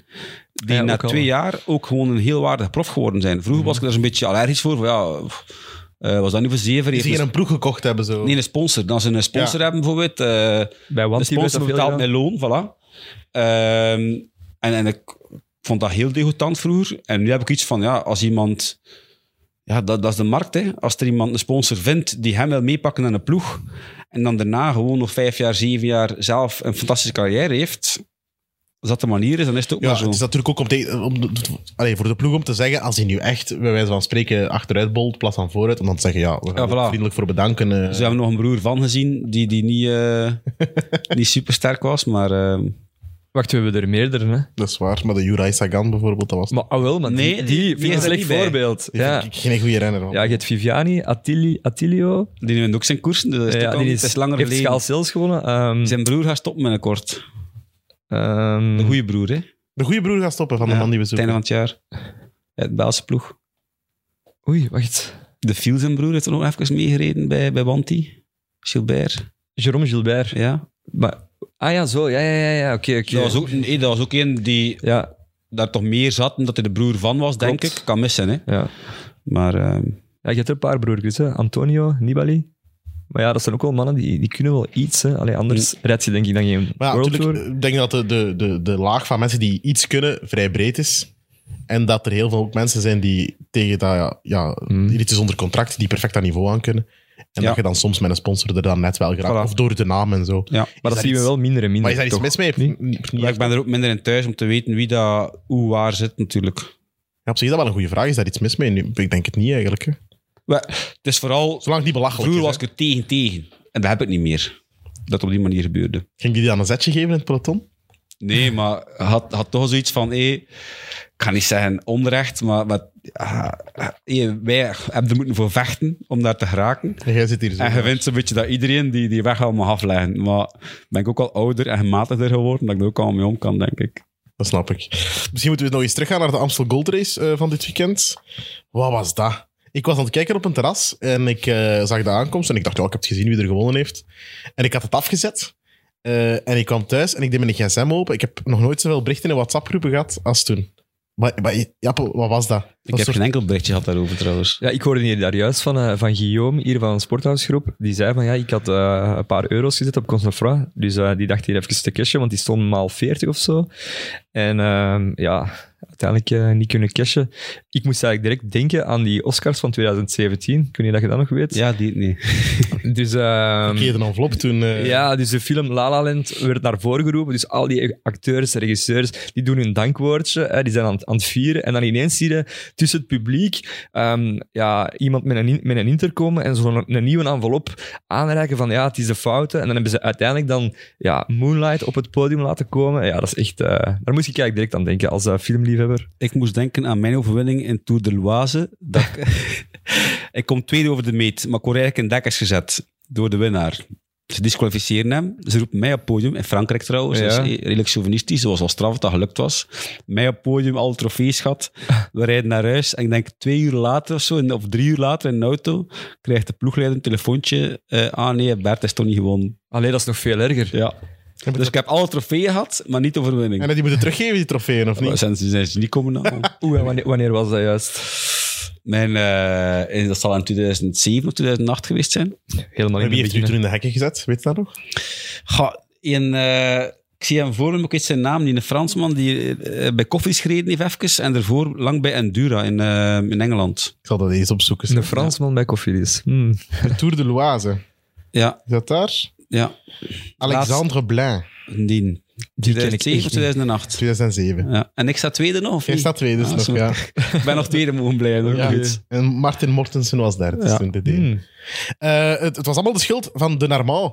S4: die
S3: Ja,
S4: na
S3: ook al.
S4: twee jaar ook gewoon een heel waardige prof geworden zijn. Vroeger was ik daar zo'n beetje allergisch voor. Van, ja, pff, eh, was dat niet voor zeven?
S2: Die
S4: Heeft
S2: zich in
S4: een-
S2: een ploeg gekocht hebben. Zo.
S4: Nee, een sponsor. Dan ze een sponsor
S2: Ja.
S4: hebben bijvoorbeeld. eh,
S3: Bij
S4: de
S3: Want
S4: sponsor betaalt mijn loon, voilà. Ehm, en, en ik vond dat heel degoutant vroeger. En nu heb ik iets van, ja, als iemand... Ja, dat, dat is de markt, hè. Als er iemand een sponsor vindt die hem wil meepakken aan een ploeg, en dan daarna gewoon nog vijf jaar, zeven jaar zelf een fantastische carrière heeft, als dat de manier is, dan is het ook
S2: Ja,
S4: maar zo.
S2: het is natuurlijk ook om te- om de- allee, voor de ploeg om te zeggen, als hij nu echt, bij wijze van spreken, achteruit bolt, in plaats van vooruit, om dan te zeggen, ja, we gaan
S4: Ja,
S2: er
S4: voilà.
S2: vriendelijk voor bedanken. eh.
S4: Ze Dus hebben nog een broer van gezien, die, die niet,
S2: (laughs)
S4: eh, niet supersterk was, maar... ehm,
S3: Wacht, we hebben er meerdere. Hè?
S2: Dat is waar, maar de Juraj Sagan bijvoorbeeld, dat was
S3: Maar, ah, wel, maar
S4: Nee,
S3: die,
S4: die-
S3: die,
S4: die
S3: vind ik
S4: is
S3: een
S4: er
S3: slecht
S4: niet bij.
S3: voorbeeld.
S2: die
S3: Ja.
S2: vind ik geen goede renner. hoor.
S3: ja, je hebt Viviani, Attili, Attilio...
S4: die nu ook zijn koersen, dus dat is
S3: Ja,
S4: ook al-
S3: die
S4: het is langer
S3: heeft
S4: geleden.
S3: Schaal zelfs gewonnen. Ehm,
S4: Zijn broer gaat stoppen binnenkort.
S3: ehm,
S4: Een goede broer, hè.
S2: De goede broer gaat stoppen van de
S4: Ja,
S2: man die we
S4: Het einde
S2: zoeken.
S4: van het jaar. Ja, de Belgische ploeg.
S3: Oei, wacht.
S4: De Fiel zijn broer heeft er nog even meegereden bij, bij Wanti. Gilbert.
S3: Jerome Gilbert.
S4: Ja.
S3: Maar, ah ja, zo. Ja, ja, ja. ja. Oké, oké.
S4: Dat, was ook, nee, dat was ook een die
S3: Ja,
S4: daar toch meer zat, omdat hij de broer van was, denk
S3: Klopt.
S4: ik. Kan missen, hè.
S3: ja.
S4: Maar ehm,
S3: Ja, je hebt er een paar broertjes, hè. Antonio, Nibali. Maar ja, dat zijn ook wel mannen die, die kunnen wel iets. Hè. Allee, anders red je denk ik dan geen
S2: Hmm. Maar ja,
S3: World
S2: natuurlijk,
S3: Tour.
S2: ik denk dat de, de, de, de laag van mensen die iets kunnen vrij breed is. En dat er heel veel ook mensen zijn die tegen dat, ja, ja
S3: Mm.
S2: die iets onder contract, die perfect dat niveau aan kunnen. En
S4: Ja.
S2: dat je dan soms met een sponsor er dan net wel geraakt.
S4: Voilà.
S2: Of door de naam en zo.
S4: ja.
S3: Maar dat
S2: dat
S3: zien we
S2: iets-
S3: wel minder en minder.
S2: Maar is daar iets
S3: toch?
S2: mis mee?
S3: Niet?
S2: Niet-
S4: Maar ik ben er ook minder in thuis om te weten wie dat hoe waar zit, natuurlijk.
S2: Ja, op zich is dat wel een goede vraag. Is daar iets mis mee? Nu, ik denk het niet eigenlijk. hè.
S4: Maar het is vooral...
S2: Zolang het niet belachelijk
S4: Vroeger
S2: is,
S4: was ik
S2: hè.
S4: er tegen tegen. En dat heb ik niet meer. Dat op die manier gebeurde.
S2: Ging die dan een zetje geven in het peloton?
S4: Nee, maar had, had toch zoiets van... hé, ik ga niet zeggen onrecht, maar... maar ah, hé, wij hebben er moeten voor vechten om daar te geraken.
S2: En jij zit hier zo.
S4: En je vindt zo'n beetje dat iedereen die, die weg wil mag afleggen. Maar ben ik ook al ouder en gematigder geworden, dat ik er ook al mee om kan, denk ik.
S2: Dat snap ik. Misschien moeten we nog eens teruggaan naar de Amstel Gold Race eh, van dit weekend. Wat was dat? Ik was aan het kijken op een terras en ik eh, zag de aankomst en ik dacht, ja, ik heb het gezien wie er gewonnen heeft. En ik had het afgezet. Eh, en ik kwam thuis en ik deed mijn gsm open. Ik heb nog nooit zoveel berichten in WhatsApp-groepen gehad als toen. Maar, maar Jappe, wat was dat?
S4: Ik heb geen enkel berichtje gehad daarover, trouwens.
S3: Ja, ik hoorde hier daar juist van, eh, van Guillaume, hier van een sporthuisgroep. Die zei van, ja, ik had eh, een paar euro's gezet op Consnefra. Dus eh, die dacht hier even te cashen, want die stond maal 40 of zo. En ehm, ja, uiteindelijk eh, niet kunnen cashen. Ik moest eigenlijk direct denken aan die Oscars van 2017. Kun je dat je dat nog weet?
S4: Ja, die nee.
S3: Dus... ehm,
S2: keer een envelop toen. eh,
S3: ja, dus de film La La Land werd naar voren geroepen. Dus al die acteurs, regisseurs, die doen hun dankwoordje. Hè, die zijn aan, het- aan het vieren. En dan ineens zie je tussen het publiek ehm, ja, iemand met een, in- met een intercom en zo'n een nieuwe envelop aanreiken van ja, het is de fouten. En dan hebben ze uiteindelijk dan ja, Moonlight op het podium laten komen. Ja, dat is echt... eh, daar moest ik eigenlijk direct aan denken als eh, filmliefhebber.
S4: Ik moest denken aan mijn overwinning in Tour de Loise. Dat ik, ik kom tweede over de meet, maar ik word eigenlijk in dekkers gezet door de winnaar. Ze disqualificeren hem. Ze roepen mij op het podium. In Frankrijk trouwens.
S3: Ja.
S4: Dat is redelijk chauvinistisch. Zoals al straf dat dat gelukt was. Mij op het podium, alle trofees gehad. We rijden naar huis. En ik denk twee uur later of zo, in- of drie uur later in de auto, krijgt de ploegleider een telefoontje. eh, ah nee, Bert is toch niet gewonnen.
S3: Allee, dat is nog veel erger.
S4: Ja. Dus ik heb alle trofeeën gehad, maar niet de overwinning.
S2: En dat die moeten teruggeven, die trofeeën, of
S4: Maar
S2: niet?
S4: Zijn ze, zijn ze niet komen halen.
S3: Oeh, en wanneer, wanneer was dat juist?
S4: Mijn, eh, en dat zal in 2007 of 2008 geweest zijn.
S3: Helemaal in
S2: En
S3: het
S2: wie heeft
S3: begin.
S2: u
S3: hè.
S2: toen in de hekken gezet? Weet je dat nog?
S4: Ga, en, eh, ik zie hem voor me, ik weet zijn naam niet, een Fransman die eh, bij koffies gereden heeft even en daarvoor lang bij Endura in, eh, in Engeland.
S2: Ik zal dat eens opzoeken.
S3: Een Fransman bij Cofidis. Hmm.
S2: De Tour de Loise.
S4: Ja,
S2: Is dat daar?
S4: ja,
S2: Alexandre Blain,
S4: die.
S3: Die ken ik
S4: 2007
S3: echt
S4: of
S3: niet.
S4: 2008.
S2: 2007.
S4: Ja. En ik sta tweede nog, of
S2: Jij
S4: niet?
S2: staat tweede dus
S4: Ah,
S2: nog,
S4: zo.
S2: ja.
S4: Ik ben nog tweede mogen blijven. hoor.
S2: Ja.
S4: Goed.
S2: En Martin Mortensen was daar. Dus
S4: Ja.
S2: toen dit deed.
S3: Hmm.
S2: Eh, het, het was allemaal de schuld van de Narmau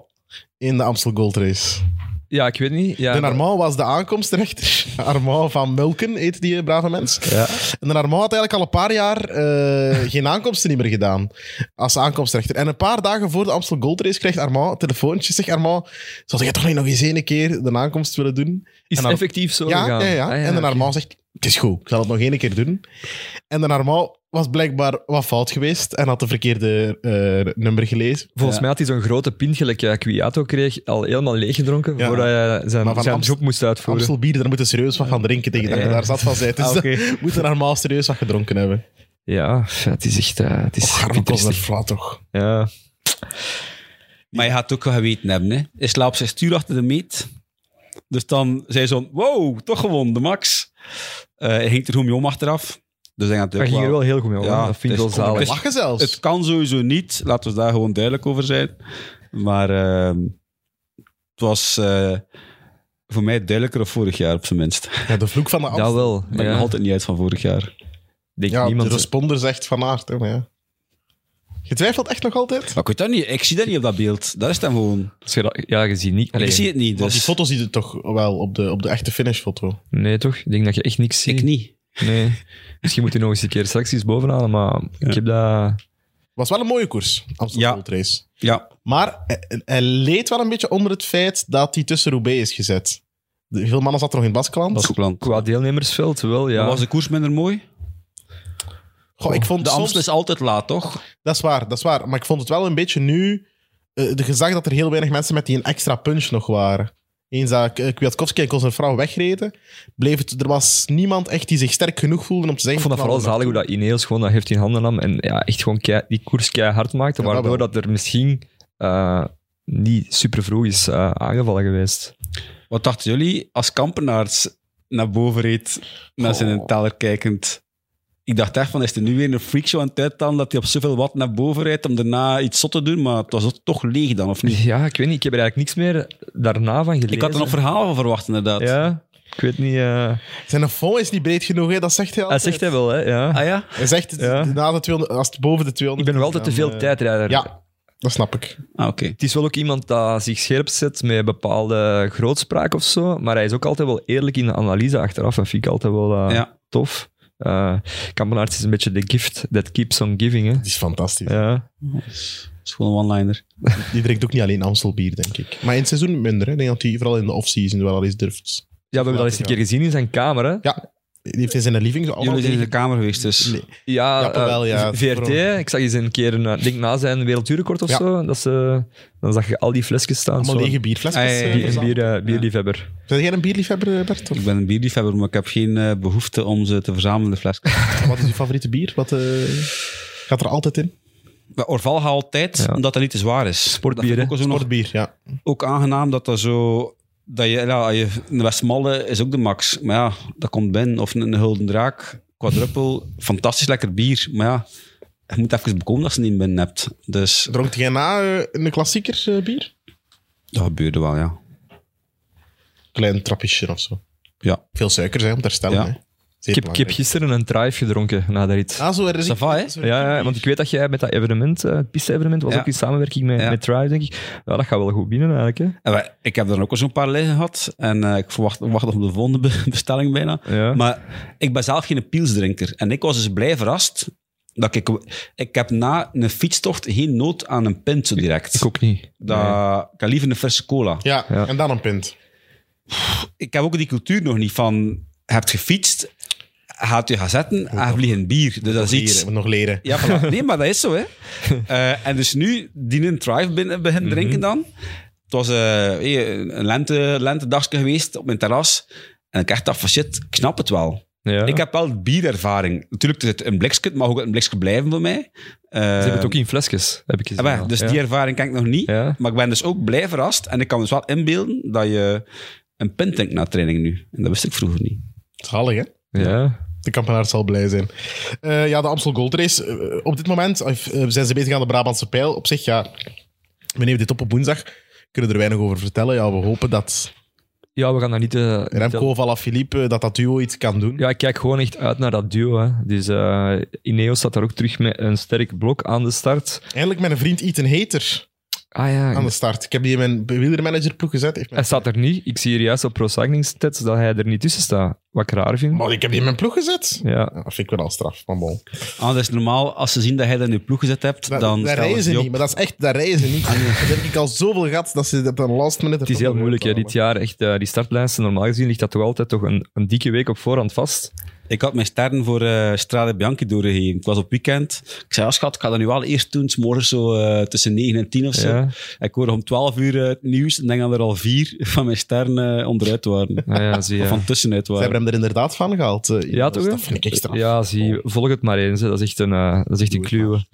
S2: in de Amstel Gold Race.
S3: Ja, ik weet niet. Ja,
S2: de Narmau was de aankomstrechter. (laughs) Armand van Mulken heet die eh, brave mens.
S3: Ja.
S2: En de Narmau had eigenlijk al een paar jaar eh, geen aankomsten niet meer gedaan als aankomstrechter. En een paar dagen voor de Amstel Gold Race krijgt Armand een telefoontje. Zegt Armand, zou jij toch niet nog eens ene keer de aankomst willen doen?
S3: Is
S2: En
S3: het
S2: dan-
S3: effectief zo
S2: Ja, ja,
S3: gegaan?
S2: ja,
S3: Ah,
S2: En de
S3: oké.
S2: Narmau zegt, het is goed, ik zal het nog één keer doen. En de Narmau was blijkbaar wat fout geweest en had de verkeerde eh, nummer gelezen.
S3: Volgens
S4: Ja.
S3: mij had hij zo'n grote pint, gelijk eh, Kwiato kreeg, al helemaal leeggedronken
S2: Ja.
S3: voordat hij
S2: Maar
S3: zijn,
S2: van
S3: zijn
S2: Amst-
S3: job moest uitvoeren.
S2: Amstel bier, daar moeten serieus wat van drinken tegen dat je
S3: Ja.
S2: daar
S3: (laughs)
S2: zat van bent. Dus
S4: Ah, oké.
S2: dat moet de Narmau serieus wat gedronken hebben.
S3: Ja, ja, het is echt... eh, het is
S2: Arme
S3: pittig.
S2: flat toch.
S3: ja.
S4: Maar je gaat het ook wel geweten hebben. Hè. Hij slaapt zijn stuur achter de meet. Dus dan zei zo'n, wow, toch gewonnen, de max. Eh, hij ging er goed mee om achteraf. Dus hij gaat het
S3: Maar
S4: ook
S3: ging er wel heel goed mee om.
S4: Ja,
S3: hè. dat vind ik
S4: het
S3: wel
S4: is
S3: zalig.
S4: complex.
S2: Lachen zelfs.
S4: Het kan sowieso niet, laten we daar gewoon duidelijk over zijn. Maar ehm, het was eh, voor mij duidelijker dan vorig jaar, op zijn minst. (laughs) Ik
S2: Ja, de vloek van de
S3: Dat
S2: Amstel.
S3: wel.
S4: ben
S3: ja.
S4: nog altijd niet uit van vorig jaar.
S3: Denk
S2: Ja, de
S3: niemand...
S2: responder zegt van aard. Hè, maar ja. Je twijfelt echt nog altijd?
S4: Maar ik, weet dat niet, ik zie dat niet op dat beeld. Dat is dan gewoon.
S3: Als je dat- Ja, je ziet niet. Allee,
S4: Ik zie het niet,
S2: Want die
S4: dus
S2: foto ziet het toch wel op de, op de echte finishfoto.
S3: Nee, toch? Ik denk dat je echt niks ziet.
S4: ik niet.
S3: Nee. Misschien moet hij nog eens een keer straks iets bovenhalen, maar ik heb dat...
S2: was wel een mooie koers, Amstel
S4: Ja.
S2: Gold Race.
S4: Ja,
S2: Maar hij, hij leed wel een beetje onder het feit dat hij tussen Roubaix is gezet. De- veel mannen zaten nog in
S4: dat
S2: Baskeland.
S4: is het plan.
S3: Qua deelnemersveld wel, ja.
S4: Maar Was de koers minder mooi?
S2: Goh, ik vond
S4: De
S2: soms-
S4: Amstel is altijd laat, toch?
S2: Dat is waar, dat is waar. Maar ik vond het wel een beetje nu... eh de gezag dat er heel weinig mensen met die een extra punch nog waren. Eens dat K- Kwiatkowski en Conservrouw wegreden, bleef het, er was niemand echt die zich sterk genoeg voelde om te
S3: Ik
S2: zeggen...
S3: vond dat vooral zalig hoe dat Ineos gewoon dat heft in handen nam en ja, echt gewoon kei- die koers keihard maakte,
S2: Ja, dat
S3: waardoor
S2: wel.
S3: dat er misschien eh, niet super vroeg is eh, aangevallen geweest.
S4: Wat dachten jullie als kampenaars naar boven reed, naar zijn
S2: Goh.
S4: teller kijkend? Ik dacht echt van, is er nu weer een freakshow aan het uittalen dat hij op zoveel watt naar boven rijdt om daarna iets zot te doen, maar het was toch leeg dan,
S3: (laughs)
S2: Dus-
S4: of niet?
S3: Dus Ja, ik weet niet. Ik heb er eigenlijk niks meer daarna van gelezen.
S4: Ik had er nog verhalen van verwacht, inderdaad.
S3: Ja, ik weet niet. eh,
S2: Zijn fond is niet breed genoeg, hè? dat zegt hij
S3: Dat
S2: altijd.
S3: zegt hij wel, hè? Ja.
S4: Ah ja?
S2: Hij zegt,
S3: Ja.
S2: na de 200, als het boven de 200...
S3: Ik ben nog altijd te
S2: dan,
S3: veel
S2: eh,
S3: tijdrijder.
S2: Ja, dat snap ik.
S4: Ah, oké.
S3: Het is wel ook iemand dat zich scherp zet met bepaalde grootspraak of zo, maar hij is ook altijd wel eerlijk in de analyse achteraf. Dat vind ik altijd wel eh,
S4: Ja.
S3: tof. Eh Kampenaerts is een beetje de gift that keeps on giving, hè?
S2: Het is fantastisch.
S3: Ja.
S4: Dat is gewoon een one-liner.
S2: Die drinkt ook niet alleen Amstelbier, denk ik. Maar in het seizoen minder. Hè. Ik denk dat hij vooral in de off-season wel al eens durft.
S3: Ja, we hebben dat eens een keer gezien in zijn kamer. Hè?
S2: Ja, die heeft in zijn living zo allemaal...
S4: Jullie zijn in de
S2: tegen-
S4: kamer geweest, dus.
S2: Nee.
S3: Ja,
S2: Ja, wel,
S3: eh,
S2: ja.
S3: VRT. Ik zag eens een keer, een, eh, denk na zijn werelduurrecord of
S2: Ja.
S3: zo, dat ze, dan zag je al die flesjes staan.
S2: Allemaal
S3: zo.
S2: lege bierflesjes.
S4: Ah, ja, ja,
S2: eh,
S4: bier-
S3: Bier,
S2: verzameld.
S3: bier, eh, bierliefhebber.
S2: Ben jij een bierliefhebber, eh, Bert? Of
S4: Ik ben een bierliefhebber, maar ik heb geen eh, behoefte om ze te verzamelen, de
S3: (laughs)
S4: flesjes.
S2: (laughs) wat is je favoriete bier? Wat eh, gaat er altijd in?
S4: Maar Orval gaat altijd,
S3: Ja.
S4: omdat dat niet te zwaar is.
S3: Sportbier,
S4: Dat vind ik ook, zo nog,
S2: Sportbier, ja.
S4: ook aangenaam dat dat zo... Dat je, ja, je, een Westmalle is ook de max. Maar ja, dat komt binnen. Of een, een Hulden Draak, quadruppel. Fantastisch lekker bier. Maar ja, je moet even bekomen dat ze niet binnen hebt. Dus
S2: Dronk jij na eh, een klassieker eh, bier?
S4: dat gebeurde wel, ja.
S2: Klein trappiesje of zo.
S4: Ja.
S2: Veel suikers hè, om te herstellen.
S4: Ja.
S2: hè. Zeer
S3: Ik heb, ik heb
S2: belangrijk.
S3: gisteren een drive gedronken na de rit.
S2: Ah, zo er is
S4: Ça va, hè?
S2: zo er is-
S3: Ja, ja, want ik weet dat jij met dat evenement, eh, het piste-evenement, was
S4: Ja.
S3: ook in samenwerking met,
S4: Ja.
S3: met Drive, denk ik. Ja, dat gaat wel goed binnen eigenlijk. Hè.
S4: En wij- ik heb er ook al zo'n paar liggen gehad. En eh, ik verwacht, wacht op de volgende be- (laughs) bestelling bijna.
S3: Ja.
S4: Maar ik ben zelf geen pilsdrinker. En ik was dus blij verrast. Dat ik, ik heb na een fietstocht geen nood aan een pint zo direct.
S3: Ik ook niet.
S4: Dat, Ik heb liever een verse cola.
S2: Ja,
S3: Ja.
S2: en dan een pint.
S4: Ik heb ook die cultuur nog niet van... Je hebt gefietst, gaat je gaan zetten en je vliegt een bier. Dus dat is
S2: Leren,
S4: iets...
S2: moet nog leren.
S4: Ja, voilà. nee, maar dat is zo, hè. Eh, en dus nu, die een drive binnen begin
S3: Mhm.
S4: drinken dan. Het was eh, hey, een lente, lentedagsje geweest op mijn terras. En ik echt dacht "Ah, van shit, ik snap het wel.
S3: Ja.
S4: Ik heb wel bierervaring. Natuurlijk, het is een blikje, het mag ook een blikje blijven voor mij. Eh,
S3: Ze hebben het ook in flesjes, heb ik gezien.
S4: eh,
S3: ja.
S4: dus
S3: Ja.
S4: die ervaring ken ik nog niet.
S3: Ja.
S4: Maar ik ben dus ook blij verrast. En ik kan me dus wel inbeelden dat je een pint drinkt na training nu. En dat wist ik vroeger niet.
S2: Zalig, hè?
S3: Ja.
S2: De kampenaar zal blij zijn. Eh, ja, de Amstel Gold Race. eh, op dit moment eh, eh, zijn ze bezig aan de Brabantse pijl. Op zich, ja, we nemen dit op op woensdag. Kunnen er weinig over vertellen. Ja, we hopen dat
S3: ja, we gaan daar niet... eh, niet-
S2: Remco, Alaphilippe, dat dat duo iets kan doen.
S3: Ja, ik kijk gewoon echt uit naar dat duo. Hè. Dus eh Ineos staat daar ook terug met een sterk blok aan de start.
S2: Eindelijk mijn vriend Ethan Hater
S3: Ah ja,
S2: aan de start. Ik heb die in mijn wielermanagerploeg gezet. Heeft
S3: hij
S2: mijn-
S3: staat er niet. Ik zie hier juist op Pro Cycling Stats dat hij er niet tussen staat. Wat ik raar vind.
S2: Maar ik heb die in mijn ploeg gezet.
S3: Ja.
S2: Ja, dat vind ik wel al straf, maar bon.
S4: Anders Ah, normaal, als ze zien dat jij dat in je ploeg gezet hebt,
S2: Daar,
S4: dan
S2: daar
S4: stellen
S2: rijden
S4: ze
S2: ze
S4: die op.
S2: niet, maar dat is echt, daar rijden ze niet. Dat heb ik al zoveel gehad dat ze dat een last minute...
S3: Ah, Het is heel moeilijk hè, dit jaar. Echt, eh, die startlijsten, normaal gezien ligt dat toch altijd toch een, een dikke week op voorhand vast.
S4: Ik had mijn sterren voor eh Strade Bianchi doorgegeven. Het was op weekend. Ik zei, ja, schat, ik ga dat nu wel eerst doen. Het is morgen zo eh, tussen 9 en 10 of zo.
S3: Ja.
S4: Ik hoorde om 12 uur eh, het nieuws en denk dat er al vier (laughs) van mijn sterren eh, onderuit waren.
S3: Ah, ja,
S4: (laughs)
S3: zie
S4: Of
S3: je.
S4: van tussenuit
S2: Ze
S4: waren.
S2: hebben hem er inderdaad van gehaald. eh,
S3: Ja,
S2: dus
S3: toch? hè?
S2: Dat vind ik echt straf.
S3: Ja, zie, volg het maar eens. Hè. Dat is echt een, eh, dat is echt een kluwe.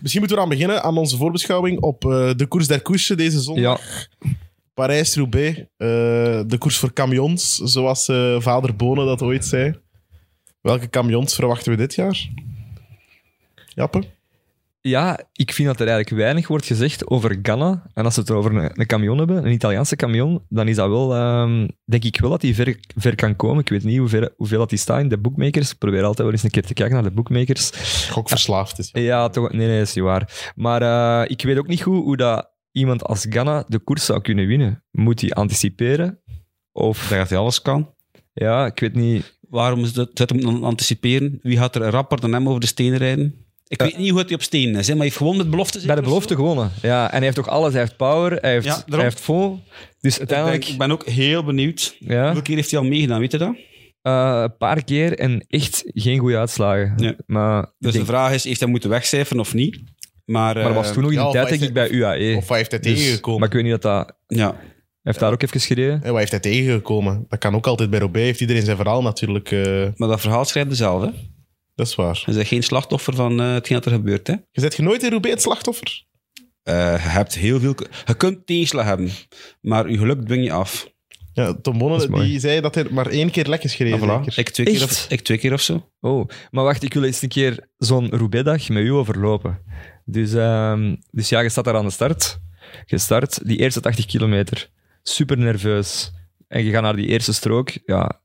S2: Misschien moeten we aan beginnen aan onze voorbeschouwing op eh, de koers der koersen deze zondag.
S3: Ja,
S2: Parijs-Roubaix, eh, de koers voor camions, zoals eh, vader Bonen dat ooit zei. Welke camions verwachten we dit jaar? Jappe?
S3: ja, ik vind dat er eigenlijk weinig wordt gezegd over Ghana. En als ze het over een, een camion hebben, een Italiaanse camion, dan is dat wel, ehm, denk ik wel dat die ver, ver kan komen. Ik weet niet hoe ver, hoeveel dat die staat in de bookmakers. Ik probeer altijd wel eens een keer te kijken naar de bookmakers.
S2: Gokverslaafd is.
S3: Ja, toch, nee, nee, is niet waar. Maar eh, ik weet ook niet goed hoe dat iemand als Ghana de koers zou kunnen winnen. Moet hij anticiperen? Of,
S4: Dat hij alles kan.
S3: ja, ik weet niet.
S4: Waarom is dat, zet hem dan anticiperen? Wie gaat er rapper dan hem over de stenen rijden? Ik weet niet hoe het hij op stenen is, hè, Dus maar hij heeft gewoon met belofte
S3: Bij de belofte gewonnen. Ja, en hij heeft ook alles. Hij heeft power, hij heeft,
S4: Ja, daarom.
S3: hij heeft vol. Dus
S4: Uiteindelijk...
S3: uiteindelijk...
S4: Ik, ben ook heel benieuwd.
S3: Ja.
S4: Hoeveel keer heeft hij al meegedaan, weet je dat? Dus
S3: Eh, Een paar keer en echt geen goede uitslagen.
S4: Ja.
S3: Maar, ik
S4: Dus
S3: denk-
S4: de vraag is, heeft hij moeten wegcijferen of niet? Maar,
S3: maar dat was
S4: eh,
S3: toen nog in
S2: ja,
S3: de
S2: of
S3: tijd,
S2: hij
S3: denk ik, bij UAE.
S2: Of wat heeft hij
S3: Dus-
S2: tegengekomen?
S3: Maar ik weet niet dat dat... Hij
S4: Ja,
S3: heeft daar ook even gereden.
S2: En wat heeft hij tegengekomen? Dat kan ook altijd bij Robé. Heeft iedereen zijn verhaal natuurlijk. eh,
S4: maar dat verhaal schrijft hij zelf. Hè?
S2: dat is waar.
S4: Hij is geen slachtoffer van eh, hetgeen dat er gebeurt. Hè?
S2: Je zet je nooit in Roubaix het slachtoffer?
S4: Eh, je, hebt heel veel, je kunt tegenslag hebben, maar je geluk dwing je af.
S2: Ja, Tom Bonne
S3: Dat is mooi.
S2: die zei dat hij maar één keer lek is gereden.
S4: Ah, voilà.
S2: zeker?
S4: ik, twee keer
S3: Echt?
S4: of, ik twee keer of zo.
S3: Oh, maar wacht, ik wil eens een keer zo'n Roubaix-dag met u overlopen. Dus, ehm, dus ja, je staat daar aan de start. Je start die eerste 80 kilometer. Super nerveus. En je gaat naar die eerste strook. Ja.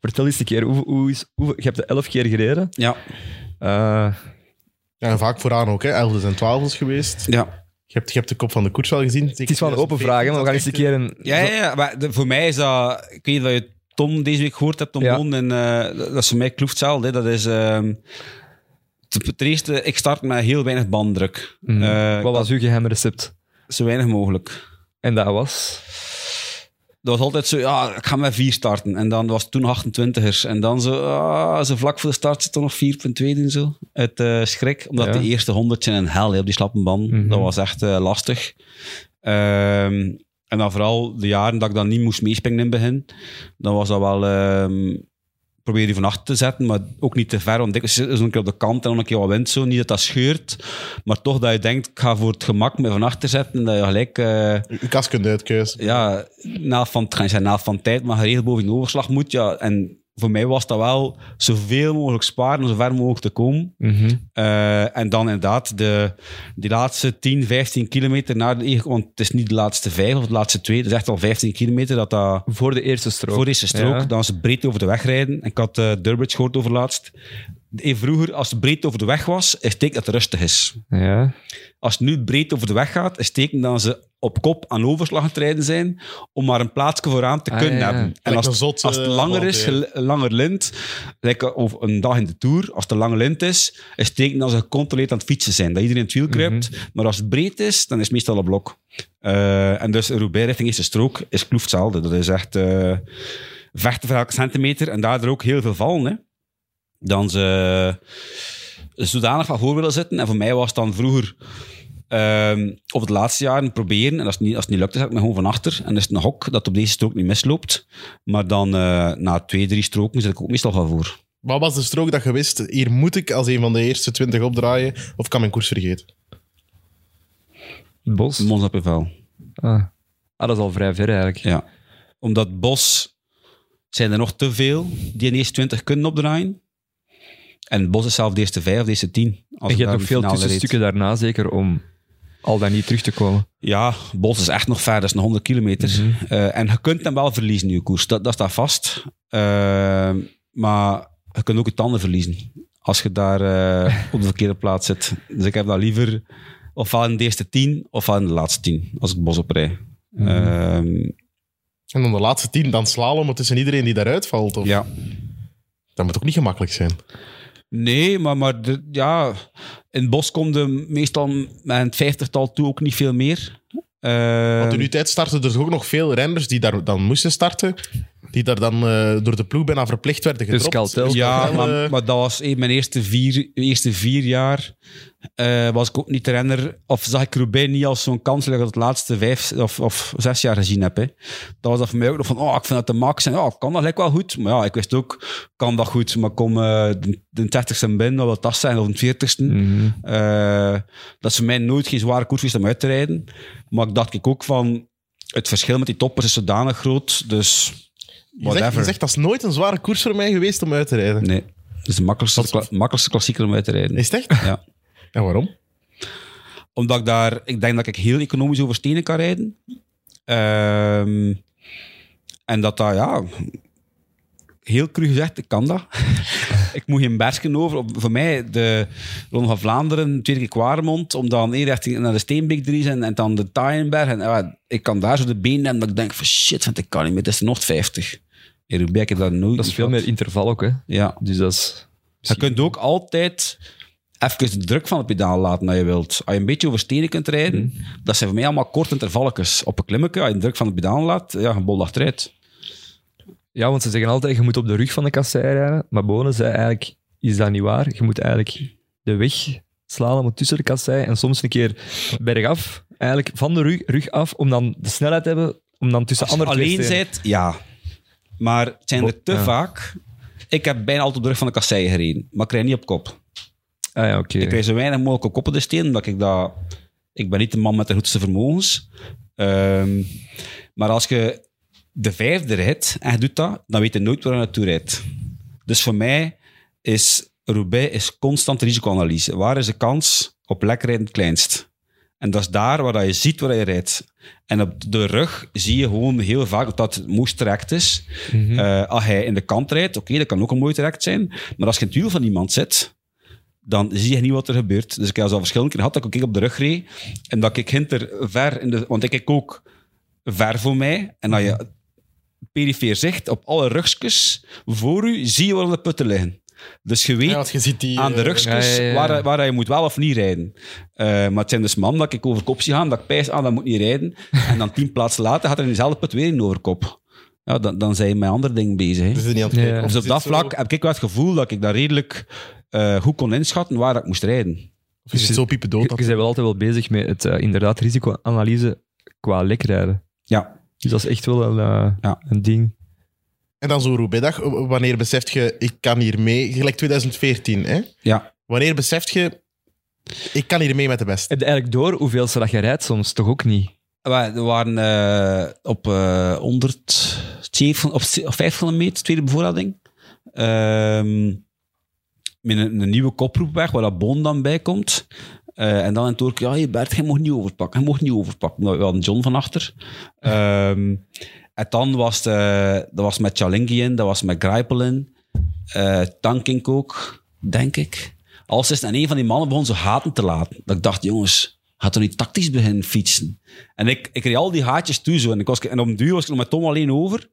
S3: Vertel eens een keer, hoe, hoe is, hoe, je hebt de 11 keer gereden.
S4: Ja,
S3: Eh,
S2: Ja, en vaak vooraan ook, hè? Elfdes en twaalfdes geweest.
S4: ja.
S2: Je hebt, je hebt de kop van de koets wel gezien.
S3: het is wel een open vraag, hè, maar we gaan eens een keer een...
S4: ja, ja, ja, maar de- voor mij is dat... Ik weet niet of je Tom deze week gehoord hebt, Tom
S3: Ja.
S4: Bon, en eh, dat is voor mij kloeft hetzelfde. hè. Dat is... ehm, ten ten eerste, ik start met heel weinig banddruk.
S3: Mhm.
S4: Eh,
S3: Wat was uw geheim recept?
S4: Zo weinig mogelijk.
S3: En dat was...
S4: Dat was altijd zo, ja, ik ga met vier starten. En dan was het toen 28ers. En dan zo, ah, zo vlak voor de start zit er nog 4.2 en zo. Het eh, schrik, omdat
S3: Ja.
S4: de eerste 100 zijn een hel hè, op die slappe band.
S3: Mhm.
S4: Dat was echt eh, lastig. Ehm, en dan vooral de jaren dat ik dan niet moest meespringen in het begin. Dan was dat wel... ehm probeer die van achter te zetten, maar ook niet te ver. Want ik zit zo'n keer op de kant en dan een keer wat wind zo. Niet dat dat scheurt, maar toch dat je denkt, ik ga voor het gemak me van achter zetten. En dat je gelijk... eh,
S2: Je kas kunt uitkeuzen.
S4: ja, na van, ik ga niet zeggen na van tijd, maar geregeld boven de overslag moet. Ja. En voor mij was dat wel zoveel mogelijk sparen, om zo ver mogelijk te komen.
S3: Mhm.
S4: Eh, en dan inderdaad, de, die laatste 10, 15 kilometer naar de eigen- want het is niet de laatste vijf of de laatste twee, het is echt al 15 kilometer dat dat
S3: Voor de eerste strook.
S4: voor deze strook,
S3: Ja.
S4: dan ze breed over de weg rijden. En ik had eh Durbridge gehoord over laatst. Eh, Vroeger, als het breed over de weg was, is het teken dat het rustig is.
S3: Ja.
S4: Als het nu breed over de weg gaat, is het teken dat ze op kop aan overslag aan het rijden zijn om maar een plaatsje vooraan te
S3: Ah,
S4: kunnen
S3: ja, ja.
S4: hebben. En
S2: Lijkt
S4: als,
S2: een
S4: het-
S2: zot,
S4: als het
S2: eh,
S4: langer is,
S2: land,
S4: gel- langer lint, like, of een dag in de Tour, als het een lange lint is, is het teken dat ze gecontroleerd aan het fietsen zijn. Dat iedereen in het wiel kruipt.
S3: Mhm.
S4: Maar als het breed is, dan is het meestal een blok. Eh, en dus Roubaix richting eerste strook is kloeft hetzelfde. Dat is echt eh, vechten voor elke centimeter en daardoor ook heel veel vallen. Hè dan ze zodanig van voor willen zitten. En voor mij was het dan vroeger, ehm op het laatste jaren proberen, en als het niet, als het niet lukt, dan zet ik me gewoon van achter. En is het een hok dat op deze strook niet misloopt. Maar dan eh, na twee, drie stroken zit ik ook meestal van voor.
S2: Wat was de strook dat je wist? Hier moet ik als een van de eerste 20 opdraaien. Of kan mijn koers vergeten?
S3: Het bos.
S4: Mons op vel.
S3: Ah. Ah, dat is al vrij ver eigenlijk.
S4: Ja. Omdat bos zijn er nog te veel die in de eerste 20 kunnen opdraaien. En het bos is zelf de eerste vijf, de eerste tien. Als
S3: En
S4: ik
S3: je
S4: daar
S3: hebt nog
S4: de
S3: veel
S4: finale reed.
S3: tussenstukken daarna, zeker om al dan niet terug te komen.
S4: Ja, Bos is echt nog ver, dat is nog 100 kilometer. Eh, en je kunt hem wel verliezen, je koers, dat, dat staat vast. Eh, maar je kunt ook je tanden verliezen als je daar eh, op de verkeerde plaats zit. Dus ik heb dat liever ofwel in de eerste tien ofwel in de laatste tien, als ik Bos oprij. Ehm,
S2: En dan de laatste tien, dan slalom tussen iedereen die daaruit valt. Of...
S4: ja.
S2: Dat moet ook niet gemakkelijk zijn.
S4: Nee, maar, maar de- ja, in het Bos komt er meestal met een vijftigtal toe ook niet veel meer. Eh,
S2: Want in uw tijd starten er toch ook nog veel renners die daar dan moesten starten. Die daar dan eh, door de ploeg bijna verplicht werden
S3: Dus
S2: gedropt.
S3: Kaltel.
S4: Ja,
S2: Wel,
S4: maar,
S2: eh,
S4: maar dat was eh, mijn eerste vier, eerste vier jaar. eh, was ik ook niet de renner. Of zag ik Roubaix niet als zo'n kans dat ik dat de laatste vijf of, of zes jaar gezien heb. Hè. Dat was dat voor mij ook nog van, oh, ik vind dat de max. En ja, ik kan dat gelijk wel goed. Maar ja, ik wist ook, kan dat goed. Maar kom eh, de, de 30ste binnen, dat wil dat zijn, of de 40ste.
S3: Mhm.
S4: Eh, dat is voor mij nooit geen zware koers geweest om uit te rijden. Maar ik dacht ik ook van, het verschil met die toppers is zodanig groot. Dus,
S2: je,
S4: whatever.
S2: zegt, je zegt, dat is nooit een zware koers voor mij geweest om uit te rijden.
S4: Nee, dat is de makkelijkste, kla- makkelijkste klassieker om uit te rijden.
S2: Is het echt?
S4: Ja.
S2: En waarom?
S4: Omdat ik daar, ik denk dat ik heel economisch over stenen kan rijden. Ehm, en dat dat, ja, heel cru gezegd, ik kan dat. (laughs) ik moet geen bergen over. Op- voor mij, de Ronde van Vlaanderen, tweede keer Kwaremond, om dan één richting naar de Steenbeek te zijn en dan de Taaienberg. En ja, ik kan daar zo de benen hebben dat ik denk van shit, want ik kan niet meer, het is er nog 50. In Roubaix heb ik dat nooit
S3: Dat is veel
S4: gehad.
S3: meer interval ook, hè.
S4: Ja.
S3: Dus dat is...
S4: Je kunt ook altijd even de druk van het pedaal laten dat je wilt. Als je een beetje over stenen kunt rijden, dat zijn voor mij allemaal korte intervalletjes. Op een klimmetje, als je de druk van het pedaal laat, ja, een bol achteruit.
S3: Ja, want ze zeggen altijd, je moet op de rug van de kassei rijden. Maar Bonen zei eigenlijk, is dat niet waar? Je moet eigenlijk de weg slalom moet tussen de kassei en soms een keer bergaf. Eigenlijk van de rug, rug af, om dan de snelheid te hebben, om dan tussen
S4: Als je
S3: andere twee
S4: alleen
S3: stenen-
S4: zit, ja. Maar het zijn er te
S3: Ja.
S4: vaak. Ik heb bijna altijd op de rug van de kassei gereden, maar ik rijd niet op kop.
S3: Ah ja, oké.
S4: Ik rijd zo weinig mogelijk op kop op de steen, omdat ik dat... Ik ben niet de man met de grootste vermogens. Ehm, maar als je de vijfde rijdt en je doet dat, dan weet je nooit waar je naartoe rijdt. Dus voor mij is Roubaix is constant risicoanalyse. Waar is de kans op lek rijden het kleinst? En dat is daar waar dat je ziet waar je rijdt. En op de rug zie je gewoon heel vaak dat het moest traject is. Eh, als hij in de kant rijdt, oké, dat kan ook een mooi traject zijn. Maar als je in het wiel van iemand zit, dan zie je niet wat er gebeurt. Dus ik heb al verschillende keer gehad dat ik ook op de rug reed. En dat ik hinter ver in de... Want ik kijk ook ver voor mij. En dat je perifeer zicht op alle rugjes voor u, zie je waar de putten liggen. Dus je weet
S2: Ja, want je ziet die...
S4: aan de
S2: eh,
S4: rugskes
S3: ja, ja, ja.
S4: waar, waar je moet wel of niet rijden. Eh, maar het zijn dus man dat ik over kop zie gaan, dat ik pijs aan, dat moet niet rijden. En dan tien plaatsen later gaat er in dezelfde put weer in overkop. Ja, dan, dan zijn je met andere dingen bezig. hè.
S2: Dus die niet aan het kijken.
S3: Ja.
S2: Of
S4: Dus op
S2: zit
S4: dat
S2: zo-
S4: vlak heb ik wel het gevoel dat ik daar redelijk eh, goed kon inschatten waar dat ik moest rijden.
S2: Of je zit zo piepen dood.
S3: Je, je bent wel altijd wel bezig met het eh, inderdaad risicoanalyse qua lekrijden.
S4: Ja,
S3: Dus dat is echt wel een, eh,
S4: Ja.
S3: een ding.
S2: En dan zo'n Roubaix-dag, w- wanneer beseft je, ik kan hier mee... Gelijk 2014, hè?
S4: ja.
S2: Wanneer beseft je, ik kan hier mee met de beste?
S3: Heb je eigenlijk door hoeveel ze dat je rijdt soms? Toch ook niet?
S4: We we waren eh, op, eh 107, op 5 kilometer, tweede bevoorrading. Ehm, met een, een nieuwe koproep weg, waar dat Boon dan bij komt. Eh, en dan in het oor, ja, hey Bert, hij mocht niet overpakken. Hij mocht niet overpakken. Nou, we hadden John van achter. Ehm, en dan was het, eh, dat was met Chalingi in, dat was met Grijpel in. Eh, Tankink ook, denk ik. Als is en een van die mannen begon zo haten te laten. Dat ik dacht, jongens, gaat er niet tactisch beginnen fietsen? En ik, ik reed al die haatjes toe zo. En, ik was, en om duur was ik nog met Tom alleen over.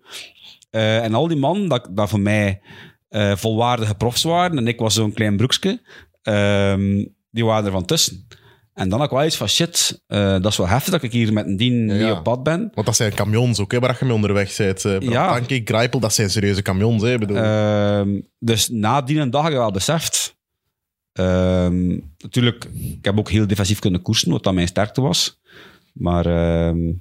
S4: Eh, en al die mannen, dat, dat voor mij eh, volwaardige profs waren, en ik was zo'n klein broekje, ehm, die waren er van tussen. En dan had ik wel iets van, shit, eh, dat is wel heftig dat ik hier met een dien mee
S2: ja.
S4: op pad ben.
S2: Want dat zijn camions ook, hè, waar je mee onderweg bent. eh
S4: Ja.
S2: ja. ik Grijpel, dat zijn serieuze camions. Hè, ik bedoel.
S4: Ehm, dus na die een dag heb ik wel beseft. Ehm, natuurlijk, ik heb ook heel defensief kunnen koersen, wat dan mijn sterkte was. Maar ehm,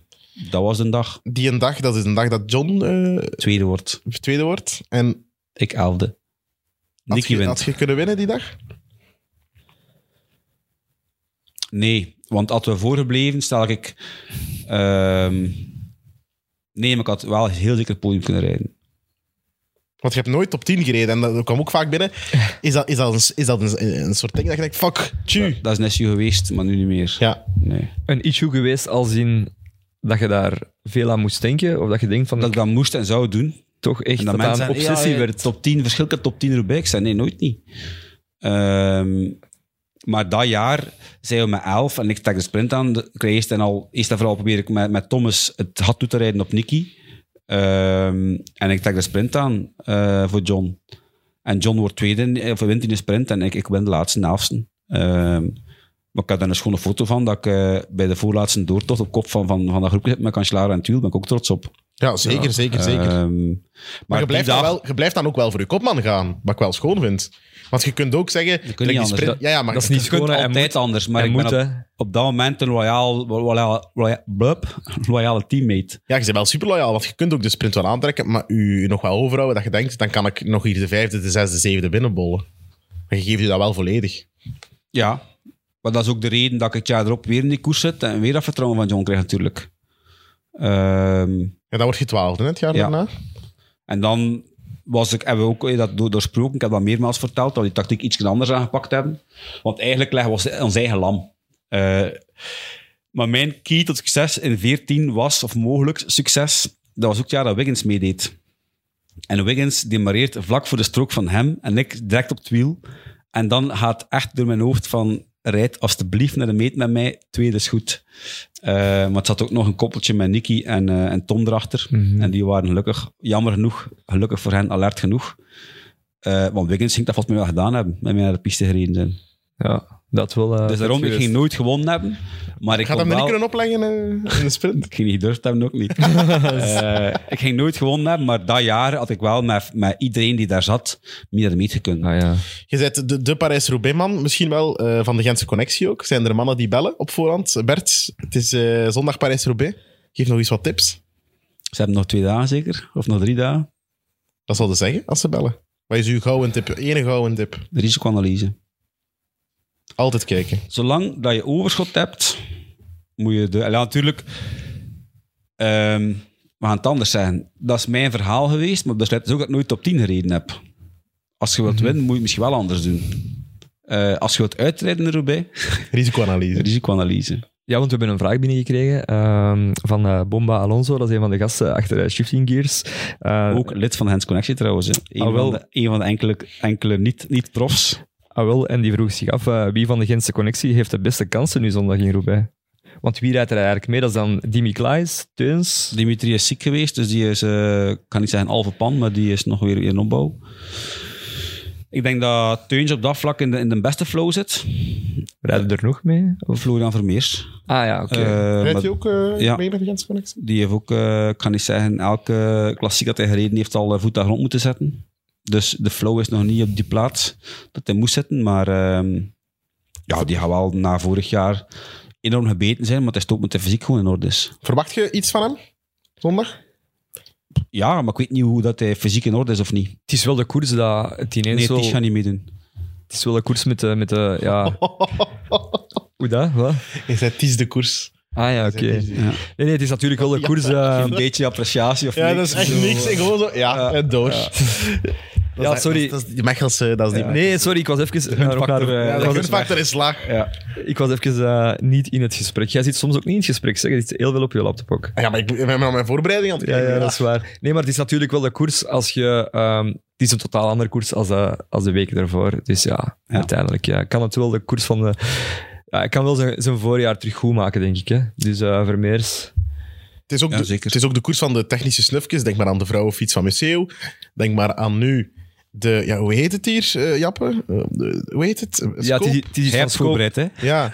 S4: dat was een dag.
S2: Die een dag, dat is een dag dat John eh,
S4: Tweede wordt.
S2: tweede wordt. En
S4: Ik elfde.
S2: had
S4: Nicky
S2: je,
S4: wint.
S2: had je kunnen winnen die dag?
S4: Nee, want hadden we voorgebleven, stel ik... ehm, nee, maar ik had wel heel zeker het podium kunnen rijden.
S2: Want je hebt nooit top 10 gereden en dat kwam ook vaak binnen. Is dat, is dat, een, is dat een, een soort ding dat je denkt, fuck, tju.
S4: Dat is een issue geweest, maar nu niet meer.
S2: Hm. Ja,
S4: Nee.
S3: Een issue geweest als in dat je daar veel aan moest denken? Of dat je denkt van,
S4: Dat ik dat moest en zou doen.
S3: toch echt
S4: En
S3: dat
S4: dat
S3: dat
S4: mensen
S3: een
S4: zeggen,
S3: obsessie
S4: ja, ja,
S3: werd?
S4: Top 10 verschil, ik heb top 10 Roubaix. Ik zei, nee, nooit niet. Ehm, maar dat jaar zijn we met 11 en ik stak de sprint aan. De- Ik kreeg eerst en, al, eerst en vooral probeer ik met, met Thomas het had toe te rijden op Nicky. Ehm, en ik stak de sprint aan eh, voor John. En John wordt tweede, in- eh, of wint in de sprint en ik, ik ben de laatste, de elfste. Ehm, maar ik had daar een schone foto van dat ik eh, bij de voorlaatste doortocht op kop van, van, van dat groepje zit met Cancellara en Tuul. Daar ben ik ook trots op.
S2: ja zeker, zeker, zeker.
S4: Ehm, maar
S2: Maar je
S4: die
S2: blijft,
S4: dag-
S2: dan wel, je blijft dan ook wel voor je kopman gaan, wat ik wel schoon vind. Want je kunt ook zeggen...
S4: niet
S2: gelijk die
S4: anders,
S2: sprint-
S4: dat-
S2: ja, ja, maar
S3: dat is niet
S4: Je kunt
S3: schoon, hè. Hij
S4: altijd anders, maar
S3: Hij
S4: ik
S3: moet,
S4: ben op,
S3: hè.
S4: op dat moment een loyaal, loyaal, loyaal, blub, loyale teammate.
S2: Ja, je bent wel super loyaal, want je kunt ook de sprint wel aantrekken, maar u nog wel overhouden dat je denkt, dan kan ik nog hier de vijfde, de zesde, zevende binnenbollen. Maar je geeft je dat wel volledig.
S4: Ja, maar dat is ook de reden dat ik het jaar erop weer in die koers zit en weer dat vertrouwen van John krijg natuurlijk. Ehm,
S2: Ja, dan word je twaalfde hè, het jaar
S4: Ja.
S2: daarna.
S4: en dan was ik, hebben we ook eh, dat door, doorsproken, ik heb dat meermaals verteld, dat we die tactiek iets anders aangepakt hebben. Want eigenlijk leggen we ons- ons eigen lam. Eh, maar mijn key tot succes in 14 was, of mogelijk succes, dat was ook het jaar dat Wiggins meedeed. En Wiggins demareert vlak voor de strook van hem en ik direct op het wiel. En dan gaat echt door mijn hoofd van, rijd alstublieft naar de meet met mij, tweede is goed. Eh, maar het zat ook nog een koppeltje met Nicky en, eh, en Tom erachter. En die waren gelukkig, jammer genoeg, gelukkig voor hen, alert genoeg. Eh, want Wiggins ging dat volgens mij wel gedaan hebben, met mij naar de piste gereden zijn.
S3: Ja, Dat wil... eh,
S4: Dus
S3: vet
S4: daarom, ik
S3: geweest.
S4: ging nooit gewonnen hebben. Maar ik
S2: Gaat
S4: kon
S2: hem er niet
S4: wel...
S2: kunnen opleggen eh, in de sprint?
S4: Ik ging niet gedurfd hebben, ook niet. Eh, ik ging nooit gewonnen hebben, maar dat jaar had ik wel met, met iedereen die daar zat meer de meet gekund.
S3: Ah ja.
S2: (laughs) Je bent de, de Parijs-Roubaix-man, misschien wel eh, van de Gentse Connectie ook. Zijn er mannen die bellen op voorhand? Bert, het is eh, zondag Parijs-Roubaix. Geef nog eens wat tips.
S4: Ze hebben nog twee dagen zeker, of nog drie dagen.
S2: Dat zal ze zeggen als ze bellen. Wat is uw gouden tip? Ene gouden tip.
S4: De risicoanalyse.
S2: Altijd kijken.
S4: Zolang dat je overschot hebt, moet je de... Ja, natuurlijk... ehm, we gaan het anders zeggen. Dat is mijn verhaal geweest, maar dat betekent ook dat ik nooit top 10 gereden heb. Als je wilt
S2: Mhm.
S4: winnen, moet je het misschien wel anders doen. Eh, als je wilt uitrijden in Roubaix,
S2: Risicoanalyse.
S4: risicoanalyse.
S3: Ja, want we hebben een vraag binnengekregen ehm, van eh, Bomba Alonso. Dat is een van de gasten achter eh, Shifting Gears. Eh,
S4: Ook lid van de Hens Connectie trouwens. hè. Een,
S3: Ah, wel.
S4: van, de, een van de enkele, enkele niet- niet-profs.
S3: Ah wel, en die vroeg zich af eh, wie van de Gentse connectie heeft de beste kansen nu zondag in Roubaix. Want wie rijdt er eigenlijk mee? Dat is dan Dimi Klaes, Teuns.
S4: Dimitri is ziek geweest, dus die is, eh, ik kan niet zeggen halve pan, maar die is nog weer in opbouw. Ik denk dat Teuns op dat vlak in de, in de beste flow zit.
S3: Rijden er nog mee?
S4: Of Florian Vermeers.
S3: eh, Ah ja, oké.
S4: Eh,
S2: Rijdt
S4: maar
S2: je ook eh,
S4: Ja.
S2: mee bij de Gentse Connectie?
S4: die heeft ook, eh, ik kan niet zeggen, elke klassiek dat hij gereden heeft al eh, voet aan grond moeten zetten. Dus de flow is nog niet op die plaats dat hij moest zitten. Maar ehm, ja, die gaat wel na vorig jaar enorm gebeten zijn, maar het is ook met de fysiek gewoon in orde is.
S2: Verwacht je iets van hem? Zondag?
S4: Ja, maar ik weet niet hoe dat hij fysiek in orde is of niet.
S3: het is wel de koers dat het ineens
S4: Nee,
S3: wel...
S4: die gaat niet meedoen.
S3: Het is wel de koers met de... Met de ja. Hoe dat? Wat?
S2: (laughs) Je zei, het is de koers.
S3: Ah ja, oké.
S2: Je zei, het is de-
S4: Ja.
S3: Nee, nee, het is natuurlijk wel de koers... eh,
S4: een beetje appreciatie of
S2: Ehm, Ja, dat is echt niks. Ik gewoon zo, ja, en door. (laughs)
S3: Ja, sorry.
S2: Dat is die Mechelse, dat is die...
S3: nee, sorry, ik was even... naar elkaar,
S4: factor,
S3: eh,
S4: ja,
S2: Ja,
S3: was
S2: de
S3: even-
S2: gunfactor is laag.
S3: ik was even eh, niet in het gesprek. Jij zit soms ook niet in het gesprek, zeg. Je zit heel veel op je laptop ook.
S2: Ja, maar ik ben aan mijn voorbereiding aan het
S3: Ja,
S2: kijken.
S3: ja, dat is waar. Nee, maar het is natuurlijk wel de koers als je... ehm, het is een totaal andere koers als de, als de week daarvoor. Dus ja,
S4: Ja.
S3: uiteindelijk ja, kan het wel de koers van de... Ja, hij kan wel zijn, zijn voorjaar terug goed maken, denk ik. Hè? Dus eh, Vermeers...
S2: Het is, ook
S4: Ja,
S2: de,
S4: zeker.
S2: het is ook de koers van de technische snufjes. Denk maar aan de vrouwenfiets van Museeuw. Denk maar aan nu de... Ja, hoe heet het hier, eh, Jappe? Eh, de- hoe heet het? Scope?
S3: Ja, het is, het is iets
S4: Hij
S3: van
S4: hebt
S3: Scope,
S4: voorbereid, hè?
S3: (laughs)
S2: Ja.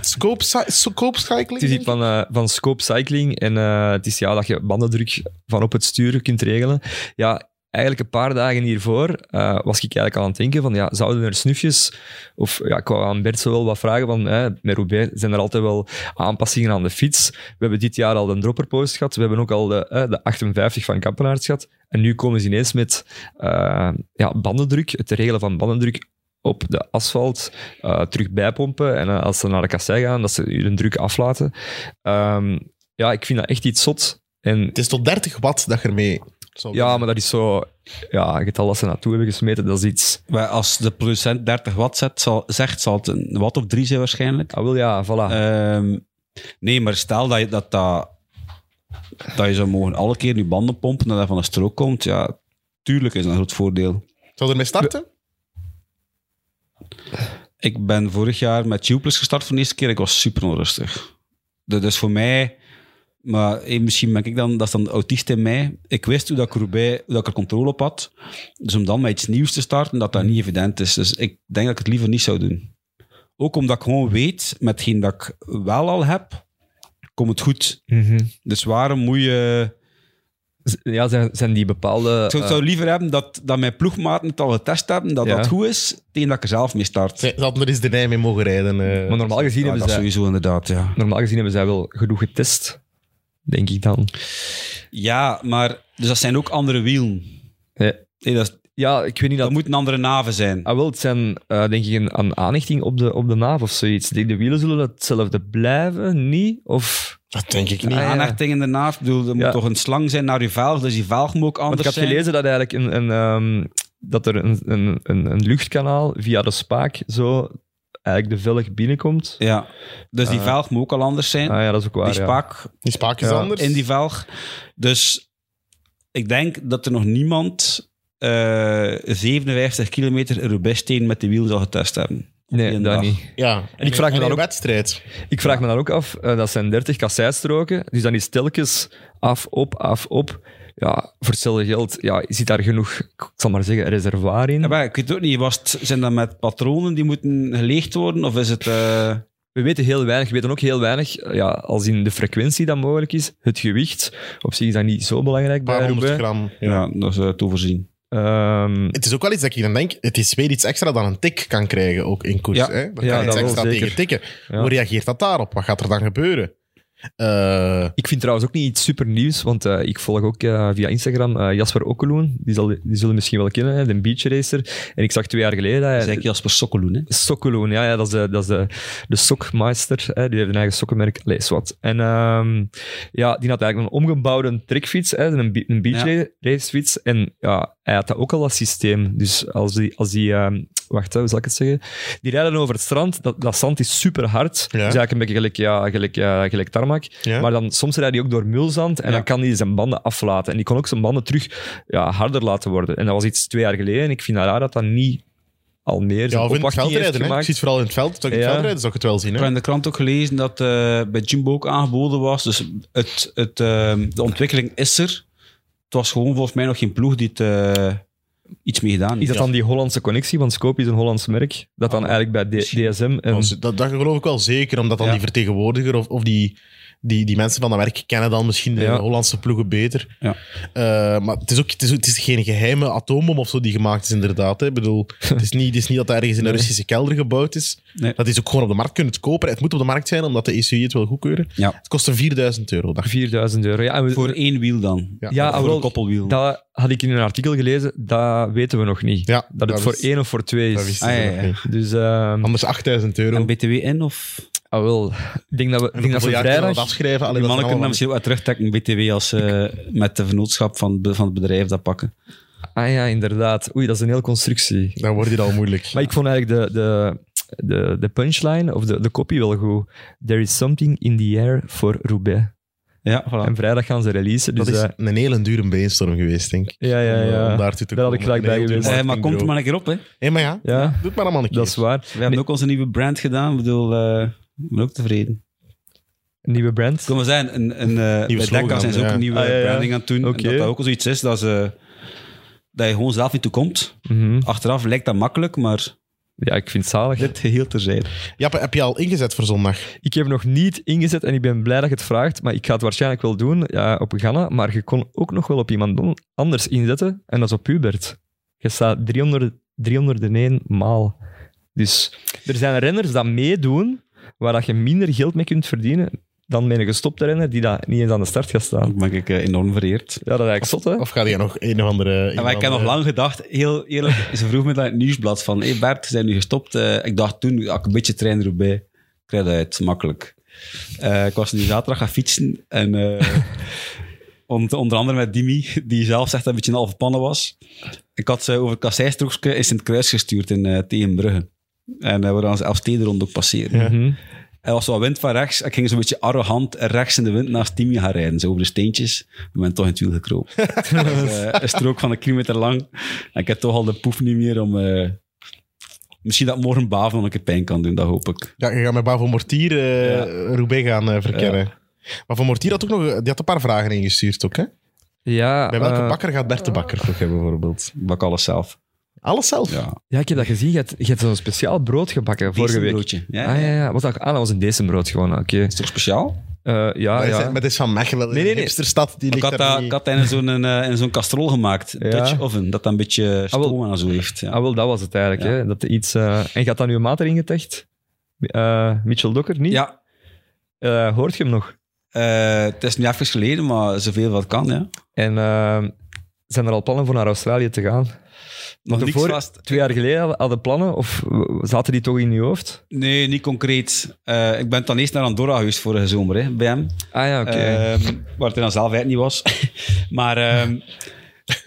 S2: Scope, sci- scope cycling?
S3: het is iets
S2: denk
S3: van,
S2: ik?
S3: eh, van scope cycling. En eh, het is ja, dat je bandendruk van op het stuur kunt regelen. Ja, eigenlijk een paar dagen hiervoor eh, was ik eigenlijk al aan het denken van, ja, zouden er snufjes... Of ja, ik wou aan Bert zo wel wat vragen van, hè, met Roubaix zijn er altijd wel aanpassingen aan de fiets. We hebben dit jaar al de dropperpost gehad. We hebben ook al de, eh, de 58 van Kampenaerts gehad. En nu komen ze ineens met eh, ja, bandendruk, het regelen van bandendruk op de asfalt, eh, terug bijpompen. En eh, als ze naar de kassei gaan, dat ze hun druk aflaten. Ehm, ja, ik vind dat echt iets zot. En
S2: Het is tot 30 watt dat je ermee... zou-
S3: ja, maar dat is zo... Ja, het getal dat ze naartoe hebben gesmeten, dat is iets...
S4: Maar Als de producent 30 watt zet, zal, zegt, zal het een watt of drie zijn waarschijnlijk.
S3: Ah, wel ja, voilà.
S4: Ehm, nee, maar stel dat je, dat, dat, dat je zou mogen alle keer je banden pompen en dat van een strook komt, ja, tuurlijk is dat een groot voordeel.
S2: Zou je ermee starten?
S4: Ik ben vorig jaar met Tuplus gestart voor de eerste keer. Ik was super onrustig. Du- Dus voor mij, maar eh, misschien ben ik dan, dat is dan de autist in mij. Ik wist hoe dat ik, erbij, hoe dat ik er controle op had. Dus om dan met iets nieuws te starten, dat dat niet evident is. Dus ik denk dat ik het liever niet zou doen. Ook omdat ik gewoon weet, met hetgeen dat ik wel al heb, komt het goed.
S3: Mhm.
S4: Dus waarom moet je...
S3: Z- Ja, zijn, zijn die bepaalde...
S4: Ik zou,
S3: eh,
S4: zou liever hebben dat, dat mijn ploegmaten het al getest hebben, dat
S3: Ja.
S4: dat goed is, tegen dat ik er zelf mee start.
S2: Ze hadden er eens de Nij mee mogen rijden. eh.
S3: maar normaal gezien,
S4: Ja,
S3: hebben
S4: dat
S3: zij,
S4: sowieso inderdaad, ja.
S3: normaal gezien hebben zij wel genoeg getest. Denk ik dan.
S4: Ja, maar dus dat zijn ook andere wielen.
S3: Ja.
S4: Nee, dat, is-
S3: Ja, ik weet niet
S4: dat
S3: dat...
S4: moet een andere naven zijn.
S3: Ah, wel, het zijn eh, denk ik een, een aanhechting op de, op de naaf of zoiets. De, de wielen zullen hetzelfde blijven, niet? Of...
S2: Dat denk ik
S4: Een
S2: niet.
S3: ja.
S4: aanhechting in de naaf, ik bedoel, er
S3: Ja.
S4: moet toch een slang zijn naar je velg, dus die velg moet
S3: Want
S4: ook
S3: ik
S4: anders
S3: had
S4: zijn.
S3: gelezen dat eigenlijk een, een, ehm, dat er een, een, een, een luchtkanaal via de spaak zo eigenlijk de velg binnenkomt.
S4: Ja, dus die
S3: Ah.
S4: velg moet ook al anders zijn.
S3: Ah ja, dat is ook waar.
S4: die
S3: ja.
S4: spaak
S2: Die spaak is
S3: Ja,
S2: anders.
S4: in die velg. Dus ik denk dat er nog niemand eh 57 kilometer Rubesteen met de wielen zal getest hebben.
S3: Nee,
S4: Eén
S3: dat
S4: dag.
S3: niet.
S2: Ja.
S3: En ik vraag me
S2: En
S3: dan
S2: in
S3: ook-
S2: wedstrijd.
S3: Ik vraag me dan ook af, eh, dat zijn 30 kasseistroken, dus dan is telkens af, op, af, op. ja, voor hetzelfde geld ja, zit daar genoeg, ik zal maar zeggen, reservoir in.
S4: Ja, maar ik weet het ook niet, was het, zijn dat met patronen die moeten geleegd worden? Of is het... eh,
S3: We weten heel weinig. We weten ook heel weinig, eh, ja, als in de frequentie dat mogelijk is, het gewicht. Op zich is dat niet zo belangrijk
S2: Een
S3: bij
S2: paar honderd
S3: Roubaix.
S2: gram.
S4: ja. dat is eh, te overzien.
S3: Ehm,
S2: Het is ook wel iets dat ik dan denk, het is weer iets extra dan een tik kan krijgen ook in koers.
S4: Ja.
S2: Hè? Daar
S3: Ja,
S2: kan
S3: dat
S2: iets
S3: wel,
S2: extra
S3: zeker.
S2: tegen tikken.
S3: Ja.
S2: Hoe reageert dat daarop? Wat gaat er dan gebeuren? Eh,
S3: ik vind trouwens ook niet iets super nieuws, want eh, ik volg ook eh, via Instagram eh, Jasper Okkeloen. Die, zal, die zullen misschien wel kennen, hè, de beachracer. En ik zag twee jaar geleden... dat hij-
S4: Dat is eigenlijk Jasper Sokkeloen, hè?
S3: Sokkeloen, ja, ja, dat is de, dat is de, de sokmeister. Hè, die heeft een eigen sokkenmerk. Lees wat. En ehm, ja, die had eigenlijk een omgebouwde trekfiets, hè, een, be- een beach
S4: Ja.
S3: racefiets. En ja, hij had dat ook al dat systeem. Dus als die, als die ehm, wacht, hè, hoe zal ik het zeggen? Die rijden over het strand. Dat, dat zand is super hard. Dus eigenlijk een beetje gelijk, ja, gelijk, ja, gelijk tarmac.
S2: ja.
S3: Maar dan, soms rijdt hij ook door mulzand en
S4: Ja.
S3: dan kan hij zijn banden aflaten. En die kon ook zijn banden terug ja, harder laten worden. En dat was iets twee jaar geleden. En ik vind het raar dat dat niet al meer
S2: ja,
S3: zijn
S2: of in het
S3: opwachting heeft
S2: veldrijden. Hè? Ik
S3: gemaakt.
S2: zie het vooral in het veld. Zou ik in het
S3: Ja.
S2: veldrijden zou ik het wel zien.
S4: Ik
S2: Hè?
S4: heb in de krant ook gelezen dat eh, bij Jimbo ook aangeboden was. Dus het, het, eh, de ontwikkeling is er. Het was gewoon volgens mij nog geen ploeg die het, eh, iets mee gedaan
S3: Is
S4: heeft.
S3: dat dan die Hollandse connectie? Want Scope is een Hollands merk. Dat dan
S4: Ah,
S3: eigenlijk bij D- DSM... En,
S2: Als- Dat, dat geloof ik wel zeker, omdat dan
S4: Ja.
S2: die vertegenwoordiger of, of die, die, die mensen van dat werk kennen dan misschien de
S3: Ja.
S2: Hollandse ploegen beter.
S4: Ja.
S2: Eh, maar het is, ook, het, is, ook- het is geen geheime atoombom of zo die gemaakt is, inderdaad. Hè. Ik bedoel, het, is niet, het is niet dat dat ergens in een
S3: Nee.
S2: Russische kelder gebouwd is.
S4: Nee.
S2: Dat is ook gewoon op de markt kunnen kopen. Het moet op de markt zijn, omdat de ECU het wil goedkeuren.
S4: Ja.
S2: Het kostte 4000 euro. dacht ik.
S3: 4000 euro. Ja, en we-
S4: Voor één wiel dan.
S2: Ja,
S3: Dus ja,
S4: voor
S3: wel,
S4: een koppelwiel.
S3: dat had ik in een artikel gelezen. Dat weten we nog niet.
S2: Ja,
S3: dat het voor
S2: wist-
S3: één of voor twee
S2: dat
S3: is.
S2: wisten ze
S4: Ah, ja,
S2: nog
S4: ja.
S2: niet.
S3: Dus ehm
S2: Anders 8000 euro.
S4: En BTW in of...
S3: ah, wel. Ik denk dat we, ik denk dat we
S2: Hoeveel jaar kunnen we dat
S3: vrijdag...
S2: afschrijven. Allee,
S4: Die
S2: dat
S4: mannen
S2: zijn
S4: kunnen
S2: allemaal-
S4: misschien wel terugtrekken BTW als ze met de vennootschap van, het be- van het bedrijf dat pakken.
S3: Ah ja, inderdaad. Oei, dat is een hele constructie.
S2: Dan wordt dit al moeilijk.
S3: (laughs) Maar ik vond eigenlijk de, de, de, de punchline of de, de copy wel goed. There is something in the air for Roubaix.
S4: Ja,
S3: En
S4: voilà.
S3: vrijdag gaan ze releasen. Dus,
S2: dat is
S3: eh,
S2: een hele dure brainstorm geweest, denk ik.
S3: ja, ja,
S2: Om, eh,
S3: ja.
S2: om daartoe te
S3: Daar had ik
S2: komen.
S3: gelijk bij
S2: Een heel
S3: geweest.
S2: duur
S4: Eh, maar komt er
S2: marketingbureau.
S4: maar een keer op,
S2: Hé,
S4: hè.
S2: Eh, maar ja,
S3: Ja,
S2: doe het maar allemaal een keer.
S3: dat is waar.
S4: We hebben ook onze nieuwe brand gedaan. Ik bedoel, eh, ik ben ook tevreden.
S3: Nieuwe brand.
S4: Ik wil maar zeggen, een, een, eh bij
S2: slogan,
S4: Dekka zijn ze ook
S2: ja.
S4: een nieuwe
S3: Ah, ja, ja.
S4: branding aan het doen.
S3: Oké.
S4: En dat dat ook al zoiets is dat, ze, dat je gewoon zelf niet toe komt.
S3: Mhm.
S4: Achteraf lijkt dat makkelijk, maar
S3: Ja, ik vind het zalig.
S4: dit geheel terzijde.
S2: Jappe, heb je al ingezet voor zondag?
S3: Ik heb nog niet ingezet en ik ben blij dat je het vraagt, maar ik ga het waarschijnlijk wel doen ja, op Ghana. Maar je kon ook nog wel op iemand don- anders inzetten en dat is op Hubert. Je staat 300, 301 maal. Dus er zijn renners dat meedoen waar dat je minder geld mee kunt verdienen dan met een gestopte renner die daar niet eens aan de start gaat staan.
S4: Dan ben ik eh, enorm vereerd.
S3: Ja, dat is eigenlijk zot, hè?
S2: Of ga je nog een of andere... eh, een
S4: Ja, maar ik
S2: of
S4: heb nog
S2: andere-
S4: lang gedacht, heel eerlijk, (laughs) ze vroeg me dat in het nieuwsblad van, hey Bert, zijn nu gestopt? Eh, ik dacht toen, ja, ik een beetje trainer erbij. Ik rijd uit, makkelijk. Eh, ik was nu zaterdag gaan fietsen en eh, ont- onder andere met Dimi, die zelf zegt dat een beetje een halve pannen was. Ik had ze over het kasseistroekje in Sint-Kruis gestuurd in eh Tegenbrugge. En eh we gaan ze Elfstedenrond ook passeren.
S3: Mhm.
S4: Er was wat wind van rechts. Ik ging zo'n beetje arrogant rechts in de wind naast Timmy gaan rijden. Zo over de steentjes. Ik ben toch in het wiel gekropen. Dat was, eh, een strook van een kilometer lang. En ik heb toch al de poef niet meer om... eh, misschien dat morgen Baven nog een keer pijn kan doen, dat hoop ik.
S2: Ja, je gaat met Bavo Mortier eh Roubaix gaan eh, verkennen. Maar Van Mortier had ook nog... Die had een paar vragen ingestuurd ook, hè?
S3: Ja,
S2: Bij welke
S3: eh,
S2: bakker gaat Bert de Bakker toch hebben, bijvoorbeeld?
S4: Ik Bak alles zelf.
S2: Alles zelf.
S4: Ja.
S3: ja, ik heb dat gezien. Je hebt, je hebt zo'n speciaal brood gebakken vorige week.
S4: Broodje. Ja,
S3: Ah,
S4: ja.
S3: ja, ja. Wat dacht ik? Ah, dat was een decembrood gewoon. Oké.
S4: Is toch speciaal?
S3: Eh, ja,
S2: Maar
S3: ja.
S2: het is van Mechelen,
S3: nee, nee.
S2: een hipsterstad. Die
S4: Ik
S2: ligt
S4: had
S2: daar
S4: dat,
S2: niet-
S4: ik had dat in zo'n, eh, in zo'n kastrol gemaakt.
S3: Ja.
S4: Dutch oven. Dat dat een beetje
S3: Ah, wel.
S4: stoom en zo heeft. Ja.
S3: Ah, wel, dat was het eigenlijk.
S4: Ja.
S3: Hè? Dat er iets, eh, En gaat dat nu een maat erin getecht? Eh, Mitchell Dokker, niet?
S4: ja.
S3: Eh, hoort je hem nog?
S4: eh, het is nu even geleden, maar zoveel wat kan, ja.
S3: En eh, zijn er al plannen voor naar Australië te gaan?
S4: Nog
S3: de
S4: niks
S3: voor-
S4: vast.
S3: Twee jaar geleden hadden plannen, of zaten die toch in je hoofd?
S4: Nee, niet concreet. Eh, ik ben dan eerst naar Andorra geweest vorige zomer hè, bij hem.
S3: Ah ja, oké.
S4: Ehm, waar het dan zelf eigenlijk niet was. (laughs) maar ehm,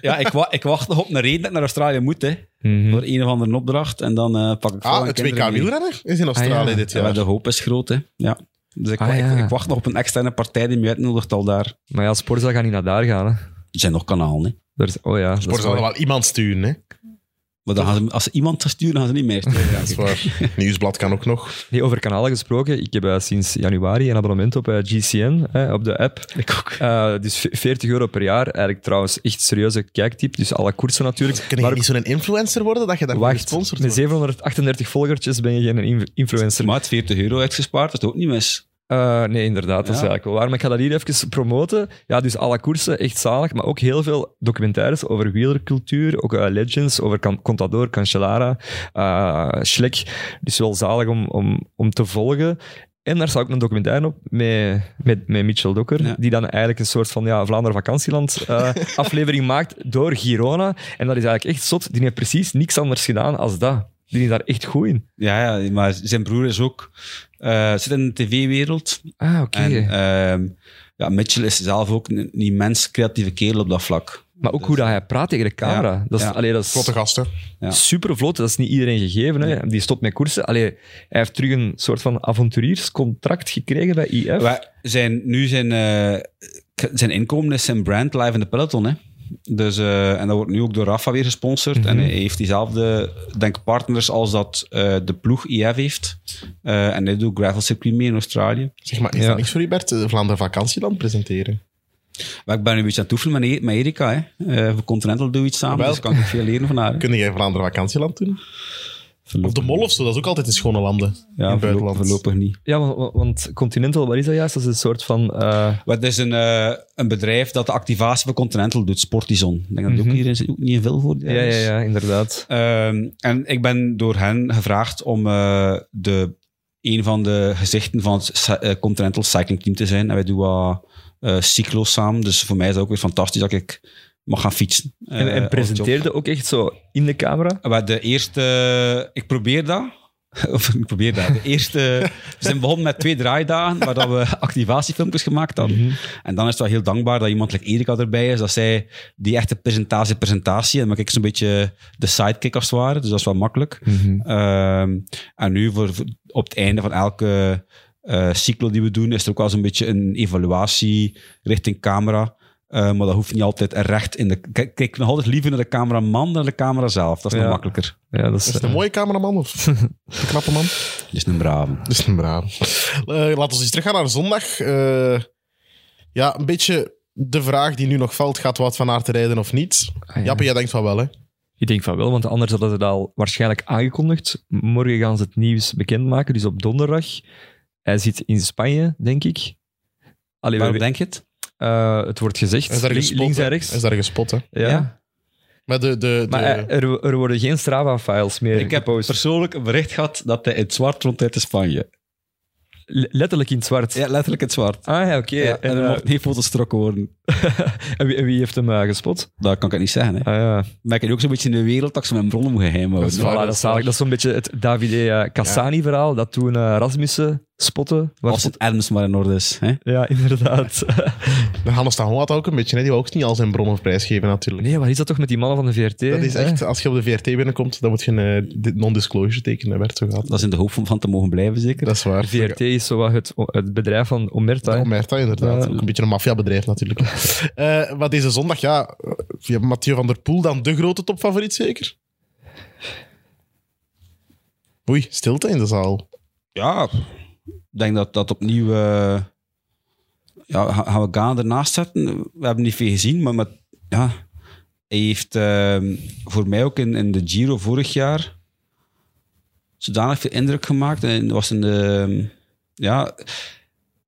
S4: ja, ik, wa- ik wacht nog op een reden dat ik naar Australië moet. Hè,
S3: Mhm.
S4: Voor een of andere opdracht. En dan eh, pak ik vooral
S2: Ah,
S4: mijn
S2: het
S4: kinderen
S2: WK
S4: mee.
S2: wielrenner is in Australië
S3: Ah, ja.
S2: dit
S4: Ja, maar
S2: jaar.
S4: de hoop is groot. Hè. Ja. Dus ik,
S3: Ah,
S4: wa- ik-
S3: ja.
S4: ik wacht nog op een externe partij die mij uitnodigt al daar. Er
S3: Maar ja, Sporza gaat niet naar daar gaan. Hè.
S4: zijn nog kanalen. Hè.
S3: Daar is... Oh ja. dat is
S2: Voor zal er
S3: mooi.
S2: wel iemand sturen, hè?
S4: Maar dan gaan ze, als ze iemand sturen, gaan ze niet meesturen. (laughs)
S2: Dat
S3: (laughs)
S2: is waar. Nieuwsblad kan ook nog.
S3: Nee, over kanalen gesproken. Ik heb eh, sinds januari een abonnement op eh, GCN, hè, op de app.
S4: Ik ook.
S3: Eh, dus ve- 40 euro per jaar. Eigenlijk trouwens echt serieuze kijktip. Dus alle koersen natuurlijk.
S2: Kun je
S3: Maar
S2: niet zo'n influencer worden dat je daarvoor
S3: wacht,
S2: gesponsord
S3: met
S2: wordt?
S3: 738 volgertjes ben je geen inf- influencer.
S4: Maar het 40 euro uitgespaard, dat is ook niet mis.
S3: Eh, nee, inderdaad, dat is
S4: Ja.
S3: eigenlijk wel waar. Maar ik ga dat hier even promoten. Ja, dus alle koersen, echt zalig. Maar ook heel veel documentaires over wielercultuur. Ook eh, Legends, over Can- Contador, Cancellara, eh Schlek. Dus wel zalig om, om, om te volgen. En daar staat ook een documentaire op met, met, met Mitchell Dokker,
S4: Ja.
S3: die dan eigenlijk een soort van ja, Vlaanderen vakantieland
S4: (laughs)
S3: eh, aflevering maakt door Girona. En dat is eigenlijk echt zot. Die heeft precies niks anders gedaan als dat. Die is daar echt goed in.
S4: Ja, ja, maar zijn broer is ook, eh, zit in de tv-wereld.
S3: Ah, oké.
S4: En ehm, ja, Mitchell is zelf ook een, een immens creatieve kerel op dat vlak.
S3: Maar ook hoe dat hij praat tegen de camera.
S4: dus- Ja,
S3: Dat is,
S4: ja.
S3: allee, dat is
S2: Grote gasten.
S4: Ja.
S3: super vlot. Dat is niet iedereen gegeven. Hè. Die stopt met koersen. Allee, hij heeft terug een soort van avonturierscontract gekregen bij IF.
S4: Wij zijn, nu zijn, eh, k- zijn inkomen is zijn brand live in de peloton. Hè? Dus, eh, en dat wordt nu ook door Rafa weer gesponsord. En
S2: Mhm.
S4: hij heeft diezelfde denk ik, partners als dat eh, de ploeg IF heeft. Eh, en hij doet gravel circuit mee in Australië.
S2: Zeg maar, is
S3: Ja.
S2: dat niks voor u, Bert? De Vlaanderen vakantieland presenteren.
S4: Maar ik ben nu een beetje aan het oefenen met, E- met Erika. Hè? Eh, voor Continental doen we iets samen,
S2: Wel.
S4: dus kan ik veel leren van haar. hè.
S2: Kun jij Vlaanderen vakantieland doen? Of
S4: Voorlopig-
S2: de mol of zo, dat is ook altijd in schone landen. in
S4: Ja,
S2: het
S4: voorlopig,
S2: buitenland.
S4: voorlopig niet.
S3: Ja, wa- wa- want, Continental, wat is dat juist? Dat is een soort van... eh,
S4: Maar het is een, eh, een bedrijf dat de activatie van Continental doet, Sportizon. Ik denk dat die ook hier in, ook niet in veel voor
S3: Mhm. ja, ja, ja, inderdaad.
S4: Ehm, en ik ben door hen gevraagd om eh, de, een van de gezichten van het Sa- eh, Continental Cycling Team te zijn. En wij doen wat eh, cyclo's samen. Dus voor mij is dat ook weer fantastisch dat ik mag gaan fietsen.
S3: En,
S4: eh,
S3: en
S4: als job.
S3: presenteerde ook echt zo in de camera.
S4: Maar de eerste... Ik probeer dat. (laughs) Of ik probeer dat. De eerste... we zijn begonnen met twee draaidagen waar dat we activatiefilmpjes gemaakt hadden.
S3: Mhm.
S4: En dan is het wel heel dankbaar dat iemand like Erika erbij is, dat zij die echte presentatie, presentatie, en dan ben ik zo'n beetje de sidekick als het ware, dus dat is wel makkelijk.
S3: Mhm.
S4: Ehm, en nu voor, voor- op het einde van elke eh, cyclo die we doen, is er ook wel zo'n beetje een evaluatie richting camera. Eh, maar dat hoeft niet altijd recht in de... Kijk, kijk nog altijd liever naar de cameraman dan naar de camera zelf. Dat is
S3: Ja.
S4: nog makkelijker.
S3: Ja, dat is,
S2: Is het een
S3: eh,
S2: mooie cameraman of een knappe man?
S4: Dat is een brave.
S2: (laughs) Dat is een braaf. Laten we eens teruggaan naar zondag. Eh, ja, een beetje de vraag die nu nog valt, gaat Wout van Aert rijden of niet?
S3: ah, ja.
S2: Jappe, jij denkt van wel, hè?
S3: Ik denk van wel, want anders hadden ze dat al waarschijnlijk aangekondigd. Morgen gaan ze het nieuws bekendmaken, dus op donderdag. Hij zit in Spanje, denk ik. Allee,
S4: Waarom
S3: we-
S4: denk je het?
S3: eh, het wordt gezegd,
S2: Is daar
S3: link-
S2: gespot,
S3: links en
S2: hè?
S3: rechts.
S2: Is daar gespot, hè?
S3: ja.
S4: Ja.
S2: Maar de... de, de-
S3: Maar eh, er, er worden geen Strava-files meer
S4: Ik heb
S3: gepost.
S4: persoonlijk een bericht gehad dat hij in het zwart rond uit Spanje.
S3: Le- Letterlijk in het zwart.
S4: Ja, letterlijk in het zwart.
S3: Ah ja, oké.
S4: Ja, en
S3: en,
S4: er
S3: eh,
S4: mocht geen foto's getrokken worden.
S3: en wie, en wie heeft hem eh, gespot?
S4: Dat kan ik niet zeggen. Hè.
S3: Ah ja.
S4: Maar ik heb ook zo'n beetje in de wereld dat ik ze mijn bronnen moet geheim houden.
S2: Dat is
S3: Voilà,
S2: waar.
S3: dat, is eigenlijk- dat is zo'n beetje het Davide eh, Cassani-verhaal, dat toen eh, Rasmussen spotte. Waar-
S4: Als het ernst maar in orde is. Hè.
S3: Ja, inderdaad. (laughs)
S2: de Hannes de Hong had dat ook een beetje, hè? Die wil ook niet al zijn bronnen prijsgeven, natuurlijk.
S3: nee, wat is dat toch met die mannen van de VRT?
S2: Dat is
S3: hè?
S2: echt, als je op de VRT binnenkomt, dan moet je een eh, dit non-disclosure tekenen, werd zo gaat.
S4: Dat is in de hoop om van te mogen blijven, zeker.
S2: Dat is waar.
S3: VRT is zo wat het, het bedrijf van Omerta. hè.
S2: Ja, Omerta, inderdaad.
S3: Ja.
S2: Ook een beetje een maffiabedrijf
S3: (laughs)
S2: natuurlijk. Eh maar deze zondag, ja, eh, je hebt Mathieu van der Poel dan de grote topfavoriet zeker? Oei, stilte in de zaal.
S4: Ja, ik denk dat dat opnieuw... eh, ja, ga- gaan we Gaan ernaast zetten? We hebben niet veel gezien, maar met, ja, hij heeft ehm, voor mij ook in, in de Giro vorig jaar zodanig veel indruk gemaakt. En was een... ehm, ja,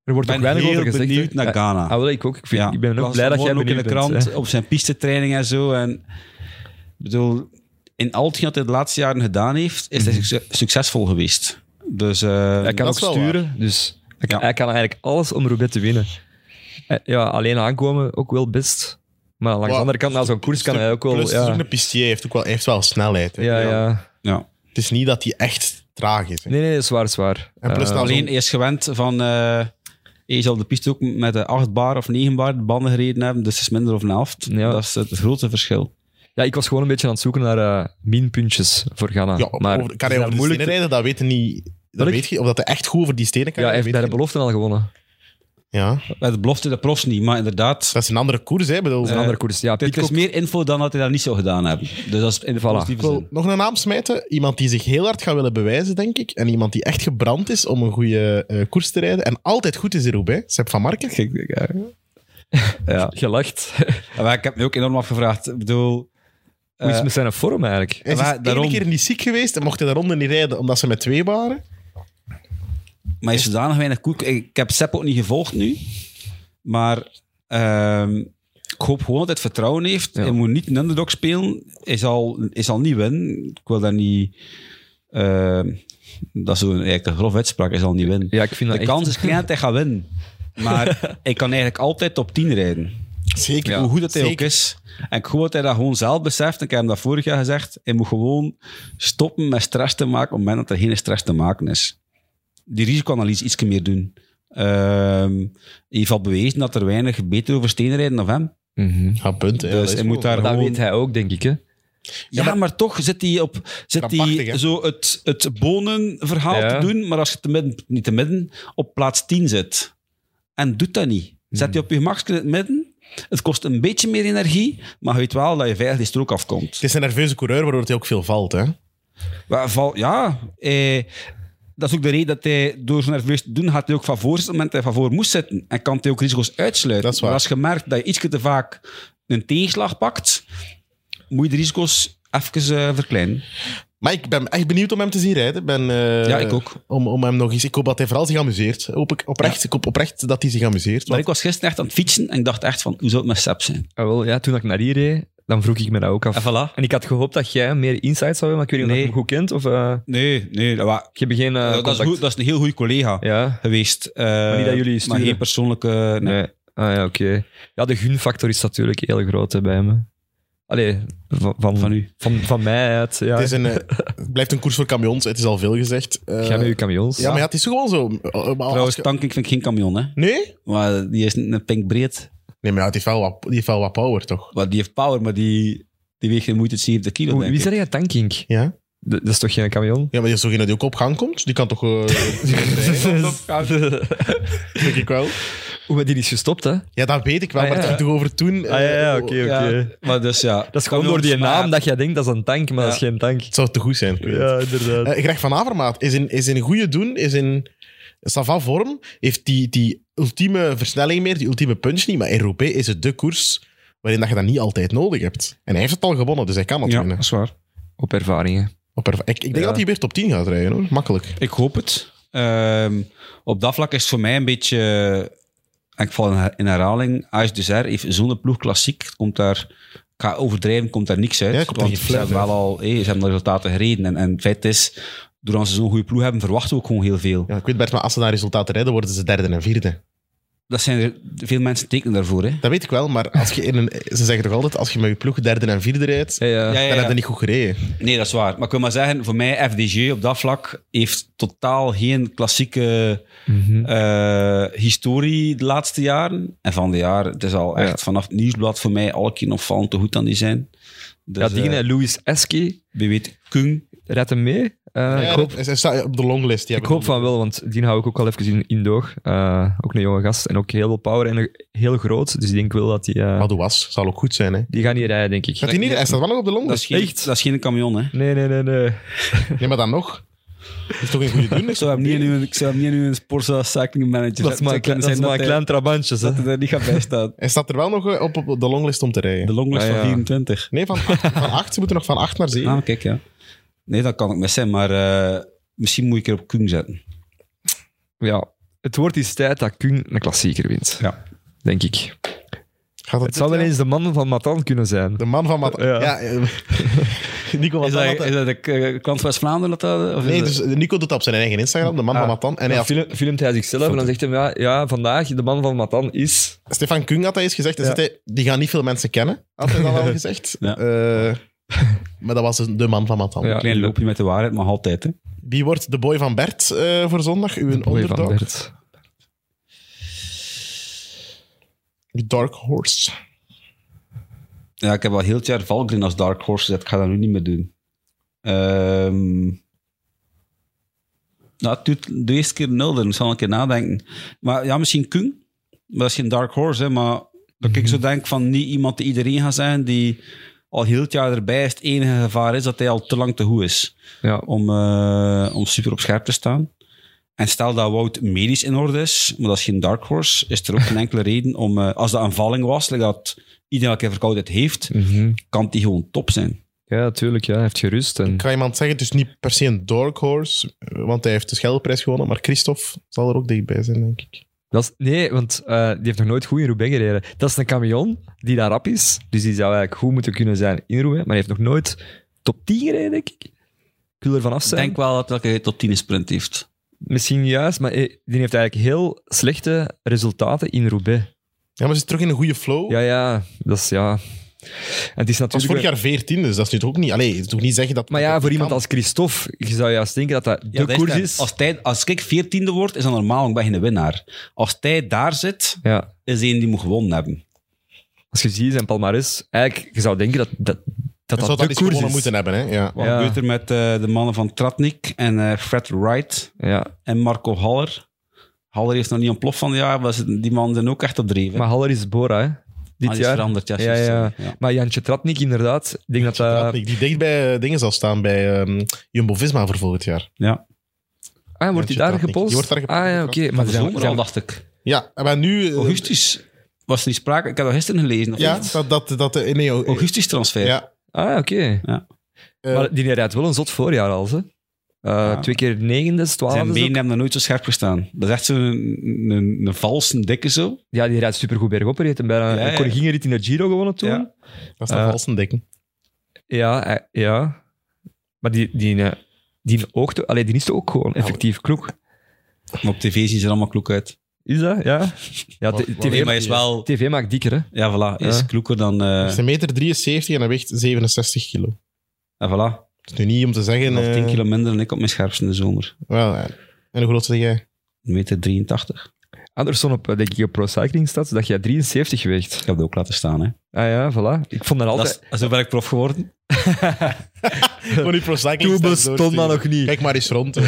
S3: Er wordt
S4: Ik
S3: ook
S4: ben
S3: weinig over
S4: heel
S3: gezegd.
S4: benieuwd
S3: hè.
S4: naar
S3: Ah,
S4: Ghana.
S3: Ah, wel, ik ook. Ik, vind- ik ben
S4: ik
S3: ook
S4: las
S3: blij dat jij
S4: vanmorgen
S3: benieuwd
S4: ook in de
S3: bent,
S4: krant
S3: hè.
S4: op zijn pistetraining en zo. En ik bedoel, in al hetgeen dat hij de laatste jaren gedaan heeft, is hij succes- succesvol geweest. Dus eh,
S3: Mhm. Hij kan
S2: Dat
S3: ook
S2: is wel
S3: sturen, dus hij,
S4: Ja.
S3: hij kan eigenlijk alles om Roubaix te winnen. Eh, Ja, alleen aankomen ook wel best. Maar langs de
S2: Wow.
S3: andere kant, na zo'n koers kan hij ook wel...
S2: Plus, het is
S3: Ja,
S2: ook een pistier, heeft ook wel, heeft wel snelheid. hè.
S3: ja, ja.
S4: ja.
S2: Het is niet dat hij echt traag is. hè.
S3: Nee, nee, nee, zwaar, zwaar.
S2: En plus
S3: Eh,
S2: nou
S4: alleen
S2: alleen...
S4: eerst gewend van... eh hij is op de piste ook met de 8 bar of 9 bar de banden gereden hebben, dus het is minder of een helft.
S3: Ja.
S4: Dat is het grote verschil.
S3: ja, ik was gewoon een beetje aan het zoeken naar eh, minpuntjes voor Ghana.
S2: Ja,
S3: maar
S2: over, kan
S3: het is
S2: hij
S3: daar
S2: over de
S3: moeilijk
S2: stenen rijden? Dat weten niet... Dat
S3: ik-
S2: weet je, of dat hij echt goed over die stenen
S3: te-
S2: kan
S3: Ja, hij
S2: rijden,
S3: heeft bij de
S2: weet je
S3: belofte al gewonnen.
S2: Ja,
S4: Bij de belofte de profs niet, maar inderdaad.
S2: dat is een andere koers, hè? Ik Bedoel,
S3: een andere koers. Ja,
S4: Dit is
S3: Pitcock.
S4: meer info dan dat hij dat niet zou gedaan hebben. Dus dat is in de
S3: Voilà.
S4: positieve
S2: Ik wil
S4: zin.
S2: nog een naam smijten. Iemand die zich heel hard gaat willen bewijzen, denk ik. En iemand die echt gebrand is om een goede eh, koers te rijden. En altijd goed is in Roubaix. Sepp van Marken.
S4: Kijk, kijk, ja. Ja.
S3: Gelacht.
S4: Maar ik heb me ook enorm afgevraagd. Ik bedoel,
S3: (laughs) Hoe is het
S4: eh,
S3: met zijn vorm eigenlijk?
S2: Hij is
S4: Waar-
S2: één
S4: daarom.
S2: keer niet ziek geweest en mocht hij de ronde niet rijden omdat ze met twee waren.
S4: maar is zodanig weinig koek. Ik, ik heb Sepp ook niet gevolgd nu. Maar ehm, ik hoop gewoon dat hij het vertrouwen heeft.
S3: Ja.
S4: Hij moet niet een underdog spelen. Hij zal, hij zal niet winnen. Ik wil dat niet... ehm, dat is zo'n eigenlijk een grof uitspraak. Hij zal niet winnen.
S3: Ja, ik vind
S4: De
S3: dat
S4: kans
S3: echt...
S4: is klein dat hij gaat winnen.
S3: (laughs)
S4: Maar hij kan eigenlijk altijd top 10 rijden.
S2: Zeker.
S4: hoe goed dat hij
S2: Zeker.
S4: ook is. En ik hoop dat hij dat gewoon zelf beseft. Ik heb hem dat vorig jaar gezegd. Hij moet gewoon stoppen met stress te maken op het moment dat er geen stress te maken is. Die risicoanalyse iets meer doen. Ehm, hij heeft al bewezen dat er weinig beter over stenen rijden dan hem.
S3: Mhm.
S2: Ja, punt. hè.
S4: Dus
S2: Dat is
S4: hij
S2: goed.
S4: moet daar
S3: Maar dat
S4: gewoon...
S3: weet hij ook, denk ik. Hè?
S4: Ja, maar, toch zit hij op zit
S2: Krampachtig,
S4: hij
S2: hè?
S4: zo het, het bonenverhaal
S3: Ja.
S4: te doen, maar als je te midden, niet te midden, op plaats 10 zit en doet dat niet. Zet hij op je gemakje in het midden, het kost een beetje meer energie, maar je weet wel dat je veilig die strook afkomt.
S2: Het is een nerveuze coureur, waardoor hij ook veel valt. Hè?
S4: Waar val- Ja, eh, dat is ook de reden dat hij door zo nerveus te doen, gaat hij ook van voor zitten, op het moment dat hij van voor moest zitten en kan hij ook risico's uitsluiten.
S2: Dat is waar.
S4: Maar als je merkt dat je ietsje te vaak een tegenslag pakt, moet je de risico's even eh, verkleinen.
S2: Maar ik ben echt benieuwd om hem te zien rijden. Ik Ben, eh,
S4: Ja, ik ook.
S2: Om, om hem nog eens... Ik hoop dat hij vooral zich amuseert. Hoop ik, oprecht, Ik hoop oprecht dat hij zich amuseert.
S4: Maar
S2: want-
S4: ik was gisteren echt aan het fietsen en ik dacht echt van, hoe zou het met Sepp zijn?
S3: Ah, wel, ja, toen ik naar hier reed, dan vroeg ik me dat ook af.
S4: En voilà.
S3: En ik had gehoopt dat jij meer insight zou hebben, maar ik weet niet of
S4: Nee.
S3: je hem goed kent. Of, eh,
S4: Nee, nee. dat wa-
S3: je hebt geen eh,
S4: dat, is
S3: contact.
S4: goed, dat is een heel goede collega
S3: Ja.
S4: geweest. Eh,
S3: niet dat jullie
S4: Maar
S3: sturen.
S4: geen persoonlijke... Nee.
S3: Nee. Ah ja, oké. Ja, de gunfactor is natuurlijk heel groot hè, bij me. Allee, van, van,
S4: Van u.
S3: Van, van mij uit. Ja.
S2: Het, is een, eh, het blijft een koers voor camions, het is al veel gezegd. Eh,
S3: Jij met je camions.
S2: ja, maar ja, het is gewoon zo. Eh, eh, maar als
S4: Trouwens,
S2: je-
S4: Tankink vind ik geen camion, hè.
S2: Nee?
S4: Maar die is niet een pink breed.
S2: Nee, maar ja, het heeft wel wat, die heeft wel wat power, toch?
S4: Maar die heeft power, maar die, die weegt geen moeite 70 kilo,
S3: Hoe-
S4: denk
S3: Wie
S4: ik.
S3: zei jij tanking? D-
S2: Ja?
S3: Dat is toch geen
S2: (laughs)
S3: camion?
S2: Ja, maar die- degene die ook op gang komt, die kan toch... (laughs) eh, die kan rijden, denk ik wel.
S3: Hoe we die is gestopt, hè?
S2: Ja, dat weet ik wel,
S3: Ah,
S2: maar
S3: ja.
S2: daar toch over toen... eh,
S4: Ja, maar dus ja.
S3: Dat is gewoon door die naam dat jij denkt dat is een tank, maar
S4: Ja.
S3: dat is geen tank.
S2: Het zou te goed zijn. ik weet het.
S3: inderdaad.
S2: Eh, Greg van Avermaat is in, is in goede doen, is in sava vorm, heeft die, die ultieme versnelling meer, die ultieme punch niet, maar in Roubaix is het de koers waarin dat je dat niet altijd nodig hebt. En hij heeft het al gewonnen, dus hij kan het
S4: Ja,
S2: winnen.
S4: dat is waar.
S3: Op ervaringen.
S2: Op erva- ik, ik denk
S3: Ja.
S2: dat hij weer top 10 gaat rijden, hoor. Makkelijk.
S4: Ik hoop het. Ehm, op dat vlak is het voor mij een beetje... En ik val in her- in herhaling. Ais Dessert heeft zo'n ploeg klassiek. Het Komt daar, ik ga overdrijven, komt daar niks uit.
S2: Ja, komt er
S4: want
S2: geen
S4: ze
S2: fluit
S4: hebben
S2: uit.
S4: wel al hey, ze hebben de resultaten gereden. En, en het feit is, doordat ze zo'n goede ploeg hebben, verwachten we ook gewoon heel veel.
S2: Ja, ik weet Bert, maar als ze naar resultaten rijden, worden ze derde en vierde.
S4: Dat zijn er, veel mensen tekenen daarvoor. Hè.
S2: Dat weet ik wel, maar als je in een, ze zeggen toch altijd, als je met je ploeg derde en vierde rijdt,
S3: Ja, ja.
S4: Ja,
S2: dan
S4: ja,
S2: heb
S4: ja.
S2: je niet goed gereden.
S4: Nee, dat is waar. Maar ik wil maar zeggen, voor mij, FDG op dat vlak heeft totaal geen klassieke
S3: Mhm.
S4: eh, historie de laatste jaren. En van de jaren, het is al
S3: Ja.
S4: echt vanaf het nieuwsblad voor mij alle keer opvallend hoe goed aan die zijn. Dus,
S3: ja, die
S4: eh,
S3: en Louis Eske,
S4: wie weet, Kung.
S3: rijdt hem mee? Eh,
S2: Ja,
S3: ik hoop,
S2: dat- hij staat op de longlist. die
S3: ik
S2: hebben-
S3: hoop van wel, want die hou ik ook al even in, in doog. Eh, ook een jonge gast en ook heel veel power en een- heel groot. Dus ik denk wel dat die... eh,
S2: Madouas zal ook goed zijn, hè.
S3: die gaan niet rijden, denk ik.
S2: Gaat hij niet? Hij staat wel nog op de
S4: Dat
S2: longlist.
S4: is geen,
S3: echt?
S4: dat is geen camion, hè.
S3: Nee, nee, nee, nee.
S2: Nee, maar dan nog. Dat is toch een goede doen?
S4: Ik zou hem niet in een, ik zou hem niet in een Sportza Cycling Manager
S3: Dat is maar een klein, dat is maar een klein trabantje.
S4: (laughs) dat
S3: hè.
S4: hij daar niet gaat bij staan.
S2: Hij staat er wel nog eh, op, op de longlist om te rijden.
S4: De longlist
S3: Ah,
S4: van
S3: ja.
S4: 24.
S2: Nee, van 8. Van acht. Ze moeten nog van 8 naar 7.
S4: Ah, kijk, ja. Nee, dat kan ik mis zijn, maar eh, misschien moet ik er op Kung zetten.
S3: Ja, het wordt eens tijd dat Kuhn een klassieker wint.
S4: Ja.
S3: Denk ik.
S2: Gaat dat
S3: Het zou
S2: dit
S3: wel
S2: jaar?
S3: eens de man van Matan kunnen zijn.
S2: De man van Mat...
S3: Ja.
S2: Ja. eh, (laughs) Nico
S4: Is
S2: Matan
S4: dat,
S2: had-
S4: is dat de eh, klant West-Vlaanderen? dat dat- of is
S2: Nee,
S4: dat-
S2: dus Nico doet dat op zijn eigen Instagram. De man
S4: Ah.
S2: van Matan. En hij
S3: Dan
S2: had-
S3: film- filmt hij zichzelf en dan zegt hij, ja, ja, vandaag de man van Matan is...
S2: Stefan Kung had dat eens gezegd. Dus zei hij, die gaan niet veel mensen kennen. Had hij dat
S3: (laughs)
S2: al gezegd.
S4: Ja.
S2: Eh, maar dat was dus de man van Matan.
S3: Ja.
S4: Klein loopje met de waarheid, maar altijd. Hè.
S2: Wie wordt de boy van Bert eh, voor zondag? Uw
S3: de boy van
S2: onderdog?
S3: Bert.
S2: Uw Dark Horse.
S4: Ja, ik heb al heel het jaar Valgren als Dark Horse gezet. Ik ga dat nu niet meer doen. Ehm, dus nou, het doet de eerste keer nul, dan zal ik een keer nadenken. Maar ja, misschien Kung. Maar dat is geen dark horse, hè, maar dat ik zo denk van niet iemand die iedereen gaat zijn die al heel het jaar erbij is. Het enige gevaar is dat hij al te lang te goed is
S3: Ja.
S4: om, eh, om super op scherp te staan. En stel dat Wout medisch in orde is, maar dat is geen dark horse, is er ook geen enkele reden om, eh, als dat een valling was, like dat iedereen elke verkoudheid heeft,
S3: Mhm.
S4: kan die gewoon top zijn.
S3: Ja, tuurlijk. Ja. Hij heeft gerust. En...
S2: Kan iemand zeggen, het is niet per se een dark horse, eh, want hij heeft de Scheldprijs gewonnen, maar Christophe zal er ook dichtbij zijn, denk ik.
S3: Dat is, nee, want eh, die heeft nog nooit goed in Roubaix gereden. Dat is een camion die daar rap is. Dus die zou eigenlijk goed moeten kunnen zijn in Roubaix. Maar die heeft nog nooit top 10 gereden, denk ik. Ik wil er vanaf
S4: Ik
S3: zijn.
S4: denk wel dat elke tot 10 een sprint heeft.
S3: Misschien juist, maar eh, die heeft eigenlijk heel slechte resultaten in Roubaix.
S2: Ja, maar ze zit terug in een goede flow.
S3: Ja, ja, dat is ja. En het is
S2: Het was
S3: natuurlijk.
S2: vorig jaar 14, dus dat is nu toch ook niet... Allee, het is toch niet zeggen dat...
S3: Maar ja,
S2: dat
S3: voor
S2: kan.
S3: iemand als Christophe, je zou juist denken dat dat de
S4: dat
S3: koers
S4: dat.
S3: is.
S4: Als, hij, als ik veertiende wordt, is dat normaal, ik ben geen winnaar. Als hij daar zit,
S3: Ja,
S4: is hij die moet gewonnen hebben.
S3: als je ziet zijn palmares, eigenlijk, je zou denken dat dat, dat,
S2: Hij
S3: dat
S2: zou
S3: de
S2: dat eens
S3: koers
S2: gewonnen
S3: is.
S2: moeten hebben, hè. Ja.
S4: Wat
S3: Ja.
S4: gebeurt er met eh, de mannen van Tratnik en eh, Fred Wright
S3: Ja,
S4: en Marco Haller? Haller heeft nog niet een plof van het jaar, maar ze- die mannen zijn ook echt op dreven.
S3: maar Haller is Bora, hè? Dit
S4: Ah, die is
S3: jaar.
S4: veranderd, ja.
S3: Ja,
S4: sorry,
S3: ja.
S4: sorry, ja.
S3: Maar Jantje Tratnik, inderdaad. Ik denk dat eh,
S2: Dat
S3: dat...
S2: niet. Die dicht bij eh, dingen zal staan bij ehm, Jumbo-Visma voor volgend jaar.
S4: Ja.
S3: Ah, wordt
S2: Jantje
S3: die daar
S2: Tratnik.
S3: gepost?
S2: Die wordt daar gepost,
S3: Ah, ja,
S2: inderdaad.
S3: oké. Maar
S4: Maar
S3: ze
S4: de
S3: zijn-
S4: zomer al,
S3: zijn-
S4: dacht ik.
S2: Ja, maar nu... eh,
S4: Augustus was er niet sprake. Ik heb dat gisteren gelezen. of
S2: Ja,
S4: niet?
S2: dat... dat, dat eh, nee, oh, eh,
S4: Augustus transfer.
S2: Ja.
S3: Ah, oké.
S2: eh,
S3: Maar die rijdt wel een zot voorjaar al, hè? Eh, Twee keer negende,
S4: Zijn
S3: twaalfde.
S4: benen
S3: is ook.
S4: hebben nog nooit zo scherp gestaan. Dat is echt zo'n een, een, een valse dikke zo.
S3: Ja, die rijdt supergoed bergop. Hij heeft hem bijna
S4: Ja,
S3: een
S4: ja.
S3: Corrigingenrit in de Giro gewonnen toen.
S4: Ja.
S2: dat is een
S3: eh,
S2: valse dekking.
S3: Ja, eh, ja. Maar die, die, eh, die, oogt- allee, die is toch ook gewoon effectief kloek?
S4: Maar op tv zien ze er allemaal kloek uit.
S3: Is dat? Ja. ja
S2: Wat-
S3: t-
S2: wat-
S3: TV,
S4: Nee, maar is wel...
S3: TV maakt dikker, hè?
S4: Ja, voilà. Is
S3: Ja.
S4: kloeker dan...
S2: Hij
S4: eh
S2: is een meter 73 en hij weegt 67 kilo.
S4: ja, voilà.
S2: Het is nu niet om te zeggen...
S4: Nog
S2: eh,
S4: 10 kilo minder dan ik op mijn scherpste in de zomer.
S2: Wel, eh, en hoe groot zeg jij?
S4: Een meter 83.
S3: Anderson op, eh, denk ik, op Pro Cycling staat, dat jij 73 weegt.
S4: Ik heb dat ook laten staan, hè.
S3: Ah ja, voilà. Ik vond dat
S4: Dat
S3: altijd...
S4: is, zo ben ik prof geworden.
S2: Voor die pro cycling
S3: Toen
S2: stats
S3: bestond dat
S2: doorsturen.
S3: nog niet.
S2: Kijk maar eens rond. eh.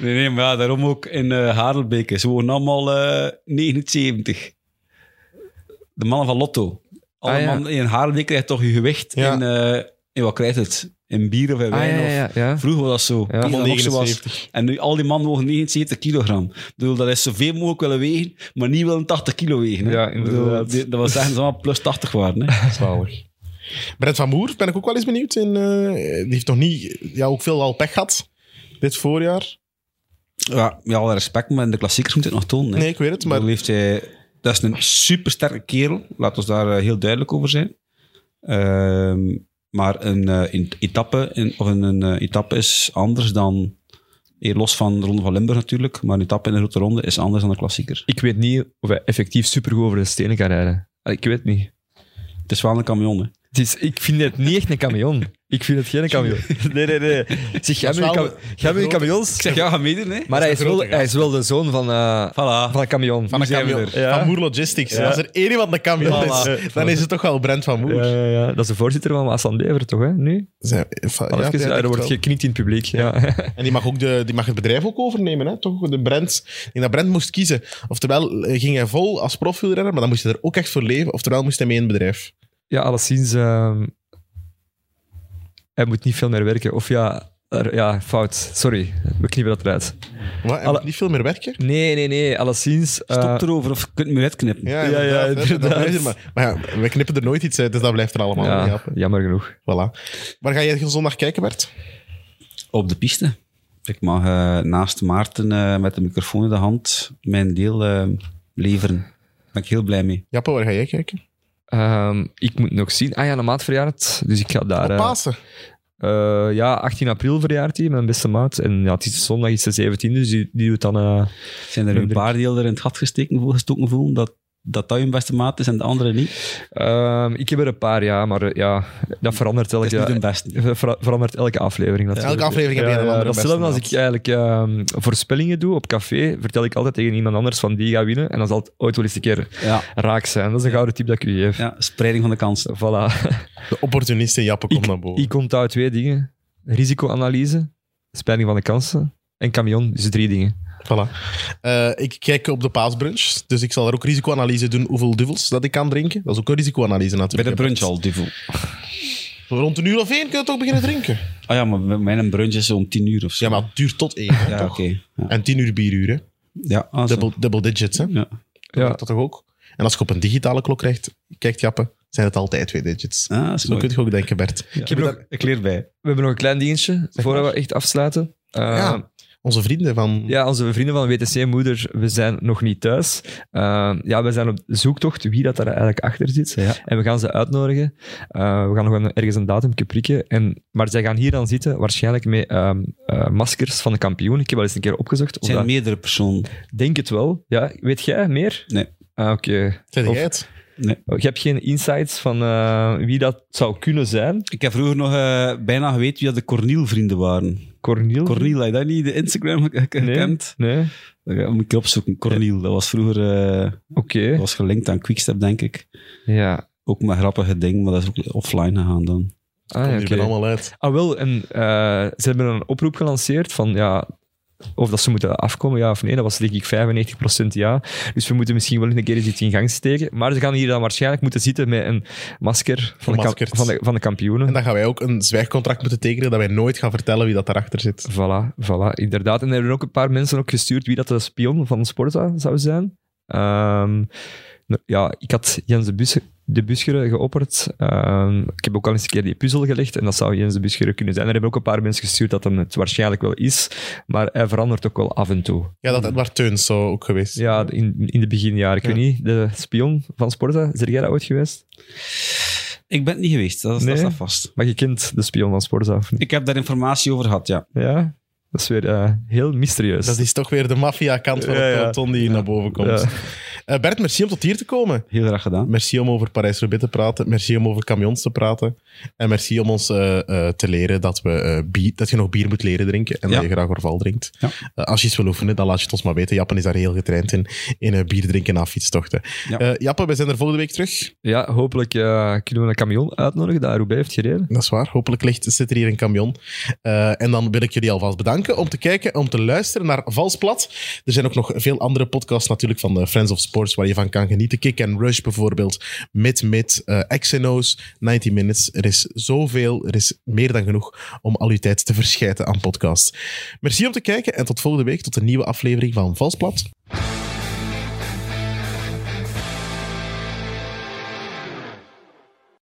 S4: Nee, nee, maar ja, daarom ook in eh Harelbeke. Ze wonen allemaal eh 79. De mannen van Lotto. Alle
S3: Ah, ja.
S4: mannen in Harelbeke krijgen toch je gewicht
S2: Ja.
S4: in... eh, in wat krijgt het? In bier of in
S3: Ah,
S4: wijn?
S3: ja,
S4: of-
S3: ja, ja.
S4: Vroeger was dat zo.
S3: Ja.
S4: Toen
S2: Allemaal
S4: dat nog zo was.
S2: 79.
S4: En nu al die mannen mogen 79 kilogram. Ik bedoel, dat is zoveel mogelijk willen wegen, maar niet willen 80 kilo wegen. hè.
S3: Ja,
S4: Ik bedoel,
S3: inderdaad.
S4: die- dat wil zeggen dat ze allemaal plus 80 waren. Hè.
S2: Zalig. Brent van Moer ben ik ook wel eens benieuwd. In, eh, die heeft nog niet, ja, ook veel al pech gehad dit voorjaar.
S4: (laughs) Ja, met alle respect, maar in de klassiekers moet het nog tonen. Hè.
S2: Nee, ik weet het,
S4: maar...
S2: maar
S4: heeft hij, dat is een supersterke kerel. Laat ons daar eh, heel duidelijk over zijn. Ehm, maar een eh, in- etappe, in- of een, een, eh, etappe is anders dan... eh, Los van de Ronde van Limburg natuurlijk, maar een etappe in de Grote Ronde is anders dan een klassieker.
S3: Ik weet niet of hij effectief supergoed over de stenen kan rijden. Allee, Ik weet niet.
S4: Het is wel een camion, hè.
S3: Het is, ik vind het niet echt een camion. Ik vind het geen camion. Nee, nee, nee. Zeg, jij met
S2: is
S3: je
S2: wel
S3: cam- jij met je
S2: grote-
S3: camions?
S4: Ik zeg, ja, ga meedoen, hè.
S3: Maar hij is, wel,
S2: grote gast.
S3: hij is wel de zoon van, eh
S4: Voilà.
S3: van een camion.
S2: van, een
S4: zijn we
S2: camion,
S3: er. Ja.
S2: van Moer Logistics. Als er één iemand een camion is,
S4: Voilà.
S2: dan is het toch wel Brent van Moer.
S3: Ja, ja, ja. Dat is de voorzitter van Waasland Bever, toch? Hè? Nu?
S2: Zijn- van-
S3: Al
S2: ja,
S3: even,
S2: ja,
S3: ja, er
S2: echt
S3: wordt
S2: wel.
S3: geknikt in het publiek. Ja. (laughs)
S2: En die mag, ook de, die mag het bedrijf ook overnemen, hè? toch? De Brent. Ik denk dat Brent moest kiezen. Oftewel eh, ging hij vol als profielrenner, maar dan moest hij er ook echt voor leven. Oftewel moest hij mee in het bedrijf.
S3: Ja, alleszins. ehm, hij moet niet veel meer werken. Of ja, er- ja, fout. Sorry, we knippen dat eruit.
S2: Wat, hij
S3: Alle-
S2: moet niet veel meer werken.
S3: Nee, nee, nee. Alleszins. eh,
S4: Stop erover of je kunt me uitknippen.
S2: Ja,
S3: Ja, ja,
S2: inderdaad, hè, dat
S3: inderdaad.
S2: blijft er Maar, maar ja, we knippen er nooit iets uit, dus dat blijft er allemaal in.
S3: ja,
S2: ja.
S3: jammer genoeg.
S2: Voilà. Waar ga jij zondag kijken, Bert?
S4: Op de piste. Ik mag eh, naast Maarten eh, met de microfoon in de hand mijn deel eh, leveren. Daar ben ik heel blij mee.
S2: Jappe, waar ga jij kijken?
S3: Ehm, ik moet nog zien. Ah ja, een maat verjaart. Dus ik ga daar.
S2: Op
S3: eh,
S2: Pasen.
S3: eh, ja, 18 april verjaart hij, mijn beste maat. En ja, het is zondag, is de 17, dus die, die doet dan. eh,
S4: Zijn er nu een paar die er in het gat gesteken, voel- gestoken voelen dat, dat dat hun beste maat is en de andere niet?
S3: ehm, ik heb er een paar, ja, maar eh, ja, dat verandert elke eh,
S4: Dat is niet hun beste.
S3: Ver- verandert elke aflevering. natuurlijk.
S2: Elke aflevering heb
S3: Ja,
S2: jij een
S3: ja,
S2: andere
S3: Dat is hetzelfde als
S2: beste
S3: ik eigenlijk ehm, voorspellingen doe op café, vertel ik altijd tegen iemand anders van die gaat winnen. En dan zal het ooit wel eens een keer
S4: Ja,
S3: raak zijn. Dat is een gouden tip dat ik u geef.
S4: ja, spreiding van de kansen.
S3: Voilà.
S2: De opportunist in Jappe komt naar boven.
S3: Ik onthoud twee dingen. Risicoanalyse, spanning van de kansen en camion, dus drie dingen.
S2: Voilà. Eh, ik kijk op de paasbrunch, dus ik zal er ook risicoanalyse doen hoeveel duvels dat ik kan drinken. Dat is ook een risicoanalyse
S4: Bij de
S2: natuurlijk.
S4: brunch al, duvel.
S2: Zo Rond een uur of één kun je toch beginnen drinken?
S4: Ah ja, maar mijn brunch is om tien uur of zo.
S2: Dus Ja, maar het duurt tot één. hè,
S4: Ja,
S2: toch?
S4: oké. Ja,
S2: En tien uur bieruur, hè?
S4: ja ah, zo.
S2: Double, double digits, hè?
S4: Ja.
S3: Ja.
S2: Dat toch ook? En als je op een digitale klok krijgt, kijkt, Jappe, zijn het altijd twee digits.
S4: Ah, dat is
S2: Zo
S4: mooi.
S2: kun je ook denken, Bert.
S3: Ik heb nog,
S4: Ik leer bij.
S3: we hebben nog een klein dingetje, voordat
S2: maar.
S3: we echt afsluiten. Eh,
S2: Ja. Onze vrienden van...
S3: Ja, onze vrienden van WTC-moeder, we zijn nog niet thuis. Eh, ja, we zijn op zoektocht wie dat daar eigenlijk achter zit.
S4: Ja.
S3: En we gaan ze uitnodigen. Eh, we gaan nog een- ergens een datum prikken. En, maar zij gaan hier dan zitten, waarschijnlijk met ehm, eh, maskers van de kampioen. Ik heb wel eens een keer opgezocht.
S4: Het zijn
S3: omdat-
S4: meerdere personen.
S3: Denk het wel. Ja, weet jij meer?
S4: Nee.
S3: Ah, Oké.
S2: Zeg
S3: Of-
S2: jij het?
S3: Oh, Je hebt geen insights van eh, wie dat zou kunnen zijn?
S4: Ik heb vroeger nog eh, bijna geweten wie dat de Corniel-vrienden waren.
S3: Corniel?
S4: Corniel, had je dat niet de Instagram ge- ge-
S3: Nee.
S4: gekend?
S3: Nee.
S4: Dat ga- moet ik opzoeken. Corniel, dat was vroeger eh,
S3: Oké.
S4: dat
S2: Oh.
S4: was gelinkt aan Quickstep, denk ik.
S3: Ja.
S4: Ook maar grappige ding, maar dat is ook offline gegaan dan.
S3: Ah,
S2: Kom
S3: ja,
S2: hier ben
S3: oké.
S2: allemaal uit.
S3: Ah, wel, en eh, ze hebben een oproep gelanceerd van ja. Of dat ze moeten afkomen, ja of nee. Dat was denk ik 95% ja. Dus we moeten misschien wel een keer iets in gang steken. Maar ze gaan hier dan waarschijnlijk moeten zitten met een masker van, de, kam-
S2: Gemaskerd.
S3: van, de, van de kampioenen.
S2: En dan gaan wij ook een zwijgcontract moeten tekenen dat wij nooit gaan vertellen wie dat daarachter zit.
S3: Voilà, voilà, inderdaad. En er hebben ook een paar mensen ook gestuurd wie dat de spion van Sporta zou zijn. Ehm, nou, ja, ik had Jens de, Bus de Buschere geopperd. Ehm, ik heb ook al eens een keer die puzzel gelegd en dat zou Jens de Buschere kunnen zijn. Er hebben ook een paar mensen gestuurd dat hem het waarschijnlijk wel is, maar hij verandert ook wel af en toe.
S2: Ja, dat Edward Teuns zo ook geweest.
S3: Ja, in, in de beginjaren. Ik
S2: Ja.
S3: weet niet, de spion van Sporta, is jij dat ooit geweest?
S4: Ik ben het niet geweest, dat, is- dat
S3: Nee.
S4: staat vast.
S3: Maar je kent de spion van Sporta, of niet?
S4: Ik heb daar informatie over gehad, ja.
S3: Ja, dat is weer eh, heel mysterieus.
S2: Dat is toch weer de maffia-kant van
S3: Ja,
S2: het
S3: ja.
S2: peloton die hier naar boven komt.
S3: Ja.
S2: Eh, Bert, merci om tot hier te komen.
S4: Heel graag gedaan.
S2: Merci om over Parijs-Roubaix te praten. Merci om over camions te praten. En merci om ons eh, eh, te leren dat, we, eh, bier, dat je nog bier moet leren drinken. En
S4: Ja.
S2: dat je graag Orval drinkt.
S4: Ja.
S2: Eh, als je iets wil oefenen, dan laat je het ons maar weten. Jappen is daar heel getraind in, in eh, bier drinken na fietstochten.
S4: Ja.
S2: Eh, Jappe, we zijn er volgende week terug.
S3: Ja, hopelijk eh, kunnen we een camion uitnodigen dat Roubaix heeft gereden.
S2: Dat is waar. Hopelijk ligt, zit er hier een camion. Eh, en dan wil ik jullie alvast bedanken om te kijken, om te luisteren naar Valsplat. Er zijn ook nog veel andere podcasts natuurlijk van de Friends of Sports waar je van kan genieten. Kick and Rush bijvoorbeeld, Mid Mid, eh XNO's, 90 Minutes. Er is zoveel, er is meer dan genoeg om al uw tijd te verschijten aan podcasts. Merci om te kijken en tot volgende week, tot een nieuwe aflevering van Valsplat.